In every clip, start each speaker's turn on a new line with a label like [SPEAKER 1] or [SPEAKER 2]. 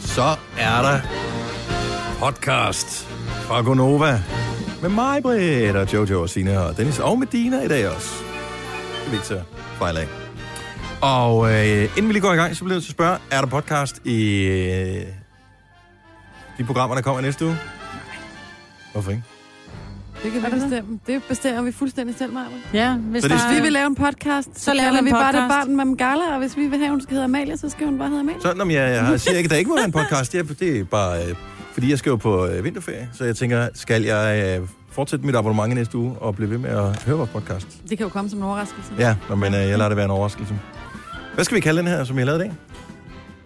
[SPEAKER 1] så er der podcast fra Gonova med mig, Britt, og Jojo og Sina og Dennis, og med Dina i dag også. Det Victor Fejlag. Og øh, inden vi lige går i gang, så bliver jeg til at spørge, er der podcast i øh, de programmer, der kommer næste uge? Hvorfor ikke?
[SPEAKER 2] Det kan vi
[SPEAKER 3] Er der det?
[SPEAKER 2] bestemme. Det bestemmer vi fuldstændig selv, Maja.
[SPEAKER 3] Ja, hvis
[SPEAKER 1] Så
[SPEAKER 3] så
[SPEAKER 1] det
[SPEAKER 3] det
[SPEAKER 1] er
[SPEAKER 3] der,
[SPEAKER 2] Hvis vi vil lave en podcast, så,
[SPEAKER 3] Så laver
[SPEAKER 2] kalder
[SPEAKER 3] vi
[SPEAKER 2] vi
[SPEAKER 3] en
[SPEAKER 2] bare det
[SPEAKER 3] podcast.
[SPEAKER 2] barn Mamgala, og hvis vi vil have, hun skal hedde Amalie, så skal hun bare hedde Amalie.
[SPEAKER 1] Sådan om jeg, jeg har- siger ikke, at der ikke må være en podcast. Jeg, det er bare, øh, fordi jeg skal jo på øh, vinterferie, så jeg tænker, skal jeg øh, fortsætte mit abonnement i næste uge og blive ved med at høre vores podcast?
[SPEAKER 2] Det kan jo komme som en overraskelse.
[SPEAKER 1] Ja, nå, men øh, jeg lader det være en overraskelse. Hvad skal vi kalde den her, som jeg lavede i dag?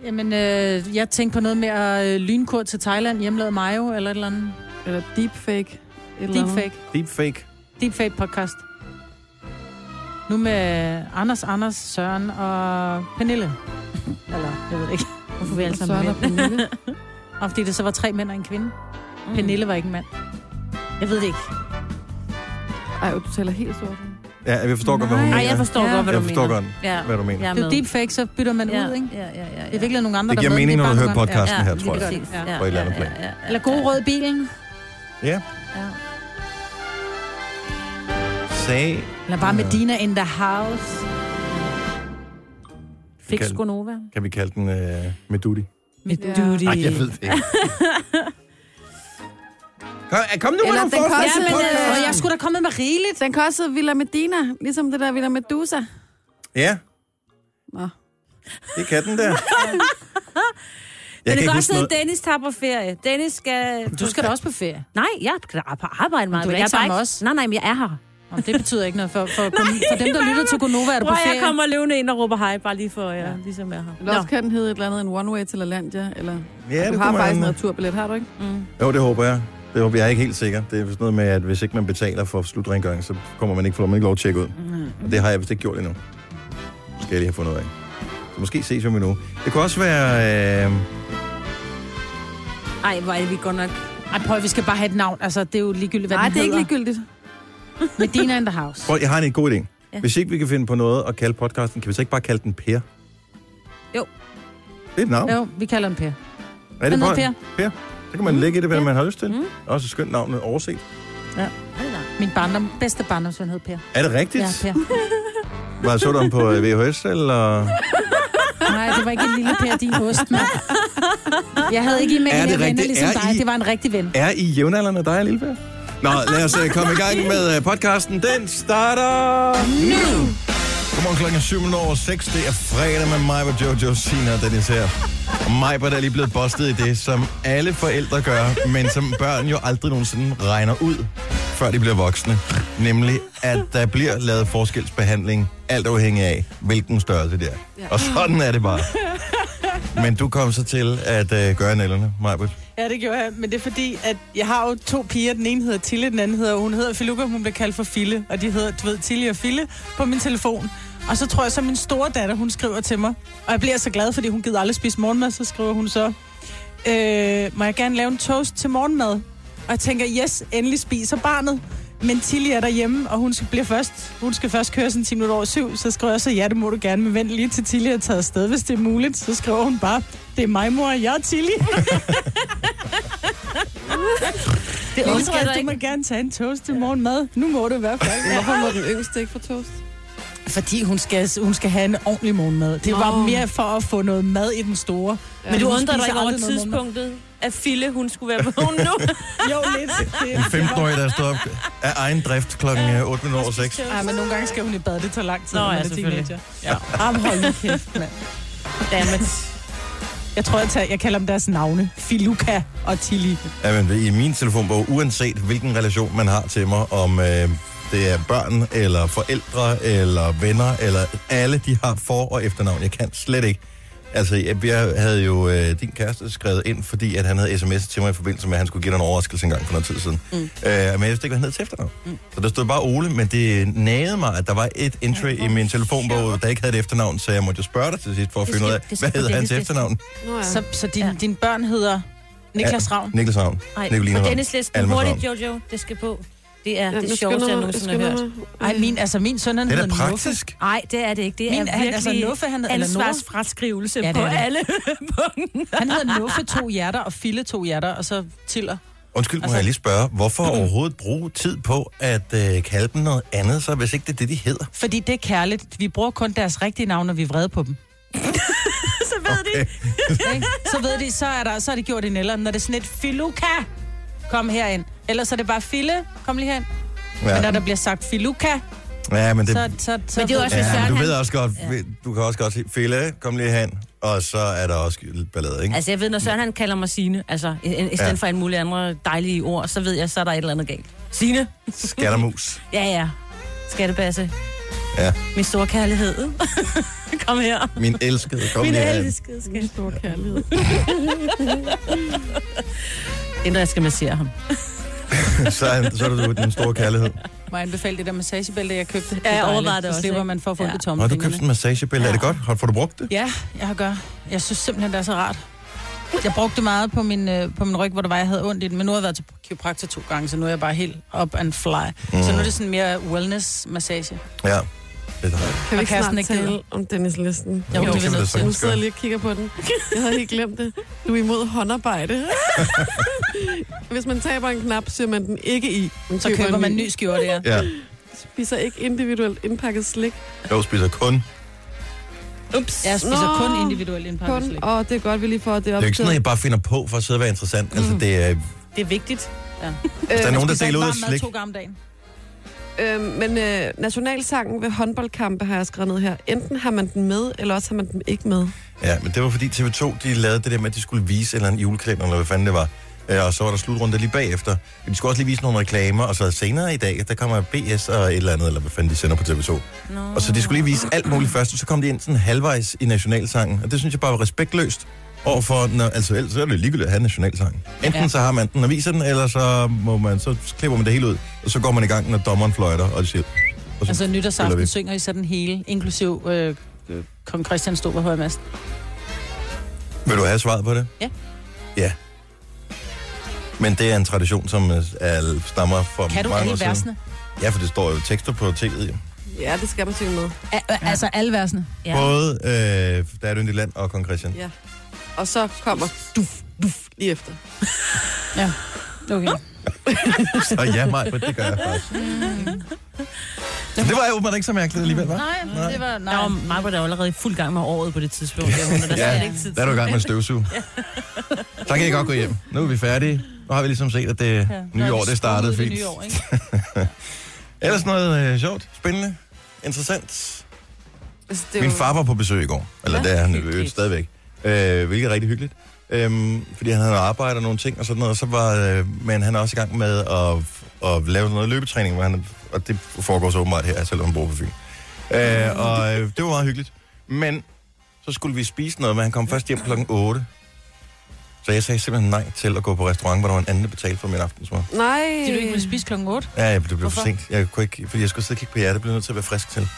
[SPEAKER 3] Jamen, øh, jeg tænkte på noget med at øh, lynkur til Thailand, hjemlavet mayo eller et eller andet.
[SPEAKER 2] Eller deepfake. Et eller andet.
[SPEAKER 3] Deepfake.
[SPEAKER 1] Deepfake.
[SPEAKER 3] Deepfake podcast. Nu med Anders, Anders, Søren og Pernille. Eller, jeg ved det ikke. Hvorfor vi alle sammen er
[SPEAKER 2] Søren og
[SPEAKER 3] mænd.
[SPEAKER 2] Pernille.
[SPEAKER 3] Og fordi det så var tre mænd og en kvinde. Mm. Pernille var ikke en mand. Jeg ved det ikke.
[SPEAKER 2] Ej, du taler helt sort.
[SPEAKER 1] Ja, jeg forstår godt, hvad hun
[SPEAKER 3] Nej,
[SPEAKER 1] mener.
[SPEAKER 4] jeg forstår
[SPEAKER 3] Ja.
[SPEAKER 4] godt, hvad
[SPEAKER 1] jeg
[SPEAKER 4] du
[SPEAKER 1] forstår
[SPEAKER 4] mener.
[SPEAKER 1] godt,
[SPEAKER 4] Ja.
[SPEAKER 1] hvad du mener.
[SPEAKER 4] Jeg er
[SPEAKER 3] Det er jo
[SPEAKER 4] med.
[SPEAKER 3] deepfake, så bytter man
[SPEAKER 4] Ja,
[SPEAKER 3] ud, ikke?
[SPEAKER 4] ja, ja, ja.
[SPEAKER 3] Det er virkelig nogle andre,
[SPEAKER 1] Det giver
[SPEAKER 3] der ved
[SPEAKER 1] mening,
[SPEAKER 3] det.
[SPEAKER 1] når
[SPEAKER 3] Det
[SPEAKER 1] du
[SPEAKER 3] er
[SPEAKER 1] hører
[SPEAKER 3] bare nogle andre.
[SPEAKER 1] podcasten her,
[SPEAKER 4] lige
[SPEAKER 1] tror jeg.
[SPEAKER 4] præcis.
[SPEAKER 3] Ja.
[SPEAKER 1] På et eller andet plan.
[SPEAKER 4] Ja, ja, ja.
[SPEAKER 3] Eller god rød i bilen.
[SPEAKER 1] Ja.
[SPEAKER 4] Ja.
[SPEAKER 1] Sag. Øh,
[SPEAKER 3] Eller bare med Dina in the house.
[SPEAKER 4] Fix
[SPEAKER 1] Kan-
[SPEAKER 4] Gonova.
[SPEAKER 1] Kan vi kalde den øh, Medudi?
[SPEAKER 3] Med
[SPEAKER 2] Ja.
[SPEAKER 3] duty.
[SPEAKER 1] Nej, jeg ved det ikke. kom, øh, kom nu med
[SPEAKER 2] Eller
[SPEAKER 1] nogle forslag
[SPEAKER 2] den kan
[SPEAKER 3] Ja,
[SPEAKER 1] til
[SPEAKER 2] også-
[SPEAKER 3] men
[SPEAKER 1] podcast.
[SPEAKER 3] øh, jeg skulle da komme med rigeligt.
[SPEAKER 2] Den kan også hedde Villa Medina, ligesom det der Villa Medusa.
[SPEAKER 1] Ja,
[SPEAKER 2] Nå.
[SPEAKER 1] det kan den der. Jeg
[SPEAKER 4] Men
[SPEAKER 1] kan
[SPEAKER 4] det
[SPEAKER 1] ikke
[SPEAKER 4] kan
[SPEAKER 1] huske
[SPEAKER 4] også hedde,
[SPEAKER 1] noget.
[SPEAKER 4] Dennis tager på ferie. Dennis skal...
[SPEAKER 3] Du skal da også på ferie.
[SPEAKER 4] Nej, jeg er på arbejde meget.
[SPEAKER 3] Du er
[SPEAKER 4] men jeg
[SPEAKER 3] ikke
[SPEAKER 4] bare
[SPEAKER 3] sammen med os.
[SPEAKER 4] Nej, nej, men jeg er her.
[SPEAKER 3] Nå, det betyder ikke noget for, for, for dem, der lytter til Gonova, er du på
[SPEAKER 4] Prøv, jeg
[SPEAKER 3] ferie.
[SPEAKER 4] kommer løvende ind og råber hej, bare lige for, ja, ligesom jeg er her.
[SPEAKER 2] Eller også kan den hedde et eller andet, en one way til Lalandia, eller...
[SPEAKER 1] Ja,
[SPEAKER 2] du
[SPEAKER 1] det
[SPEAKER 2] har
[SPEAKER 1] kunne
[SPEAKER 2] faktisk en
[SPEAKER 1] man.
[SPEAKER 2] returbillet, har du ikke?
[SPEAKER 3] Mm.
[SPEAKER 1] Jo, det håber jeg. Det håber jeg. jeg er ikke helt sikker. Det er vist noget med, at hvis ikke man betaler for slutrengøring, så kommer man ikke, får man ikke lov at tjekke ud. Og det har jeg vist ikke gjort endnu. Det Skal jeg lige have fundet ud af. Så måske ses vi om endnu. Det kunne også være... Øh,
[SPEAKER 4] Ej, hvor er det, vi går nok.
[SPEAKER 3] Ej, prøv, vi skal bare have et navn. Altså, det er jo ligegyldigt, hvad
[SPEAKER 2] Nej,
[SPEAKER 3] den
[SPEAKER 2] det er ikke
[SPEAKER 3] hedder.
[SPEAKER 2] ligegyldigt.
[SPEAKER 3] Med Dina in the house.
[SPEAKER 1] prøv, jeg har en god idé.
[SPEAKER 4] Ja.
[SPEAKER 1] Hvis ikke vi kan finde på noget at kalde podcasten, kan vi så ikke bare kalde den Per?
[SPEAKER 4] Jo.
[SPEAKER 1] Det er et navn.
[SPEAKER 3] Jo, vi kalder den Per.
[SPEAKER 1] er det
[SPEAKER 3] den hedder
[SPEAKER 1] per? per? Det kan man lægge i det, hvad man har lyst til. Mm. Også et skønt navn med overset.
[SPEAKER 3] Min barndom, bedste barndomsven hed Per.
[SPEAKER 1] Er det rigtigt?
[SPEAKER 3] Ja, Per.
[SPEAKER 1] Var så du den på øh, VHS, eller...
[SPEAKER 3] Nej, det var ikke en lille Per, din ost, mand. Jeg havde ikke en med
[SPEAKER 1] Er
[SPEAKER 3] en
[SPEAKER 1] det
[SPEAKER 3] venner
[SPEAKER 1] rigtigt?
[SPEAKER 3] ligesom
[SPEAKER 1] Er
[SPEAKER 3] dig.
[SPEAKER 1] I-
[SPEAKER 3] Det var en rigtig ven.
[SPEAKER 1] Er I jævnaldrende dig, Lille Per? Nå, lad os øh, komme i gang med øh, podcasten. Den starter nu! Godmorgen klokken er 7 over 6. Det er fredag med mig, hvor Jojo Sina og Dennis her. Og mig er lige blevet bustet i det, som alle forældre gør, men som børn jo aldrig nogensinde regner ud, før de bliver voksne. Nemlig, at der bliver lavet forskelsbehandling, alt afhængig af, hvilken størrelse det er. Og sådan er det bare. Men du kom så til at øh, gøre nælderne, Majbert.
[SPEAKER 5] Ja, det gjorde jeg, men det er fordi, at jeg har jo to piger. Den ene hedder Tille, den anden hedder, hun hedder Filuka, hun blev kaldt for Fille. Og de hedder, du ved, Tille og Fille på min telefon. Og så tror jeg så, min store datter, hun skriver til mig. Og jeg bliver så glad, fordi hun gider aldrig spise morgenmad, så skriver hun så, øh, må jeg gerne lave en toast til morgenmad? Og jeg tænker, yes, endelig spiser barnet. Men Tilly er derhjemme, og hun skal, bliver først, hun skal først køre sådan 10 minutter over syv. Så skriver jeg så, ja, det må du gerne, men vent lige til Tilly er taget afsted, hvis det er muligt. Så skriver hun bare, det er mig, mor, og jeg er Tilly.
[SPEAKER 4] Det
[SPEAKER 5] Lille
[SPEAKER 4] undrer jeg
[SPEAKER 5] skat,
[SPEAKER 4] dig
[SPEAKER 5] du må
[SPEAKER 4] ikke.
[SPEAKER 5] gerne tage en toast til morgenmad. Nu må du i hvert fald.
[SPEAKER 2] Hvorfor må den yngste ikke få toast?
[SPEAKER 5] Fordi hun skal, hun skal have en ordentlig morgenmad. Det var
[SPEAKER 2] Nå.
[SPEAKER 5] mere for at få noget mad i den store.
[SPEAKER 4] Men du
[SPEAKER 5] Hun
[SPEAKER 4] undrer dig
[SPEAKER 5] spiser
[SPEAKER 4] ikke over
[SPEAKER 5] aldrig noget
[SPEAKER 4] tidspunktet, at Fille, hun skulle være vågen nu.
[SPEAKER 5] Jo, lidt. Det,
[SPEAKER 1] En 15-årig, der står op af egen drift kl. 8 minutter over 6.
[SPEAKER 5] Ej, men nogle gange skal hun i bad. Det tager lang tid.
[SPEAKER 4] Nå,
[SPEAKER 5] når man
[SPEAKER 4] ja,
[SPEAKER 5] er
[SPEAKER 4] selvfølgelig.
[SPEAKER 5] teenager. Ja. Jamen, hold nu kæft, mand.
[SPEAKER 4] Dammit.
[SPEAKER 5] Jeg tror, jeg, tager, jeg kalder dem deres navne. Filuka og Tilly.
[SPEAKER 1] Ja, men i min telefonbog, uanset hvilken relation man har til mig, om øh, det er børn, eller forældre, eller venner, eller alle, de har for- og efternavn. Jeg kan slet ikke. Altså, jeg, jeg havde jo øh, din kæreste skrevet ind, fordi at han havde sms'et til mig i forbindelse med, at han skulle give dig en overraskelse engang for noget tid siden. Mm. Øh, men jeg vidste ikke, hvad han hed til efternavn. Mm. Så der stod bare Ole, men det nagede mig, at der var et entry i min telefonbog, der ikke havde et efternavn, så jeg måtte jo spørge dig til sidst for at
[SPEAKER 4] Det
[SPEAKER 1] finde ud
[SPEAKER 4] skal-
[SPEAKER 1] af,
[SPEAKER 4] det skal
[SPEAKER 1] hvad hed
[SPEAKER 4] på
[SPEAKER 1] hans
[SPEAKER 4] Dennis'
[SPEAKER 1] efternavn?
[SPEAKER 2] Nå ja.
[SPEAKER 3] Så, så din,
[SPEAKER 4] Ja.
[SPEAKER 3] dine børn hedder Niklas Ravn.
[SPEAKER 1] Niklas Havn.
[SPEAKER 4] Ej,
[SPEAKER 1] Nicoline
[SPEAKER 4] på
[SPEAKER 1] Ravn.
[SPEAKER 4] Dennis listen
[SPEAKER 1] Alma
[SPEAKER 4] hurtigt,
[SPEAKER 1] Ravn.
[SPEAKER 4] Jojo. Det skal på.
[SPEAKER 6] Det er
[SPEAKER 2] Ja, nu
[SPEAKER 6] det sjoveste, jeg
[SPEAKER 2] skynder
[SPEAKER 6] nogensinde
[SPEAKER 2] jeg
[SPEAKER 6] har hørt.
[SPEAKER 2] skynder
[SPEAKER 3] Ej, min, altså min søn, han
[SPEAKER 1] Det er
[SPEAKER 3] hedder
[SPEAKER 1] da
[SPEAKER 3] Nuffe.
[SPEAKER 1] praktisk.
[SPEAKER 6] Nej, det er det ikke. Det
[SPEAKER 3] Min,
[SPEAKER 6] er
[SPEAKER 3] han, altså
[SPEAKER 6] virkelig
[SPEAKER 3] Nuffe, han, eller Nora,
[SPEAKER 7] ansvarsfraskrivelse
[SPEAKER 3] Ja,
[SPEAKER 7] ja,
[SPEAKER 3] det
[SPEAKER 7] på
[SPEAKER 3] er det.
[SPEAKER 7] alle punkter.
[SPEAKER 3] han hedder Nuffe to hjerter og Fille to hjerter, og så Tiller.
[SPEAKER 1] Undskyld, må altså... jeg lige spørge, hvorfor overhovedet bruge tid på at øh, kalde dem noget andet, så hvis ikke det er det, de hedder?
[SPEAKER 3] Fordi det er kærligt. Vi bruger kun deres rigtige navn, når vi er vrede på dem.
[SPEAKER 7] Så ved de.
[SPEAKER 3] Ikke? Så ved de, så er, der, så er det gjort i nælderen. Når det er sådan et Filuka, kom herind. Ellers er det bare Fille, kom lige herind. Men når
[SPEAKER 1] Ja,
[SPEAKER 3] der bliver sagt Filuka,
[SPEAKER 1] ja men det...
[SPEAKER 3] så, så, så,
[SPEAKER 6] Men det er jo også, hvis
[SPEAKER 1] Ja, men
[SPEAKER 6] Søren
[SPEAKER 1] du
[SPEAKER 6] han-
[SPEAKER 1] ved også godt, du kan også godt sige, Fille, kom lige hen, og så er der også ballade, ikke?
[SPEAKER 6] Altså, jeg ved, når Søren han kalder mig Signe, altså, i, i, i stedet for alle mulige andre dejlige ord, så ved jeg, så er der et eller andet galt. Signe?
[SPEAKER 1] Skattermus.
[SPEAKER 6] Ja, ja. Skattebasse.
[SPEAKER 1] Ja.
[SPEAKER 6] Min store kærlighed. Kom her.
[SPEAKER 1] Min elskede, kom
[SPEAKER 6] Min
[SPEAKER 1] lige hen.
[SPEAKER 6] elskede skat.
[SPEAKER 2] Min store kærlighed.
[SPEAKER 6] Inden jeg skal massere ham.
[SPEAKER 1] så, er, så er du den store kærlighed.
[SPEAKER 3] Må jeg anbefale det der massagebælte, jeg købte?
[SPEAKER 6] jeg
[SPEAKER 3] dejligt.
[SPEAKER 6] overvejede det
[SPEAKER 3] Så
[SPEAKER 6] også,
[SPEAKER 3] slipper
[SPEAKER 6] ikke?
[SPEAKER 3] man for at få ja.
[SPEAKER 6] Ja.
[SPEAKER 3] ondt i
[SPEAKER 1] Nå, du købte
[SPEAKER 3] tommelfingrene.
[SPEAKER 1] sådan en massagebælte. Ja. Er det godt? Har, får du brugt det?
[SPEAKER 3] Ja, jeg har gør. Jeg synes simpelthen, det er så rart. Jeg brugte det meget på min, øh, på min ryg, hvor der var, jeg havde ondt i den. Men nu har jeg været til kiropraktor to gange, så nu er jeg bare helt up and fly. Mm. Så nu er det sådan mere wellness-massage.
[SPEAKER 1] Ja. Det er dejligt.
[SPEAKER 2] Kan vi
[SPEAKER 3] Og
[SPEAKER 2] ikke
[SPEAKER 3] Karsten
[SPEAKER 2] snart
[SPEAKER 3] ikke det?
[SPEAKER 2] tale om Dennis-listen?
[SPEAKER 3] Jo,
[SPEAKER 1] det
[SPEAKER 3] det
[SPEAKER 1] kan
[SPEAKER 3] er
[SPEAKER 1] vi da
[SPEAKER 3] nødt til.
[SPEAKER 2] Nu
[SPEAKER 1] sagtens
[SPEAKER 2] sidder
[SPEAKER 1] gøre.
[SPEAKER 2] jeg lige og kigger på den. Jeg havde helt glemt det. Du er imod håndarbejde. Hvis man taber en knap, syr man den ikke i. Man
[SPEAKER 3] Så køber
[SPEAKER 2] en
[SPEAKER 3] man en ny skjorte, ja.
[SPEAKER 1] Ja.
[SPEAKER 2] Spiser ikke individuelt indpakket slik.
[SPEAKER 1] Jeg spiser kun.
[SPEAKER 7] Ups.
[SPEAKER 3] Jeg spiser
[SPEAKER 2] Nå.
[SPEAKER 3] kun individuelt indpakket
[SPEAKER 2] Kun,
[SPEAKER 3] slik.
[SPEAKER 2] og det er godt, vi lige får det
[SPEAKER 1] Det
[SPEAKER 2] op
[SPEAKER 1] er jo ikke sådan noget, jeg bare finder på for at sidde og være interessant. Altså, det er,
[SPEAKER 3] Det er vigtigt.
[SPEAKER 1] hvis der er nogen, der
[SPEAKER 3] Spiser
[SPEAKER 1] deler ud
[SPEAKER 3] ikke
[SPEAKER 1] af
[SPEAKER 3] varm mad
[SPEAKER 1] slik.
[SPEAKER 3] to gange om dagen.
[SPEAKER 2] Øh, men øh, nationalsangen ved håndboldkampe har jeg skrevet ned her. Enten har man den med, eller også har man den ikke med.
[SPEAKER 1] Ja, men det var fordi TV2, de lavede det der med, at de skulle vise en eller anden julekalender, eller hvad fanden det var. Øh, Og så var der slutrunde lige bagefter. De skulle også lige vise nogle reklamer, og så senere i dag, der kommer BS og et eller andet, eller hvad fanden de sender på TV2.
[SPEAKER 6] Nå.
[SPEAKER 1] Og så de skulle lige vise alt muligt først, og så kom de ind sådan halvvejs i nationalsangen. Og det synes jeg bare var respektløst overfor, når, altså ellers så er det ligegyldigt at have nationalsangen. Enten ja.
[SPEAKER 3] Ja.
[SPEAKER 1] så har man den og viser den, eller så, må man, så klipper man det hele ud, og så går man i gang, når dommeren fløjter, og de siger... Og så,
[SPEAKER 3] Altså
[SPEAKER 1] spiller vi.
[SPEAKER 3] nytårsaften synger I sådan hele, inklusiv øh, øh, kong Christian stod på høje mast.
[SPEAKER 1] Vil du have svaret på det?
[SPEAKER 3] Ja.
[SPEAKER 1] Ja. Men det er en tradition, som øh, er, stammer fra
[SPEAKER 3] Kan du
[SPEAKER 1] mange
[SPEAKER 3] alle
[SPEAKER 1] år siden.
[SPEAKER 3] versene?
[SPEAKER 1] Ja, for det står jo tekster på tv'et. Ja.
[SPEAKER 2] Ja, det skal man synge med.
[SPEAKER 3] A- øh, altså alle versene.
[SPEAKER 6] Ja.
[SPEAKER 1] Både øh, Der er et yndigt land og Kong Christian.
[SPEAKER 2] Ja. Og så kommer duf, duf lige efter.
[SPEAKER 3] Okay.
[SPEAKER 1] Så ja, mig, men det gør jeg faktisk. Så det var jo åbenbart ikke så mærkeligt alligevel, hva'?
[SPEAKER 3] Nej, men det var...
[SPEAKER 6] Der
[SPEAKER 3] Nej.
[SPEAKER 6] var mig, der var allerede i fuld gang med året på det tidspunkt. Der, hun, der
[SPEAKER 1] Ja.
[SPEAKER 6] ja. ikke tid
[SPEAKER 1] Der er du i gang med at støvsuge. Så kan I godt gå hjem. Nu er vi færdige. Nu har vi ligesom set, at det
[SPEAKER 3] Ja. Nå,
[SPEAKER 1] nye år,
[SPEAKER 3] vi
[SPEAKER 1] det startede
[SPEAKER 3] skruede det
[SPEAKER 1] fint.
[SPEAKER 3] nye år, ikke?
[SPEAKER 1] Ellers noget øh, sjovt, spændende, interessant.
[SPEAKER 2] Altså, det er
[SPEAKER 1] Min
[SPEAKER 2] jo-
[SPEAKER 1] far var på besøg i går. Eller
[SPEAKER 2] Ja,
[SPEAKER 1] det er han
[SPEAKER 6] hyggeligt.
[SPEAKER 1] jo stadigvæk. Øh, hvilket er rigtig hyggeligt. Øhm, fordi han havde arbejdet og nogle ting og sådan noget. Og så var, øh, men han er også i gang med at, at lave noget løbetræning. Hvor han, og det foregår så åbenbart her, selvom han bor på Fyn. Øh, og øh, det var meget hyggeligt. Men så skulle vi spise noget, men han kom først hjem klokken 8. Så jeg sagde simpelthen nej til at gå på restaurant, hvor der var en anden, der betalte for min aftensmad.
[SPEAKER 2] Nej.
[SPEAKER 3] Fordi du ikke ville spise klokken 8.
[SPEAKER 1] Ja, ja, det blev
[SPEAKER 3] Hvorfor?
[SPEAKER 1] for sent. Jeg kunne ikke, fordi jeg skulle sidde og kigge på jer, det blev jeg nødt til at være frisk til.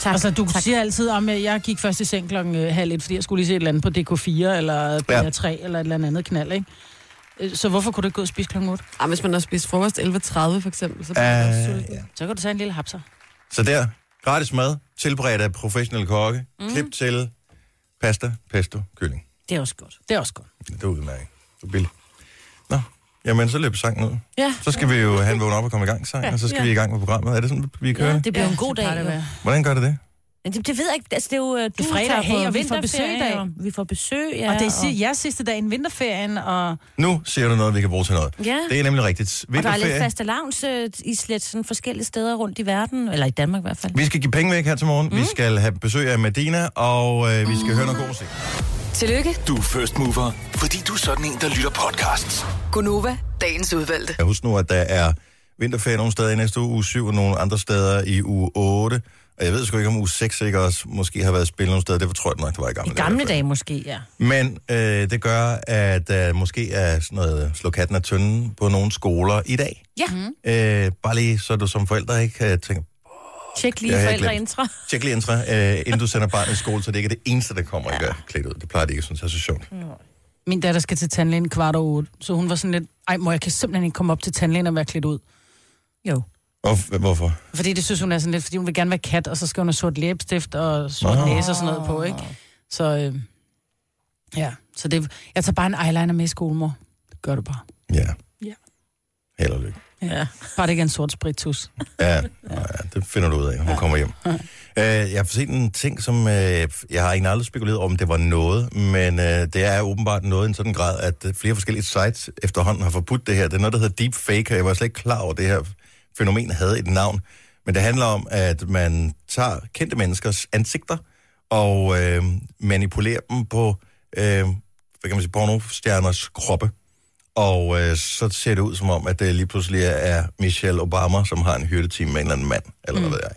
[SPEAKER 3] Tak. Altså, du tak. siger altid om, at jeg gik først i seng klokken øh, halv et, fordi jeg skulle lige se et eller andet på DK4 eller
[SPEAKER 1] Ja.
[SPEAKER 3] DR3 eller et eller andet knald, ikke? Øh, Så hvorfor kunne du ikke gå og spise klokken 8?
[SPEAKER 2] Ah, hvis man har spist frokost 11.30 for eksempel, så bliver man også
[SPEAKER 1] Øh,
[SPEAKER 2] sulten.
[SPEAKER 1] ja.
[SPEAKER 3] Så kan du tage en lille hapser.
[SPEAKER 1] Så der, gratis mad, tilberedt af professionelle kokke, mm. klip til pasta, pesto, kylling.
[SPEAKER 6] Det er også godt.
[SPEAKER 3] Det er også godt.
[SPEAKER 1] Det er udmærket. Det er billigt. Nå, jamen så løb sangen ud.
[SPEAKER 6] Ja.
[SPEAKER 1] Så skal vi jo have en vågen op og komme i gang sang, ja, og så skal ja. vi i gang med programmet. Er det sådan, vi kører? Ja, det...
[SPEAKER 6] Det blev ja, en god dag.
[SPEAKER 3] Det,
[SPEAKER 6] jo.
[SPEAKER 3] være.
[SPEAKER 1] Hvordan gør det det?
[SPEAKER 6] Men det, det ved jeg ikke. Altså, det er jo, øh, du
[SPEAKER 3] fredag,
[SPEAKER 6] tager på
[SPEAKER 3] hey, og vi får
[SPEAKER 6] vinterferie,
[SPEAKER 3] besøg i dag.
[SPEAKER 6] og Vi får besøg, ja.
[SPEAKER 3] og det er si- jeres sidste dag i vinterferien, og
[SPEAKER 1] Nu siger du noget, vi kan bruge til noget.
[SPEAKER 6] Ja.
[SPEAKER 1] Det er nemlig rigtigt.
[SPEAKER 6] Og der er lidt
[SPEAKER 1] Vinterferie.
[SPEAKER 6] faste lavns øh, i slet sådan forskellige steder rundt i verden, eller i Danmark i hvert fald.
[SPEAKER 1] Vi skal give penge væk her til morgen. Mm. Vi skal have besøg af Medina, og øh, vi skal høre noget god musik.
[SPEAKER 8] Tillykke,
[SPEAKER 9] Du er first mover, fordi du er sådan en, der lytter podcasts.
[SPEAKER 8] Gunova, dagens udvalgte.
[SPEAKER 1] Jeg husker nu, at der er vinterferie nogle steder i næste uge, uge 7, og nogle andre steder i uge 8. Og jeg ved sgu ikke, om uge 6 ikke også måske har været spillet nogle steder. Det tror jeg nok, det var i gamle,
[SPEAKER 6] I gamle
[SPEAKER 1] dage.
[SPEAKER 6] dage måske, ja.
[SPEAKER 1] Men øh, det gør, at der øh, måske er sådan noget øh, slå katten af tynden på nogle skoler i dag.
[SPEAKER 6] Ja, mm.
[SPEAKER 1] Øh, bare lige, så du som forældre ikke øh, tænker,
[SPEAKER 6] tjek
[SPEAKER 1] Det
[SPEAKER 6] lige
[SPEAKER 1] har jeg
[SPEAKER 6] forældreintra.
[SPEAKER 1] tjek lige intra, øh, inden du sender barnet i skole, så det ikke er det eneste, der kommer ja. ikke er klædt ud. Det plejer de ikke, synes jeg er så sjovt.
[SPEAKER 3] min datter skal til tandlægen kvart over 8, så hun var sådan lidt, ej mor, jeg kan simpelthen ikke komme op til tandlægen og være klædt ud.
[SPEAKER 6] Jo.
[SPEAKER 1] Og f- hvorfor?
[SPEAKER 3] Fordi det synes hun er sådan lidt, fordi hun vil gerne være kat, og så skal hun have sort læbestift og sort
[SPEAKER 1] Nå.
[SPEAKER 3] næse og sådan noget på, ikke? Så øh, ja, så det, jeg tager bare en eyeliner med i skolemor. Det gør du bare.
[SPEAKER 1] Ja.
[SPEAKER 5] Ja.
[SPEAKER 1] Held og lykke.
[SPEAKER 6] Ja.
[SPEAKER 3] Bare det ikke er en sort spritus.
[SPEAKER 1] Ja, ja, det finder du ud af, når hun kommer hjem. Øh, jeg har set en ting, som øh, jeg har egentlig aldrig spekuleret om, det var noget, men øh, det er åbenbart noget i en sådan grad, at øh, flere forskellige sites efterhånden har forbudt det her. Det er noget, der hedder deepfake, og jeg var slet ikke klar over, at det her fænomen havde et navn. Men det handler om, at man tager kendte menneskers ansigter og øh, manipulerer dem på, øh, hvad kan man sige, pornostjerners kroppe. Og øh, så ser det ud som om, at det lige pludselig er Michelle Obama, som har en hyrdeteam med en eller anden mand, eller mm. hvad ved jeg.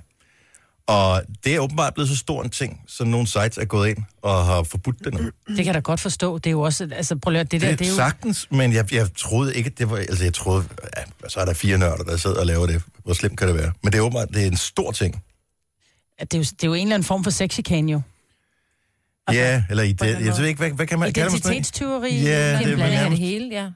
[SPEAKER 1] Og det er åbenbart blevet så stor en ting, så nogle sites er gået ind og har forbudt det nu.
[SPEAKER 3] Det kan jeg da godt forstå. Det er jo også, altså prøv lige at høre, det der,
[SPEAKER 1] Det,
[SPEAKER 3] det er jo...
[SPEAKER 1] sagtens, men jeg, jeg troede ikke, at det var... Altså, jeg troede, ja, så er der fire nørder, der sidder og laver det. Hvor slemt kan det være? Men det er åbenbart, det er en stor ting.
[SPEAKER 3] at det, er jo, det er jo en eller anden form for sexchikane jo.
[SPEAKER 1] Okay. Ja, eller i det, jeg ved ikke, hvad, hvad kan man... kalder man sådan noget?
[SPEAKER 3] Identitetstyveri.
[SPEAKER 1] Ja, det er
[SPEAKER 6] Det
[SPEAKER 1] vel
[SPEAKER 6] blander det
[SPEAKER 1] nærmest-
[SPEAKER 6] hele, ja.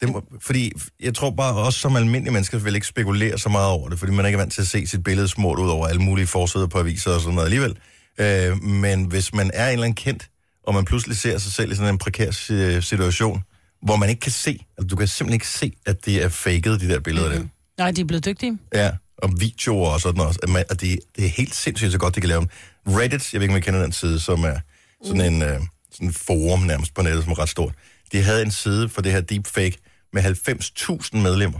[SPEAKER 1] Det må, fordi jeg tror bare, også som almindelige mennesker vil ikke spekulere så meget over det, fordi man ikke er vant til at se sit billede smurt ud over alle mulige forsider på aviser og sådan noget alligevel. Øh, men hvis man er en eller anden kendt, og man pludselig ser sig selv i sådan en prekær si- situation, hvor man ikke kan se, altså du kan simpelthen ikke se, at det er faked, de der billeder mm-hmm.
[SPEAKER 3] Nej, de er blevet dygtige.
[SPEAKER 1] der. Ja, og videoer og sådan også. At man- Og det, det er helt sindssygt så godt, det kan lave dem. Reddit, jeg ved ikke, om I kender den side, som er sådan en øh, sådan en forum nærmest på nettet, som er ret stort. De havde en side for det her deepfake med 90.000 medlemmer.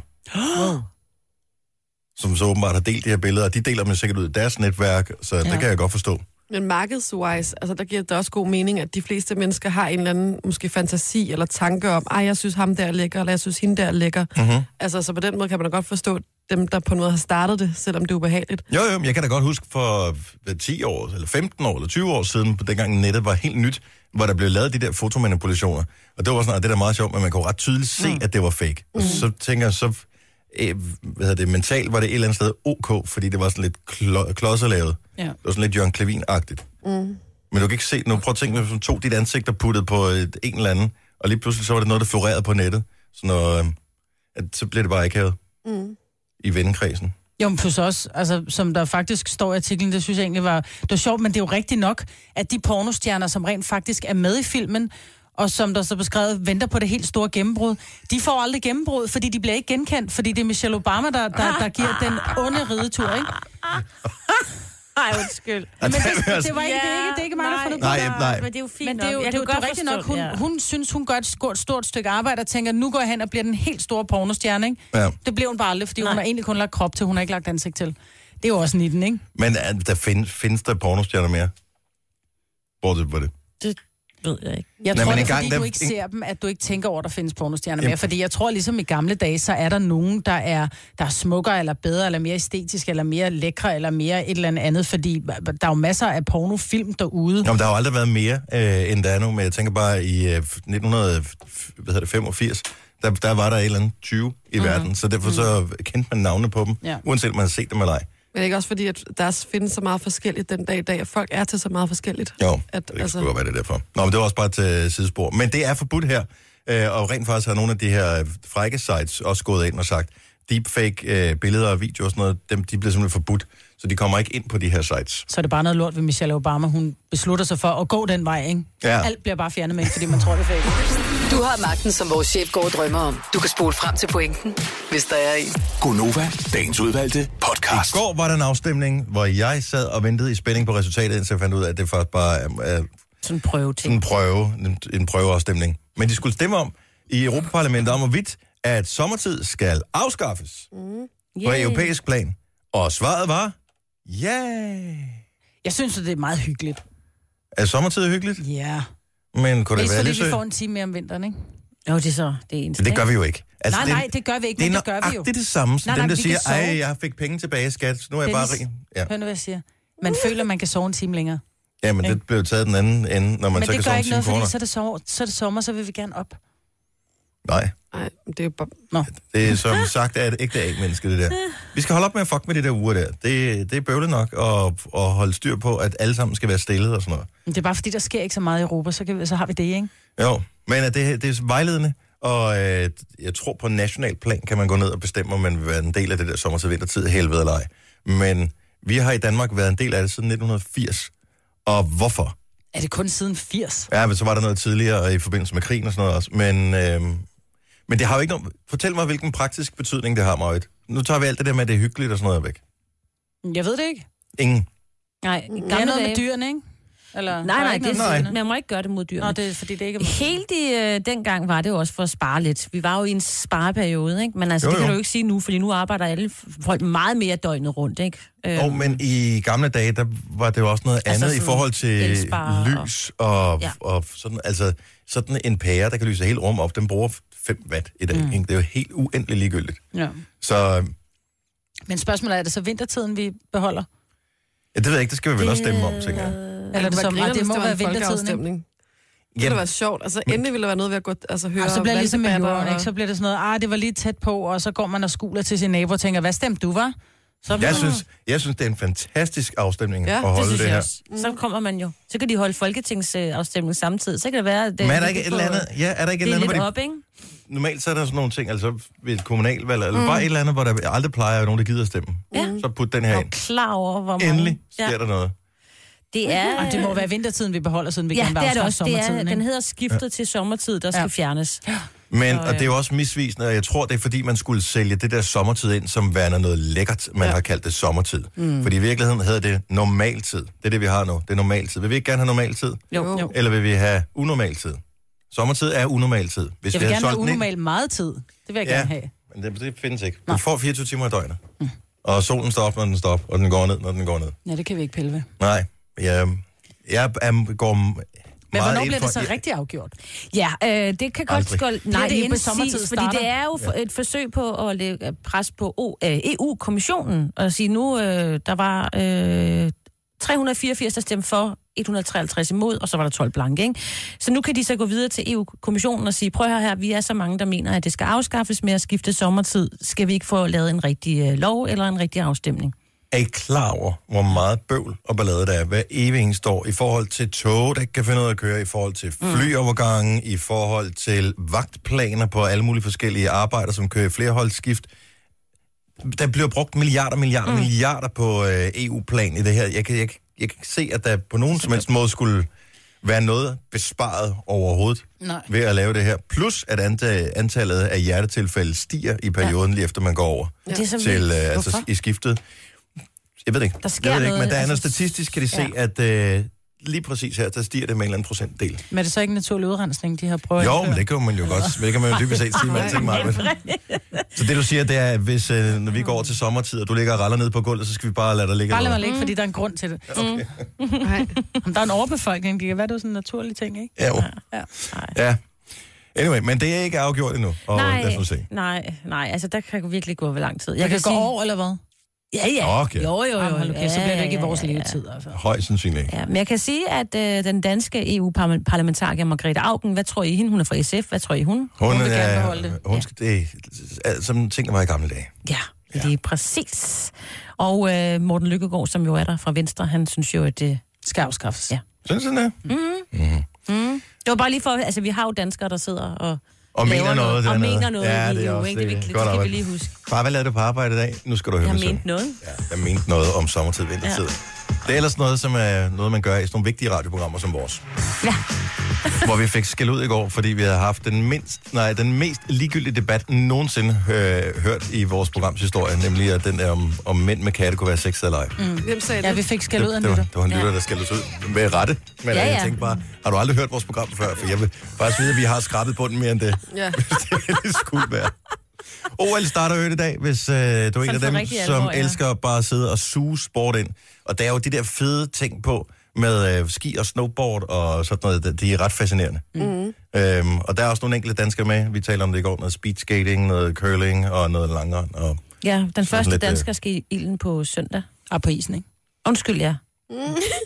[SPEAKER 1] som så åbenbart har delt de her billeder, og de deler dem jo sikkert ud i deres netværk, så ja.
[SPEAKER 3] Ja.
[SPEAKER 1] det kan jeg godt forstå.
[SPEAKER 2] Men markedswise, altså der giver det også god mening, at de fleste mennesker har en eller anden måske fantasi eller tanke om, ej, jeg synes ham der er lækker, eller jeg synes hende der er lækker.
[SPEAKER 1] Mm-hmm.
[SPEAKER 2] Altså, så på den måde kan man da godt forstå dem, der på en måde har startet det, selvom det er ubehageligt.
[SPEAKER 1] Jo, jo, men jeg kan da godt huske for hvad, 10 år, eller 15 år, eller 20 år siden, dengang nettet var helt nyt, hvor der blev lavet de der fotomanipulationer. Og det var sådan, at det er da meget sjovt, men man kunne ret tydeligt se, mm. at det var fake. Mm. Og så tænker jeg, så øh, hvad hedder det, mentalt var det et eller andet sted ok, fordi det var sådan lidt klo- klodserlavet.
[SPEAKER 3] Ja.
[SPEAKER 1] Det var sådan lidt Jørgen Klevin-agtigt. Mm. Men du kan ikke se det nu. Prøv at tænke, hvis man tog dit ansigt og puttede på et, en eller anden, og lige pludselig så var det noget, der florerede på nettet. Så, når, øh, at, så blev det bare ikke havet
[SPEAKER 2] Mm.
[SPEAKER 1] i vennekredsen.
[SPEAKER 3] Jo, men plus også, altså, som der faktisk står i artiklen, det synes jeg egentlig var, det var sjovt, men det er jo rigtigt nok, at de pornostjerner, som rent faktisk er med i filmen, og som der så beskrevet, venter på det helt store gennembrud, de får aldrig gennembrud, fordi de bliver ikke genkendt, fordi det er Michelle Obama, der, der, der giver den onde ridetur, ikke?
[SPEAKER 6] Ej, undskyld.
[SPEAKER 3] Men det, det, var ikke, det, er ikke, det er ikke mig, der har
[SPEAKER 6] nej,
[SPEAKER 3] fundet på
[SPEAKER 1] Nej,
[SPEAKER 3] det.
[SPEAKER 1] nej.
[SPEAKER 6] Men det er jo fint
[SPEAKER 3] Men det er jo,
[SPEAKER 6] nok.
[SPEAKER 3] det
[SPEAKER 6] Jeg
[SPEAKER 3] er jo
[SPEAKER 6] kan
[SPEAKER 3] det er
[SPEAKER 6] godt
[SPEAKER 3] rigtigt nok,
[SPEAKER 6] forstå
[SPEAKER 3] hun,
[SPEAKER 6] det,
[SPEAKER 3] ja. hun synes, hun gør et stort, stort stykke arbejde og tænker, nu går jeg hen og bliver den helt store pornostjerne, ikke?
[SPEAKER 1] Ja.
[SPEAKER 3] Det blev hun bare aldrig, fordi Nej. hun har egentlig kun lagt krop til, hun har ikke lagt ansigt til. Det er jo også 19, ikke?
[SPEAKER 1] Men øh, der find, findes der pornostjerner mere? Bortset fra det.
[SPEAKER 6] ved jeg ikke.
[SPEAKER 3] Jeg
[SPEAKER 1] Nej,
[SPEAKER 3] tror,
[SPEAKER 1] men
[SPEAKER 3] det er,
[SPEAKER 1] engang,
[SPEAKER 3] fordi
[SPEAKER 1] der-
[SPEAKER 3] du ikke ser dem, at du ikke tænker over, at der findes pornostjerner
[SPEAKER 1] Jamen.
[SPEAKER 3] mere. Fordi jeg tror, ligesom i gamle dage, så er der nogen, der er, der er smukkere, eller bedre, eller mere æstetisk, eller mere lækre, eller mere et eller andet andet. Fordi der er jo masser af pornofilm derude.
[SPEAKER 1] Nå, men der har jo aldrig været mere, øh, end der er nu, men jeg tænker bare, i øh, 1985, der, der var der et eller andet 20 i mm-hmm. verden, så derfor så kendte man navne på dem, ja.
[SPEAKER 3] Ja.
[SPEAKER 1] uanset om man havde set dem eller ej.
[SPEAKER 2] Men det er ikke også fordi, at der findes så meget forskelligt den dag i dag, at folk er til så meget forskelligt.
[SPEAKER 1] Jo, at,
[SPEAKER 2] At,
[SPEAKER 1] det altså...
[SPEAKER 2] altså-
[SPEAKER 1] skulle godt være det er derfor. Nå, men det var også bare et øh, sidespor. Men det er forbudt her, øh, og rent faktisk har nogle af de her øh, frække sites også gået ind og sagt, deepfake øh, billeder og videoer og sådan noget, dem, de bliver simpelthen forbudt, så de kommer ikke ind på de her sites.
[SPEAKER 3] Så er det bare noget lort ved Michelle Obama. Hun beslutter sig for at gå den vej, ikke?
[SPEAKER 1] Ja.
[SPEAKER 3] Alt bliver bare fjernet med, hende, fordi man tror, det er fake.
[SPEAKER 8] Du har magten, som vores chef går og drømmer om. Du kan spole frem til pointen, hvis der er en.
[SPEAKER 9] Gonova, dagens udvalgte
[SPEAKER 1] I
[SPEAKER 9] podcast.
[SPEAKER 1] går var der en afstemning, hvor jeg sad og ventede i spænding på resultatet, indtil jeg fandt ud af, at det faktisk bare er, er
[SPEAKER 6] Sådan en prøve
[SPEAKER 1] sådan
[SPEAKER 6] ting.
[SPEAKER 1] en prøve, en, en prøveafstemning. Men de skulle stemme om i Europaparlamentet om, hvorvidt at sommertid skal afskaffes på europæisk plan. Og svaret var, ja. Yeah.
[SPEAKER 3] Jeg synes, at det er meget hyggeligt.
[SPEAKER 1] Er sommertid hyggeligt?
[SPEAKER 3] Ja.
[SPEAKER 1] Men kunne det
[SPEAKER 3] Mest
[SPEAKER 1] være
[SPEAKER 3] fordi
[SPEAKER 1] lidt
[SPEAKER 3] vi
[SPEAKER 1] sødt?
[SPEAKER 3] får en time mere om vinteren, ikke?
[SPEAKER 6] Jo, det er så det er eneste.
[SPEAKER 1] Det gør vi jo ikke. Altså,
[SPEAKER 3] nej, nej, det gør vi ikke,
[SPEAKER 1] det er
[SPEAKER 3] men det gør vi jo.
[SPEAKER 1] nøjagtigt det samme, som
[SPEAKER 3] Nej,
[SPEAKER 1] dem,
[SPEAKER 3] nej,
[SPEAKER 1] der
[SPEAKER 3] vi
[SPEAKER 1] siger,
[SPEAKER 3] kan sove.
[SPEAKER 1] ej, jeg fik penge tilbage, skat, nu er jeg bare
[SPEAKER 3] Dennis.
[SPEAKER 1] rig. Ja.
[SPEAKER 3] Hør nu, hvad jeg siger. Man føler, man kan sove en time længere.
[SPEAKER 1] ja, men det blev jo taget den anden ende, når man
[SPEAKER 3] Men
[SPEAKER 1] så kan
[SPEAKER 3] det gør
[SPEAKER 1] sove
[SPEAKER 3] ikke noget,
[SPEAKER 1] 10 kroner.
[SPEAKER 3] fordi så er, det sommer, så er det sommer, så vil vi gerne op.
[SPEAKER 1] Nej.
[SPEAKER 2] Nej, det er jo bare...
[SPEAKER 1] Det er som sagt er et ægte A-menneske, det der. Vi skal holde op med at fuck med det der uger der. Det, det er bøvlet nok at, at holde styr på, at alle sammen skal være stillet og sådan noget.
[SPEAKER 3] Men det er bare fordi, der sker ikke så meget i Europa, så, kan vi, så har vi det, ikke?
[SPEAKER 1] Jo, men at det, det er vejledende, Og øh, jeg tror, på national plan kan man gå ned og bestemme, om man vil være en del af det der sommer til vintertid helvede eller ej. Men vi har i Danmark været en del af det siden 1980. Og hvorfor?
[SPEAKER 3] Er det kun siden 80?
[SPEAKER 1] Ja, men så var der noget tidligere i forbindelse med krigen og sådan noget også. Men, øh, men det har jo ikke nogen... Fortæl mig, hvilken praktisk betydning det har, Marit. Nu tager vi alt det der med, at det er hyggeligt og sådan noget væk.
[SPEAKER 3] Jeg ved det ikke.
[SPEAKER 1] Ingen.
[SPEAKER 6] Nej,
[SPEAKER 3] Det er
[SPEAKER 6] gamle
[SPEAKER 3] noget
[SPEAKER 6] dage.
[SPEAKER 3] med dyrene, ikke? Eller,
[SPEAKER 6] Nej,
[SPEAKER 3] der
[SPEAKER 6] nej,
[SPEAKER 3] ikke
[SPEAKER 6] det
[SPEAKER 3] noget
[SPEAKER 1] Nej.
[SPEAKER 6] er,
[SPEAKER 3] med
[SPEAKER 6] sådan- man må ikke gøre det mod dyrene.
[SPEAKER 3] Nå, det er fordi, det ikke er...
[SPEAKER 6] Helt i øh, dengang var det jo også for at spare lidt. Vi var jo i en spareperiode, ikke? Men altså,
[SPEAKER 1] Jo,
[SPEAKER 6] jo, det kan
[SPEAKER 1] jo.
[SPEAKER 6] du jo ikke sige nu, fordi nu arbejder alle f- folk meget mere døgnet rundt, ikke? Øh,
[SPEAKER 1] Og, men i gamle dage, der var det jo også noget
[SPEAKER 6] Altså
[SPEAKER 1] andet i
[SPEAKER 6] sådan
[SPEAKER 1] forhold til
[SPEAKER 6] elspar og-
[SPEAKER 1] lys og, og, ja.
[SPEAKER 6] Ja.
[SPEAKER 1] og sådan, altså, sådan en pære, der kan lyse hele rum op, den bruger 5 watt i dag. Mm. Ikke? Det er jo helt uendeligt ligegyldigt.
[SPEAKER 3] Ja.
[SPEAKER 1] Så øh,
[SPEAKER 3] Men spørgsmålet er, er det så vintertiden, vi beholder?
[SPEAKER 6] Øh,
[SPEAKER 1] ja, det ved jeg ikke, det skal vi vel også stemme om, tænker jeg.
[SPEAKER 3] Eller er det,
[SPEAKER 2] det,
[SPEAKER 3] som,
[SPEAKER 2] var
[SPEAKER 3] nej,
[SPEAKER 2] griner,
[SPEAKER 3] det må være
[SPEAKER 2] en
[SPEAKER 3] vintertiden, ikke?
[SPEAKER 2] folkeafstemning. Det ville
[SPEAKER 1] Jamen,
[SPEAKER 2] være sjovt. Altså, endelig ville der være noget ved at gå, altså, høre
[SPEAKER 3] Og så bliver det ligesom med
[SPEAKER 2] valgdebatter
[SPEAKER 3] jorden, ikke? Så bliver det sådan noget, ah, det var lige tæt på, og så går man og skuler til sin nabo og tænker, hvad stemte du, var? Så
[SPEAKER 1] jeg, synes, jeg synes, det er en fantastisk afstemning
[SPEAKER 2] Ja,
[SPEAKER 1] ja, at
[SPEAKER 2] det
[SPEAKER 6] det
[SPEAKER 1] holde det,
[SPEAKER 6] synes
[SPEAKER 1] det
[SPEAKER 6] jeg
[SPEAKER 1] her.
[SPEAKER 6] også. Så kommer man jo. Så kan de holde folketingsafstemning samtidig. Så kan det være, at... øh,
[SPEAKER 1] Men er der
[SPEAKER 6] vi
[SPEAKER 1] ikke et
[SPEAKER 6] kan
[SPEAKER 1] eller
[SPEAKER 6] få-
[SPEAKER 1] andet, ja, er der ikke et
[SPEAKER 6] Det
[SPEAKER 1] eller andet,
[SPEAKER 6] er lidt
[SPEAKER 1] hvor
[SPEAKER 6] op, ikke?
[SPEAKER 1] de, normalt så er der sådan nogle ting, altså ved et kommunalvalg, eller mm. bare et eller andet, hvor der aldrig plejer at være nogen, der gider at stemme.
[SPEAKER 6] Ja.
[SPEAKER 1] Så put den her
[SPEAKER 6] Jeg er
[SPEAKER 1] ind.
[SPEAKER 6] klar over, hvor mange...
[SPEAKER 1] Endelig sker
[SPEAKER 6] Ja,
[SPEAKER 1] der noget.
[SPEAKER 6] det er...
[SPEAKER 3] Og det må være vintertiden, vi beholder, siden vi
[SPEAKER 6] Ja,
[SPEAKER 3] gerne vil
[SPEAKER 6] det er det
[SPEAKER 3] afskaffe
[SPEAKER 6] også. Det er,
[SPEAKER 3] sommertiden,
[SPEAKER 6] den
[SPEAKER 3] ikke?
[SPEAKER 6] hedder skiftet til sommertid, der skal
[SPEAKER 3] Ja.
[SPEAKER 6] fjernes.
[SPEAKER 1] Men,
[SPEAKER 6] Så,
[SPEAKER 1] og
[SPEAKER 3] øh,
[SPEAKER 1] det er jo også misvisende, og jeg tror, det er fordi, man skulle sælge det der sommertid ind, som værende noget lækkert, man ja. har kaldt det sommertid. Mm. Fordi i virkeligheden hedder det normaltid. Det er det, vi har nu. Det er normaltid. Vil vi ikke gerne have normaltid?
[SPEAKER 6] Jo,
[SPEAKER 2] Jo.
[SPEAKER 6] jo.
[SPEAKER 1] Eller vil vi have unormaltid? Sommertid er unormaltid. Hvis
[SPEAKER 3] Jeg vil
[SPEAKER 1] vi havde
[SPEAKER 3] gerne have
[SPEAKER 1] solgt den ind-
[SPEAKER 3] unormal meget tid. Det vil jeg
[SPEAKER 1] Ja.
[SPEAKER 3] gerne have.
[SPEAKER 1] Men det, det findes ikke. Du får 24 timer i døgnet. Mm. Og solen står op, når den står op, og den går ned, når den går ned.
[SPEAKER 3] Ja, det kan vi ikke pille ved.
[SPEAKER 1] Nej, jeg, jeg, jeg går m-
[SPEAKER 3] Men
[SPEAKER 1] meget
[SPEAKER 3] hvornår
[SPEAKER 1] ind
[SPEAKER 3] bliver
[SPEAKER 1] for...
[SPEAKER 3] det så rigtig afgjort?
[SPEAKER 6] Ja, øh, det kan
[SPEAKER 1] Aldrig.
[SPEAKER 6] godt skåle.
[SPEAKER 3] er
[SPEAKER 6] Nej,
[SPEAKER 3] det
[SPEAKER 6] det er
[SPEAKER 3] inden
[SPEAKER 6] på
[SPEAKER 3] sommertid
[SPEAKER 6] sommertid fordi
[SPEAKER 3] starter.
[SPEAKER 6] det er jo for, et forsøg på at lægge pres på O- øh, EU-kommissionen og sige nu, øh, der var øh, 384, der stemte for, 153 imod, og så var der 12 blanke. Ikke? Så nu kan de så gå videre til EU-kommissionen og sige, prøv at høre her, vi er så mange, der mener, at det skal afskaffes med at skifte sommertid. Skal vi ikke få lavet en rigtig øh, lov eller en rigtig afstemning?
[SPEAKER 1] Er I klar over, hvor meget bøvl og ballade der er hver evig eneste år i forhold til tog, der ikke kan finde ud af at køre, i forhold til flyovergangen, i forhold til vagtplaner på alle mulige forskellige arbejder, som kører i flerholdsskift. Der bliver brugt milliarder, milliarder, mm. milliarder på øh, EU-plan i det her. Jeg kan, jeg, kan- jeg kan ikke se, at der på nogen som helst måde skulle være noget besparet overhovedet
[SPEAKER 3] Nej.
[SPEAKER 1] ved at lave det her. Plus, at anta- antallet af hjertetilfælde stiger i perioden, ja. lige efter man går over
[SPEAKER 6] Ja. Det er så
[SPEAKER 1] til
[SPEAKER 6] vildt.
[SPEAKER 1] øh, altså,
[SPEAKER 6] Hvorfor?
[SPEAKER 1] i skiftet. Jeg ved det ikke.
[SPEAKER 6] Der sker
[SPEAKER 1] jeg ved det ikke,
[SPEAKER 6] noget,
[SPEAKER 1] men der er
[SPEAKER 6] altså-
[SPEAKER 1] noget statistisk, kan de se, ja. at øh, lige præcis her, der stiger det med en eller anden procentdel.
[SPEAKER 3] Men er det så ikke en naturlig udrensning, de har prøvet?
[SPEAKER 1] Jo, men det kan man jo godt. Det kan man jo dybest set sige med alting, Marvind. Så det du siger, det er, at hvis, øh, når vi går over til sommertid, og du ligger og raller ned på gulvet, så skal vi bare lade dig ligge.
[SPEAKER 3] Bare lad mig
[SPEAKER 1] derude.
[SPEAKER 3] ligge, fordi der er en grund til det.
[SPEAKER 1] Okay.
[SPEAKER 3] Mm.
[SPEAKER 2] Nej.
[SPEAKER 3] Jamen, Der er en overbefolkning, det kan være, det er sådan en naturlig ting, ikke?
[SPEAKER 1] Ja, jo.
[SPEAKER 3] Ja.
[SPEAKER 1] ja. Anyway, men det er ikke afgjort endnu, og
[SPEAKER 6] nej,
[SPEAKER 1] lad os nu se.
[SPEAKER 6] nej, nej, altså der kan virkelig gå ved lang tid.
[SPEAKER 3] Jeg kan gå over, eller hvad?
[SPEAKER 6] Ja, ja.
[SPEAKER 1] Okay.
[SPEAKER 6] Jo, jo,
[SPEAKER 3] Jamen,
[SPEAKER 6] jo.
[SPEAKER 3] hold
[SPEAKER 6] jo.
[SPEAKER 3] okay, så bliver det ikke i
[SPEAKER 6] Ja,
[SPEAKER 3] vores
[SPEAKER 6] ja, ja, ja.
[SPEAKER 3] levetid, altså.
[SPEAKER 1] Højst sandsynligt ikke.
[SPEAKER 6] Ja, men jeg kan sige, at øh, den danske EU-parlamentariker Margrethe Augen, hvad tror I hende? Hun er fra SF. Hvad tror I hun?
[SPEAKER 1] Hun,
[SPEAKER 3] Hun vil gerne
[SPEAKER 1] er-
[SPEAKER 3] beholde det.
[SPEAKER 1] Hun skal, det er, som ting, der var i gamle dage.
[SPEAKER 6] Ja, ja. det er præcis. Og øh, Morten Lykkegaard, som jo er der fra Venstre, han synes jo, at det...
[SPEAKER 3] Skal afskaffes.
[SPEAKER 6] Ja.
[SPEAKER 1] Synes du det?
[SPEAKER 6] Mhm.
[SPEAKER 1] Mhm.
[SPEAKER 6] Det var bare lige for... Altså, vi har jo danskere, der sidder og...
[SPEAKER 1] Og
[SPEAKER 6] laver
[SPEAKER 1] mener noget.
[SPEAKER 6] Og
[SPEAKER 1] dernede.
[SPEAKER 6] mener noget
[SPEAKER 1] ja,
[SPEAKER 6] i
[SPEAKER 1] det er
[SPEAKER 6] EU,
[SPEAKER 1] også
[SPEAKER 6] ikke? Det, er
[SPEAKER 1] Godt
[SPEAKER 6] vigtigt, det skal vi
[SPEAKER 1] arbejde.
[SPEAKER 6] lige huske.
[SPEAKER 1] Far, hvad lavede du på arbejde i dag? Nu skal du høre
[SPEAKER 6] Jeg
[SPEAKER 1] min søn.
[SPEAKER 6] mente noget.
[SPEAKER 1] Ja, jeg mente noget om sommertid, vintertid. Ja. Det er ellers noget, som er noget, man gør i sådan nogle vigtige radioprogrammer som vores.
[SPEAKER 6] Ja.
[SPEAKER 1] hvor vi fik skæld ud i går, fordi vi havde haft den, mindst, nej, den mest ligegyldige debat nogensinde øh, hørt i vores programs historie, nemlig at den der om, om mænd med katte kunne være sex eller ej. Mm.
[SPEAKER 2] Hvem sagde
[SPEAKER 3] Ja,
[SPEAKER 2] det?
[SPEAKER 3] vi fik skæld ud af
[SPEAKER 1] det, det, var,
[SPEAKER 3] nytter.
[SPEAKER 1] det var en lytter, der skældte os ud med rette. Men ja,
[SPEAKER 6] Ja,
[SPEAKER 1] ja. jeg
[SPEAKER 6] ja.
[SPEAKER 1] tænkte bare, har du aldrig hørt vores program før? For jeg vil faktisk vide, at vi har skrabet bunden mere end det.
[SPEAKER 2] Ja.
[SPEAKER 1] det skulle være. OL starter jo i dag, hvis øh, du er en af
[SPEAKER 6] for
[SPEAKER 1] dem,
[SPEAKER 6] rigtig
[SPEAKER 1] som
[SPEAKER 6] alvor, ja.
[SPEAKER 1] elsker at bare sidde og suge sport ind. Og der er jo de der fede ting på med øh, ski og snowboard og sådan noget. Det, det er ret fascinerende. Mm. Øhm, og der er også nogle enkelte danskere med. Vi taler om det i går. Noget speedskating, noget curling og noget langrend. Og
[SPEAKER 6] Ja, den første
[SPEAKER 1] lidt, øh,
[SPEAKER 6] dansker skal i ilden på søndag.
[SPEAKER 3] Og Ah, på isen, ikke?
[SPEAKER 6] Undskyld, ja.
[SPEAKER 1] Mm.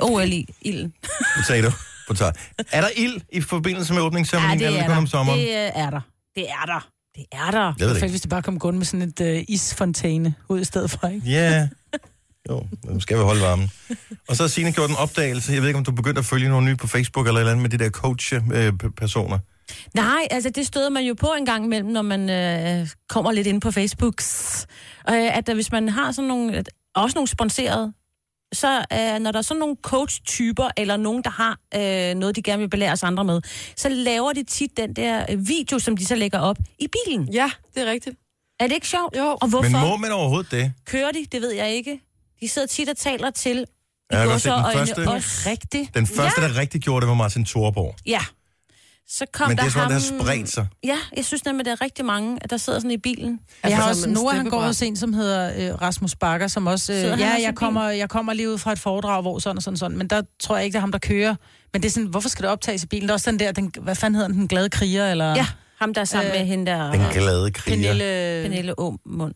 [SPEAKER 6] OL i ilden.
[SPEAKER 1] potato. potato. Er der ild i forbindelse med åbningsceremonien? eller altså, kun om sommeren?
[SPEAKER 6] Det øh, er der. Det er der. Det er der.
[SPEAKER 1] Jeg ved det
[SPEAKER 3] Perfekt,
[SPEAKER 1] ikke.
[SPEAKER 3] hvis det bare kom gående med sådan et øh, isfontæne ud i stedet for, ikke?
[SPEAKER 1] Ja. Yeah. Jo, nu skal vi holde varmen. Og så øh, har Signe gjort en opdagelse. Jeg ved ikke, om du begyndte at følge nogle nye på Facebook eller et eller andet med de der coach-personer.
[SPEAKER 6] Nej, altså det støder man jo på en gang imellem, når man øh, kommer lidt ind på Facebook. Øh, at øh, hvis man har sådan nogle, at- også nogle sponserede, så øh, når der er sådan nogle coach-typer, eller nogen, der har øh, noget, de gerne vil belære os andre med, så laver de tit den der øh, video, som de så lægger op i bilen.
[SPEAKER 2] Ja, det er rigtigt.
[SPEAKER 6] Er det ikke sjovt?
[SPEAKER 2] Jo.
[SPEAKER 6] Og hvorfor
[SPEAKER 1] Men må man overhovedet det?
[SPEAKER 6] kører de? Det ved jeg ikke. De sidder tit og taler til
[SPEAKER 1] Jeg har
[SPEAKER 6] går
[SPEAKER 1] godt set
[SPEAKER 6] så
[SPEAKER 1] den
[SPEAKER 6] øjne
[SPEAKER 1] første,
[SPEAKER 6] også rigtigt.
[SPEAKER 1] den første der rigtig gjorde det, var Martin Thorborg.
[SPEAKER 6] Ja. Så kom
[SPEAKER 1] Men
[SPEAKER 6] der
[SPEAKER 1] det er sådan,
[SPEAKER 6] ham...
[SPEAKER 1] der har spredt sig.
[SPEAKER 6] Ja, jeg synes nemlig, der er rigtig mange, at der sidder sådan i bilen.
[SPEAKER 3] Jeg har
[SPEAKER 2] Altså,
[SPEAKER 3] også
[SPEAKER 2] men
[SPEAKER 3] Noah, han går
[SPEAKER 2] steppebræt.
[SPEAKER 3] også en, som hedder øh, Rasmus Bakker, som også... Øh,
[SPEAKER 6] Sidder han
[SPEAKER 3] ja,
[SPEAKER 6] også i
[SPEAKER 3] jeg
[SPEAKER 6] bilen?
[SPEAKER 3] kommer, jeg kommer lige ud fra et foredrag, hvor sådan og sådan, sådan, men der tror jeg ikke, det er ham, der kører. Men det er sådan, hvorfor skal det optages i bilen? Der er også den der, den, hvad fanden hedder den, den glade kriger, eller...
[SPEAKER 6] Ja, ham der er sammen øh,
[SPEAKER 3] Øh,
[SPEAKER 6] med hende der...
[SPEAKER 1] Den glade kriger.
[SPEAKER 3] Pernille...
[SPEAKER 6] Pernille Aumund.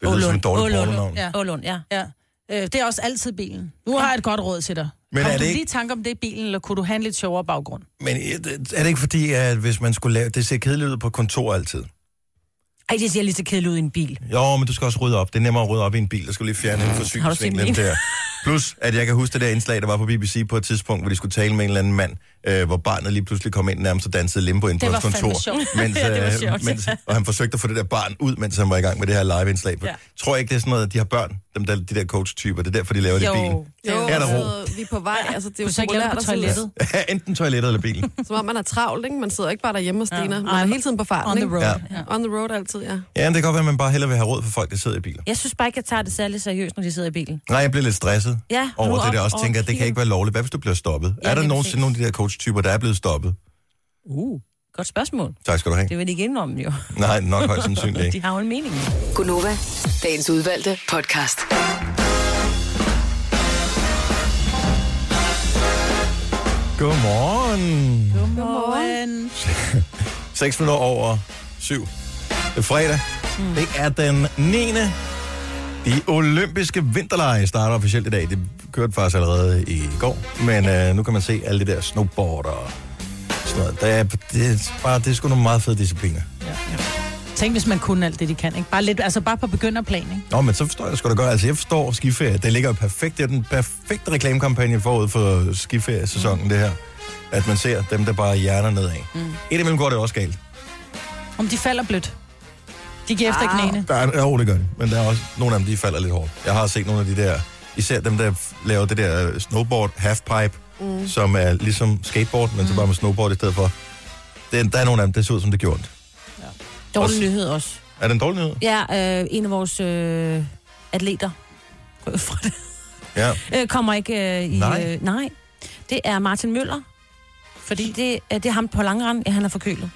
[SPEAKER 1] det lyder som
[SPEAKER 6] Ålund.
[SPEAKER 1] et dårligt
[SPEAKER 3] Ålund.
[SPEAKER 1] pornonavn.
[SPEAKER 3] Ja.
[SPEAKER 6] Ålund, ja.
[SPEAKER 3] Ja. Øh, det er også altid bilen. Nu har jeg et godt råd til dig.
[SPEAKER 1] Men
[SPEAKER 3] Kom
[SPEAKER 1] er
[SPEAKER 3] du
[SPEAKER 1] det ikke-
[SPEAKER 3] lige i tanke om det i bilen, eller kunne du have en lidt sjovere baggrund?
[SPEAKER 1] Men øh, er det ikke fordi, at hvis man skulle lave... Det ser kedeligt ud på kontor altid.
[SPEAKER 6] Ej, det ser lige så kedeligt ud i en bil.
[SPEAKER 1] Jo, men du skal også rydde op. Det er nemmere at rydde op i en bil. Der skal lige fjerne en
[SPEAKER 6] Har du set
[SPEAKER 1] forsyningsvinkel
[SPEAKER 6] min?
[SPEAKER 1] der. Plus, at jeg kan huske det der indslag, der var på BBC på et tidspunkt, hvor de skulle tale med en eller anden mand, øh, hvor barnet lige pludselig kom ind nærmest og dansede limbo ind på
[SPEAKER 3] Det
[SPEAKER 1] hans
[SPEAKER 3] var fandme
[SPEAKER 1] kontor.
[SPEAKER 3] sjovt.
[SPEAKER 1] Mens,
[SPEAKER 6] Ja, det var
[SPEAKER 1] øh,
[SPEAKER 6] sjovt.
[SPEAKER 1] mens, og han forsøgte at få det der barn ud, mens han var i gang med det her live-indslag. Ja. Tror jeg ikke, det er sådan noget, at de har børn, dem der, de der coach-typer. Det er derfor, de laver det i bilen.
[SPEAKER 2] Jo,
[SPEAKER 1] Her er der ro.
[SPEAKER 2] altså, vi er på vej. Altså, det er jo
[SPEAKER 3] Du så ikke glemme
[SPEAKER 2] populært
[SPEAKER 3] på
[SPEAKER 2] at sidde-
[SPEAKER 3] toilettet.
[SPEAKER 1] Enten toilettet eller bilen.
[SPEAKER 2] Som om man er travlt, ikke? Man sidder ikke bare derhjemme og stener. Man er hele tiden på farten,
[SPEAKER 3] On the
[SPEAKER 2] ikke?
[SPEAKER 3] road.
[SPEAKER 1] Ja.
[SPEAKER 3] Ja.
[SPEAKER 2] On the road altid, ja.
[SPEAKER 1] Ja, men det kan godt være, at man bare hellere vil have råd for folk, der sidder i biler.
[SPEAKER 6] Jeg synes bare ikke, jeg tager det særlig seriøst, når de sidder i bilen.
[SPEAKER 1] Nej, jeg bliver lidt stresset
[SPEAKER 6] Ja,
[SPEAKER 1] over
[SPEAKER 6] nu
[SPEAKER 1] det,
[SPEAKER 6] op
[SPEAKER 1] der også
[SPEAKER 6] over
[SPEAKER 1] tænker, at det kan
[SPEAKER 6] kigger.
[SPEAKER 1] ikke være lovligt. Hvad hvis du bliver stoppet?
[SPEAKER 6] Ja,
[SPEAKER 1] er der
[SPEAKER 6] lige
[SPEAKER 1] nogensinde
[SPEAKER 6] præcis.
[SPEAKER 1] nogle af de der coach-typer, der er blevet stoppet?
[SPEAKER 6] Uh, godt spørgsmål.
[SPEAKER 1] Tak skal du have.
[SPEAKER 6] Det vil de ikke indrømme, jo.
[SPEAKER 1] Nej, nok højst sandsynligt ikke.
[SPEAKER 6] De har jo en mening.
[SPEAKER 8] Gunova, dagens udvalgte podcast.
[SPEAKER 1] Godmorgen.
[SPEAKER 3] Godmorgen.
[SPEAKER 1] 6 minutter over 7. Det er fredag. Mm. Det er den 9. De olympiske vinterlege starter officielt i dag. Det kørte faktisk allerede i går. Men øh, nu kan man se alle de der snowboard og sådan noget. Der er, det, er bare, det er sgu nogle meget fede discipliner.
[SPEAKER 3] Tænk, hvis man kunne alt det, de kan. Ikke? Bare, lidt, altså bare på begynderplan. Ikke?
[SPEAKER 1] Nå, men så forstår jeg det sgu da godt. Altså, jeg forstår skiferie. Det ligger jo perfekt. Det er den perfekte reklamekampagne forud for skiferiesæsonen, mm. det her. At man ser dem, der bare hjerner nedad. Mm. Et imellem går det også galt.
[SPEAKER 3] Om de falder blødt. De giver efter ikke den ene.
[SPEAKER 1] Der er, jo, det gør det. Men der er også nogle af dem, de falder lidt hårdt. Jeg har set nogle af de der, især dem, der f- laver det der øh, snowboard halfpipe, mm. som er ligesom skateboard, men mm. så bare med snowboard i stedet for. Det, der er nogle af dem, det ser ud som det gjorde ondt.
[SPEAKER 6] Dårlig
[SPEAKER 1] Også-
[SPEAKER 6] nyhed også.
[SPEAKER 1] Er det en dårlig nyhed?
[SPEAKER 6] Ja, øh, en af vores øh, atleter øh, fra det,
[SPEAKER 1] Ja.
[SPEAKER 6] øh, kommer ikke øh, i...
[SPEAKER 1] Nej.
[SPEAKER 6] Øh, nej. Det er Martin Møller. Fordi det, øh, det er ham på langrand. Ja, han er forkølet.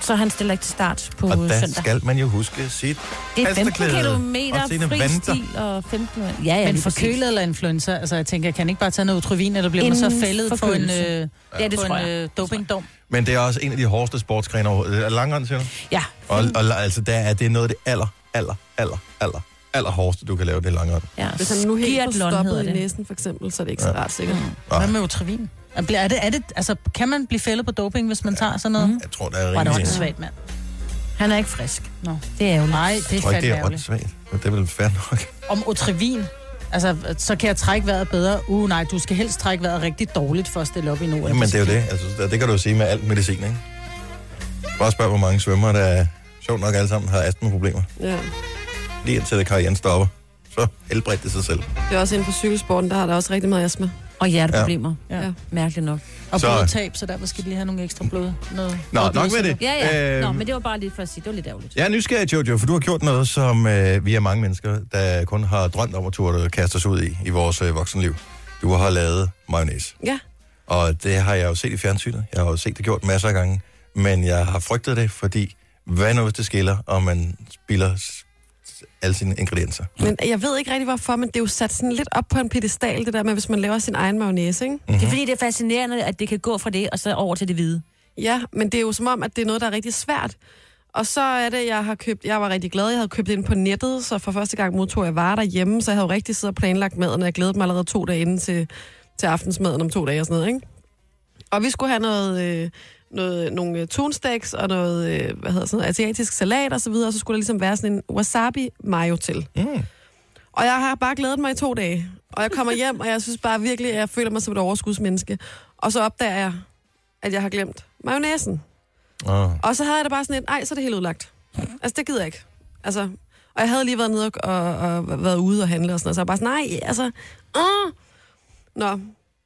[SPEAKER 6] Så han stiller ikke til start på
[SPEAKER 1] Og
[SPEAKER 6] øh,
[SPEAKER 1] der
[SPEAKER 6] søndag.
[SPEAKER 1] skal man jo huske sit...
[SPEAKER 6] Det er 15
[SPEAKER 1] Halsterklæde
[SPEAKER 6] kilometer
[SPEAKER 1] og sine
[SPEAKER 6] fri
[SPEAKER 1] vanter.
[SPEAKER 6] stil og 15 Ja, ja,
[SPEAKER 3] Men
[SPEAKER 6] lige præcis.
[SPEAKER 3] forkølet eller influenza? Altså, jeg tænker, jeg kan ikke bare tage noget utrovin, eller bliver man så
[SPEAKER 6] En
[SPEAKER 3] fældet på en, øh,
[SPEAKER 6] forkølelse. Ja, det
[SPEAKER 3] på
[SPEAKER 6] tror
[SPEAKER 3] en
[SPEAKER 6] jeg.
[SPEAKER 3] øh, dopingdom?
[SPEAKER 1] Men det er også en af de hårdeste sportsgrene overhovedet. Er det langrend, siger du?
[SPEAKER 6] Ja.
[SPEAKER 1] Og,
[SPEAKER 3] Mm.
[SPEAKER 1] og altså, der er det noget af det aller, aller, aller, aller, aller hårdeste, du kan lave det langrend.
[SPEAKER 6] ja.
[SPEAKER 2] Hvis han nu er helt
[SPEAKER 6] Skiatlon hedder
[SPEAKER 2] stoppet i
[SPEAKER 6] det.
[SPEAKER 2] næsen, for eksempel, så er det ikke så rart sikkert.
[SPEAKER 1] Ah.
[SPEAKER 3] Hvad med utrovin? Er, bliver- er det, er det, altså, kan man blive fældet på doping, hvis man tager sådan noget? Mm.
[SPEAKER 1] Jeg tror, der er
[SPEAKER 3] Var det
[SPEAKER 1] rimelig...
[SPEAKER 3] også svært, mand?
[SPEAKER 6] Han er ikke frisk.
[SPEAKER 3] Nå.
[SPEAKER 6] Det er jo
[SPEAKER 3] Nej, det
[SPEAKER 1] Jeg
[SPEAKER 3] er
[SPEAKER 1] tror ikke,
[SPEAKER 3] fandme
[SPEAKER 1] det er
[SPEAKER 3] ærgerligt.
[SPEAKER 1] åndssvagt. Men Det er vel fair nok.
[SPEAKER 3] Om utrivin, altså, så kan jeg trække vejret bedre. Uh, nej, du skal helst trække vejret rigtig dårligt for at stille op i nu.
[SPEAKER 1] Jamen, det er jo det. Altså, det kan du jo sige med alt medicin, ikke? Bare spørg, hvor mange svømmere, der sjovt nok alle sammen har astmaproblemer.
[SPEAKER 2] Ja.
[SPEAKER 1] Lige indtil det karrieren stopper. Så helbredt det sig selv.
[SPEAKER 2] Det er også inden for cykelsporten, der har der også rigtig meget astma.
[SPEAKER 6] Og hjerteproblemer. Ja.
[SPEAKER 3] Ja.
[SPEAKER 6] ja. Mærkeligt nok.
[SPEAKER 3] Og
[SPEAKER 1] Så-
[SPEAKER 3] blodtab, så derfor skal de lige have nogle ekstra blod. Noget,
[SPEAKER 1] Nå,
[SPEAKER 3] noget
[SPEAKER 1] nok med
[SPEAKER 3] blodsukker.
[SPEAKER 1] det.
[SPEAKER 6] Ja, ja. Nå,
[SPEAKER 1] Øhm.
[SPEAKER 6] men det var bare lige for at sige, det var lidt ærgerligt.
[SPEAKER 1] Jeg er nysgerrig, Jojo, for du har gjort noget, som øh, vi er mange mennesker, der kun har drømt om at turde kaste os ud i, i vores øh, voksenliv. Du har lavet mayonnaise.
[SPEAKER 2] Ja.
[SPEAKER 1] Og det har jeg jo set i fjernsynet. Jeg har jo set det gjort masser af gange. Men jeg har frygtet det, fordi hvad nu hvis det skiller, og man spilder s- s- alle sine ingredienser?
[SPEAKER 2] Men jeg ved ikke rigtig, hvorfor, men det er jo sat sådan lidt op på en pedestal, det der med, hvis man laver sin egen mayonnaise, ikke?
[SPEAKER 6] Mm-hmm. Det er fordi, det er fascinerende, at det kan gå fra det, og så over til det hvide.
[SPEAKER 2] Ja, men det er jo som om, at det er noget, der er rigtig svært. Og så er det, jeg har købt, jeg var rigtig glad, jeg havde købt ind på nettet, så for første gang modtog jeg varer derhjemme, så jeg havde jo rigtig siddet og planlagt maden, og jeg glædede mig allerede to dage inden til, til aftensmaden om to dage og sådan noget, ikke? Og vi skulle have noget, øh, noget, nogle øh, tunsteks og noget, øh, hvad hedder sådan noget, asiatisk salat og så videre, og så skulle der ligesom være sådan en wasabi mayo til. Mm. Og jeg har bare glædet mig i to dage. Og jeg kommer hjem, og jeg synes bare virkelig, at jeg føler mig som et overskudsmenneske. Og så opdager jeg, at jeg har glemt mayonnaisen.
[SPEAKER 1] Oh.
[SPEAKER 2] Og så havde jeg da bare sådan et, ej, så er det helt udlagt. Altså, det gider jeg ikke. Altså, og jeg havde lige været nede og, og, og været ude og handle og sådan noget, så jeg bare sådan, nej, altså, uh. Nå,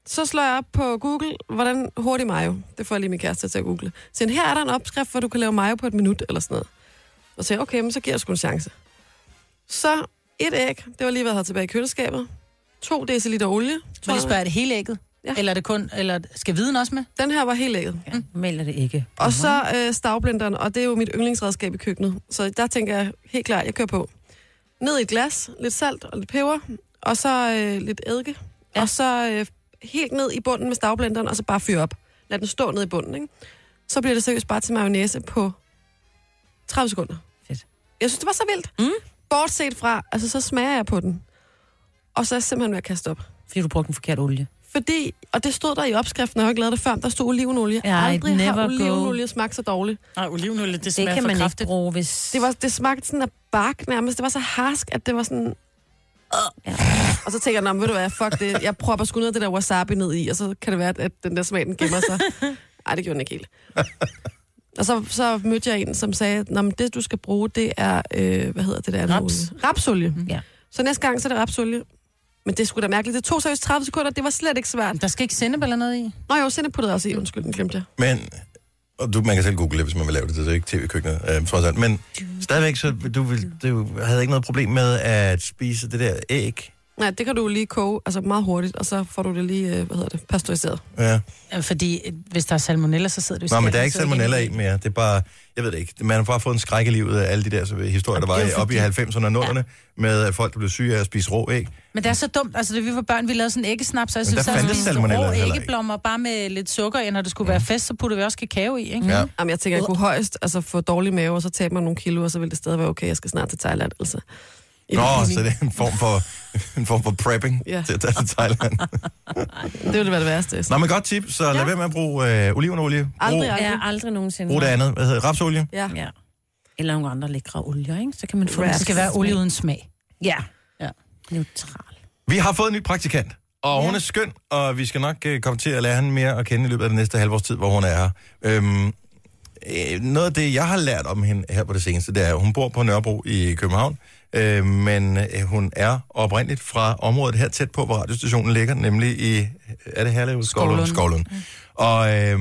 [SPEAKER 2] så slår jeg op på Google, hvordan hurtig mayo. Det får jeg lige min kæreste til at google. Så siger han, her er der en opskrift, hvor du kan lave mayo på et minut eller sådan noget. Og så siger jeg, okay, men så giver jeg sgu en chance. Så et æg, det var lige, hvad jeg havde tilbage i køleskabet. 2 dl olie.
[SPEAKER 3] Men
[SPEAKER 2] tror
[SPEAKER 3] det
[SPEAKER 2] jeg.
[SPEAKER 3] spørger, er det hele ægget?
[SPEAKER 2] Ja.
[SPEAKER 3] Ja. Eller er det kun, eller skal viden også med?
[SPEAKER 2] Den her var helt ægget.
[SPEAKER 6] Melder det ikke.
[SPEAKER 2] Og så øh, stavblenderen, og det er jo mit yndlingsredskab i køkkenet. Så der tænker jeg helt klart, jeg kører på. Ned i et glas, lidt salt og lidt peber, og så øh, lidt eddike. Ja. Og så øh, helt ned i bunden med stavblenderen, og så bare fyre op. Lad den stå ned i bunden, ikke? Så bliver det seriøst bare til mayonnaise på 30 sekunder.
[SPEAKER 6] Fedt.
[SPEAKER 2] Jeg synes, det var så vildt.
[SPEAKER 6] Mm.
[SPEAKER 2] Bortset fra, altså så smager jeg på den. Og så er jeg simpelthen ved at kaste op.
[SPEAKER 6] Fordi du brugte en forkert olie.
[SPEAKER 2] Fordi, og det stod der i opskriften, og jeg har ikke lavet det før, men der stod olivenolie.
[SPEAKER 6] Ja,
[SPEAKER 2] Aldrig
[SPEAKER 6] never
[SPEAKER 2] har
[SPEAKER 6] go.
[SPEAKER 2] olivenolie smagt så dårligt.
[SPEAKER 3] Nej, olivenolie, det
[SPEAKER 6] Det
[SPEAKER 3] smager
[SPEAKER 6] kan
[SPEAKER 3] for
[SPEAKER 6] man ikke
[SPEAKER 3] kraftigt.
[SPEAKER 6] bruge, hvis...
[SPEAKER 2] Det, var, det smagte sådan af bark nærmest. Det var så harsk, at det var sådan...
[SPEAKER 6] Ja.
[SPEAKER 2] Og så tænker jeg, "Nå, men ved du hvad, fuck det. Jeg propper sgu noget af det der wasabi ned i, og så kan det være, at den der smag, den gemmer sig. Ej, det gjorde den ikke helt. Og så, så mødte jeg en, som sagde, at det, du skal bruge, det er, øh, hvad hedder det der? andet
[SPEAKER 3] Raps. Mhm.
[SPEAKER 2] olie? Rapsolie.
[SPEAKER 6] Ja.
[SPEAKER 2] Så næste gang, så er det rapsolie. Men det skulle da mærkeligt. Det tog seriøst 30 sekunder, det var slet ikke svært.
[SPEAKER 3] Der skal ikke sennep eller noget i.
[SPEAKER 2] Nå jo, sende puttede jeg også i. Undskyld, den glemte jeg.
[SPEAKER 1] Men, og du, man kan selv google det, hvis man vil lave det, det er ikke tv-køkkenet, øh, trods alt. Men stadigvæk, så du, vil, du havde ikke noget problem med at spise det der æg.
[SPEAKER 2] Nej, det kan du lige koge altså meget hurtigt, og så får du det lige, øh, hvad hedder det, pasteuriseret.
[SPEAKER 1] Ja.
[SPEAKER 3] Øh, Fordi øh, hvis der er salmonella, så sidder du i
[SPEAKER 1] Nå, men
[SPEAKER 3] skabet,
[SPEAKER 1] der er
[SPEAKER 3] så
[SPEAKER 1] ikke
[SPEAKER 3] sidder det
[SPEAKER 1] salmonella i mere. Det er bare, jeg ved det ikke. Man har bare fået en skræk i livet af alle de der så, øh, historier, der var i- oppe i 90'erne og 0'erne, med at folk, der blev syge af at spise rå æg.
[SPEAKER 3] Men det er så dumt. Altså, da vi var børn, vi lavede sådan en æggesnaps, altså,
[SPEAKER 1] Men der
[SPEAKER 3] vi sad og
[SPEAKER 1] fandtes
[SPEAKER 3] spiste
[SPEAKER 1] salmonella
[SPEAKER 3] rå
[SPEAKER 1] heller ikke.
[SPEAKER 3] æggeblommer, bare med lidt sukker i, når det skulle være fest, så puttede vi også kakao i, ikke?
[SPEAKER 1] Ja.
[SPEAKER 2] Jamen, jeg tænker, jeg kunne højst altså, få dårlig mave, og så tabe mig nogle kilo, og så ville det stadig være okay, jeg skal snart til Thailand. Altså. I
[SPEAKER 1] Nå,
[SPEAKER 2] bikini.
[SPEAKER 1] så det er en form for, en form for prepping
[SPEAKER 2] Ja.
[SPEAKER 1] til at tage til Thailand.
[SPEAKER 2] Det ville være det værste.
[SPEAKER 1] Nå, men godt tip. Så lad være med at bruge øh, olivenolie. Brug,
[SPEAKER 2] Aldrig, aldrig.
[SPEAKER 6] Ja, aldrig nogensinde.
[SPEAKER 1] brug det andet. Hvad hedder det? Rapsolie?
[SPEAKER 2] Ja.
[SPEAKER 6] Ja. Eller nogle andre lækre olier, ikke? Så kan man få
[SPEAKER 2] Wraps.
[SPEAKER 3] Det skal være olie uden smag.
[SPEAKER 6] Ja.
[SPEAKER 3] Ja.
[SPEAKER 6] Neutral.
[SPEAKER 1] Vi har fået en ny praktikant, og ja. hun er skøn, og vi skal nok øh, komme til at lære hende mere at kende i løbet af den næste halvårs tid, hvor hun er her. Øhm, øh, noget af det, jeg har lært om hende her på det seneste, det er, at hun bor på Nørrebro i København, øh, men øh, hun er oprindeligt fra området her tæt på, hvor radiostationen ligger, nemlig i, er det Herlev? Skovlund. Mm. Skovlund. Og øh,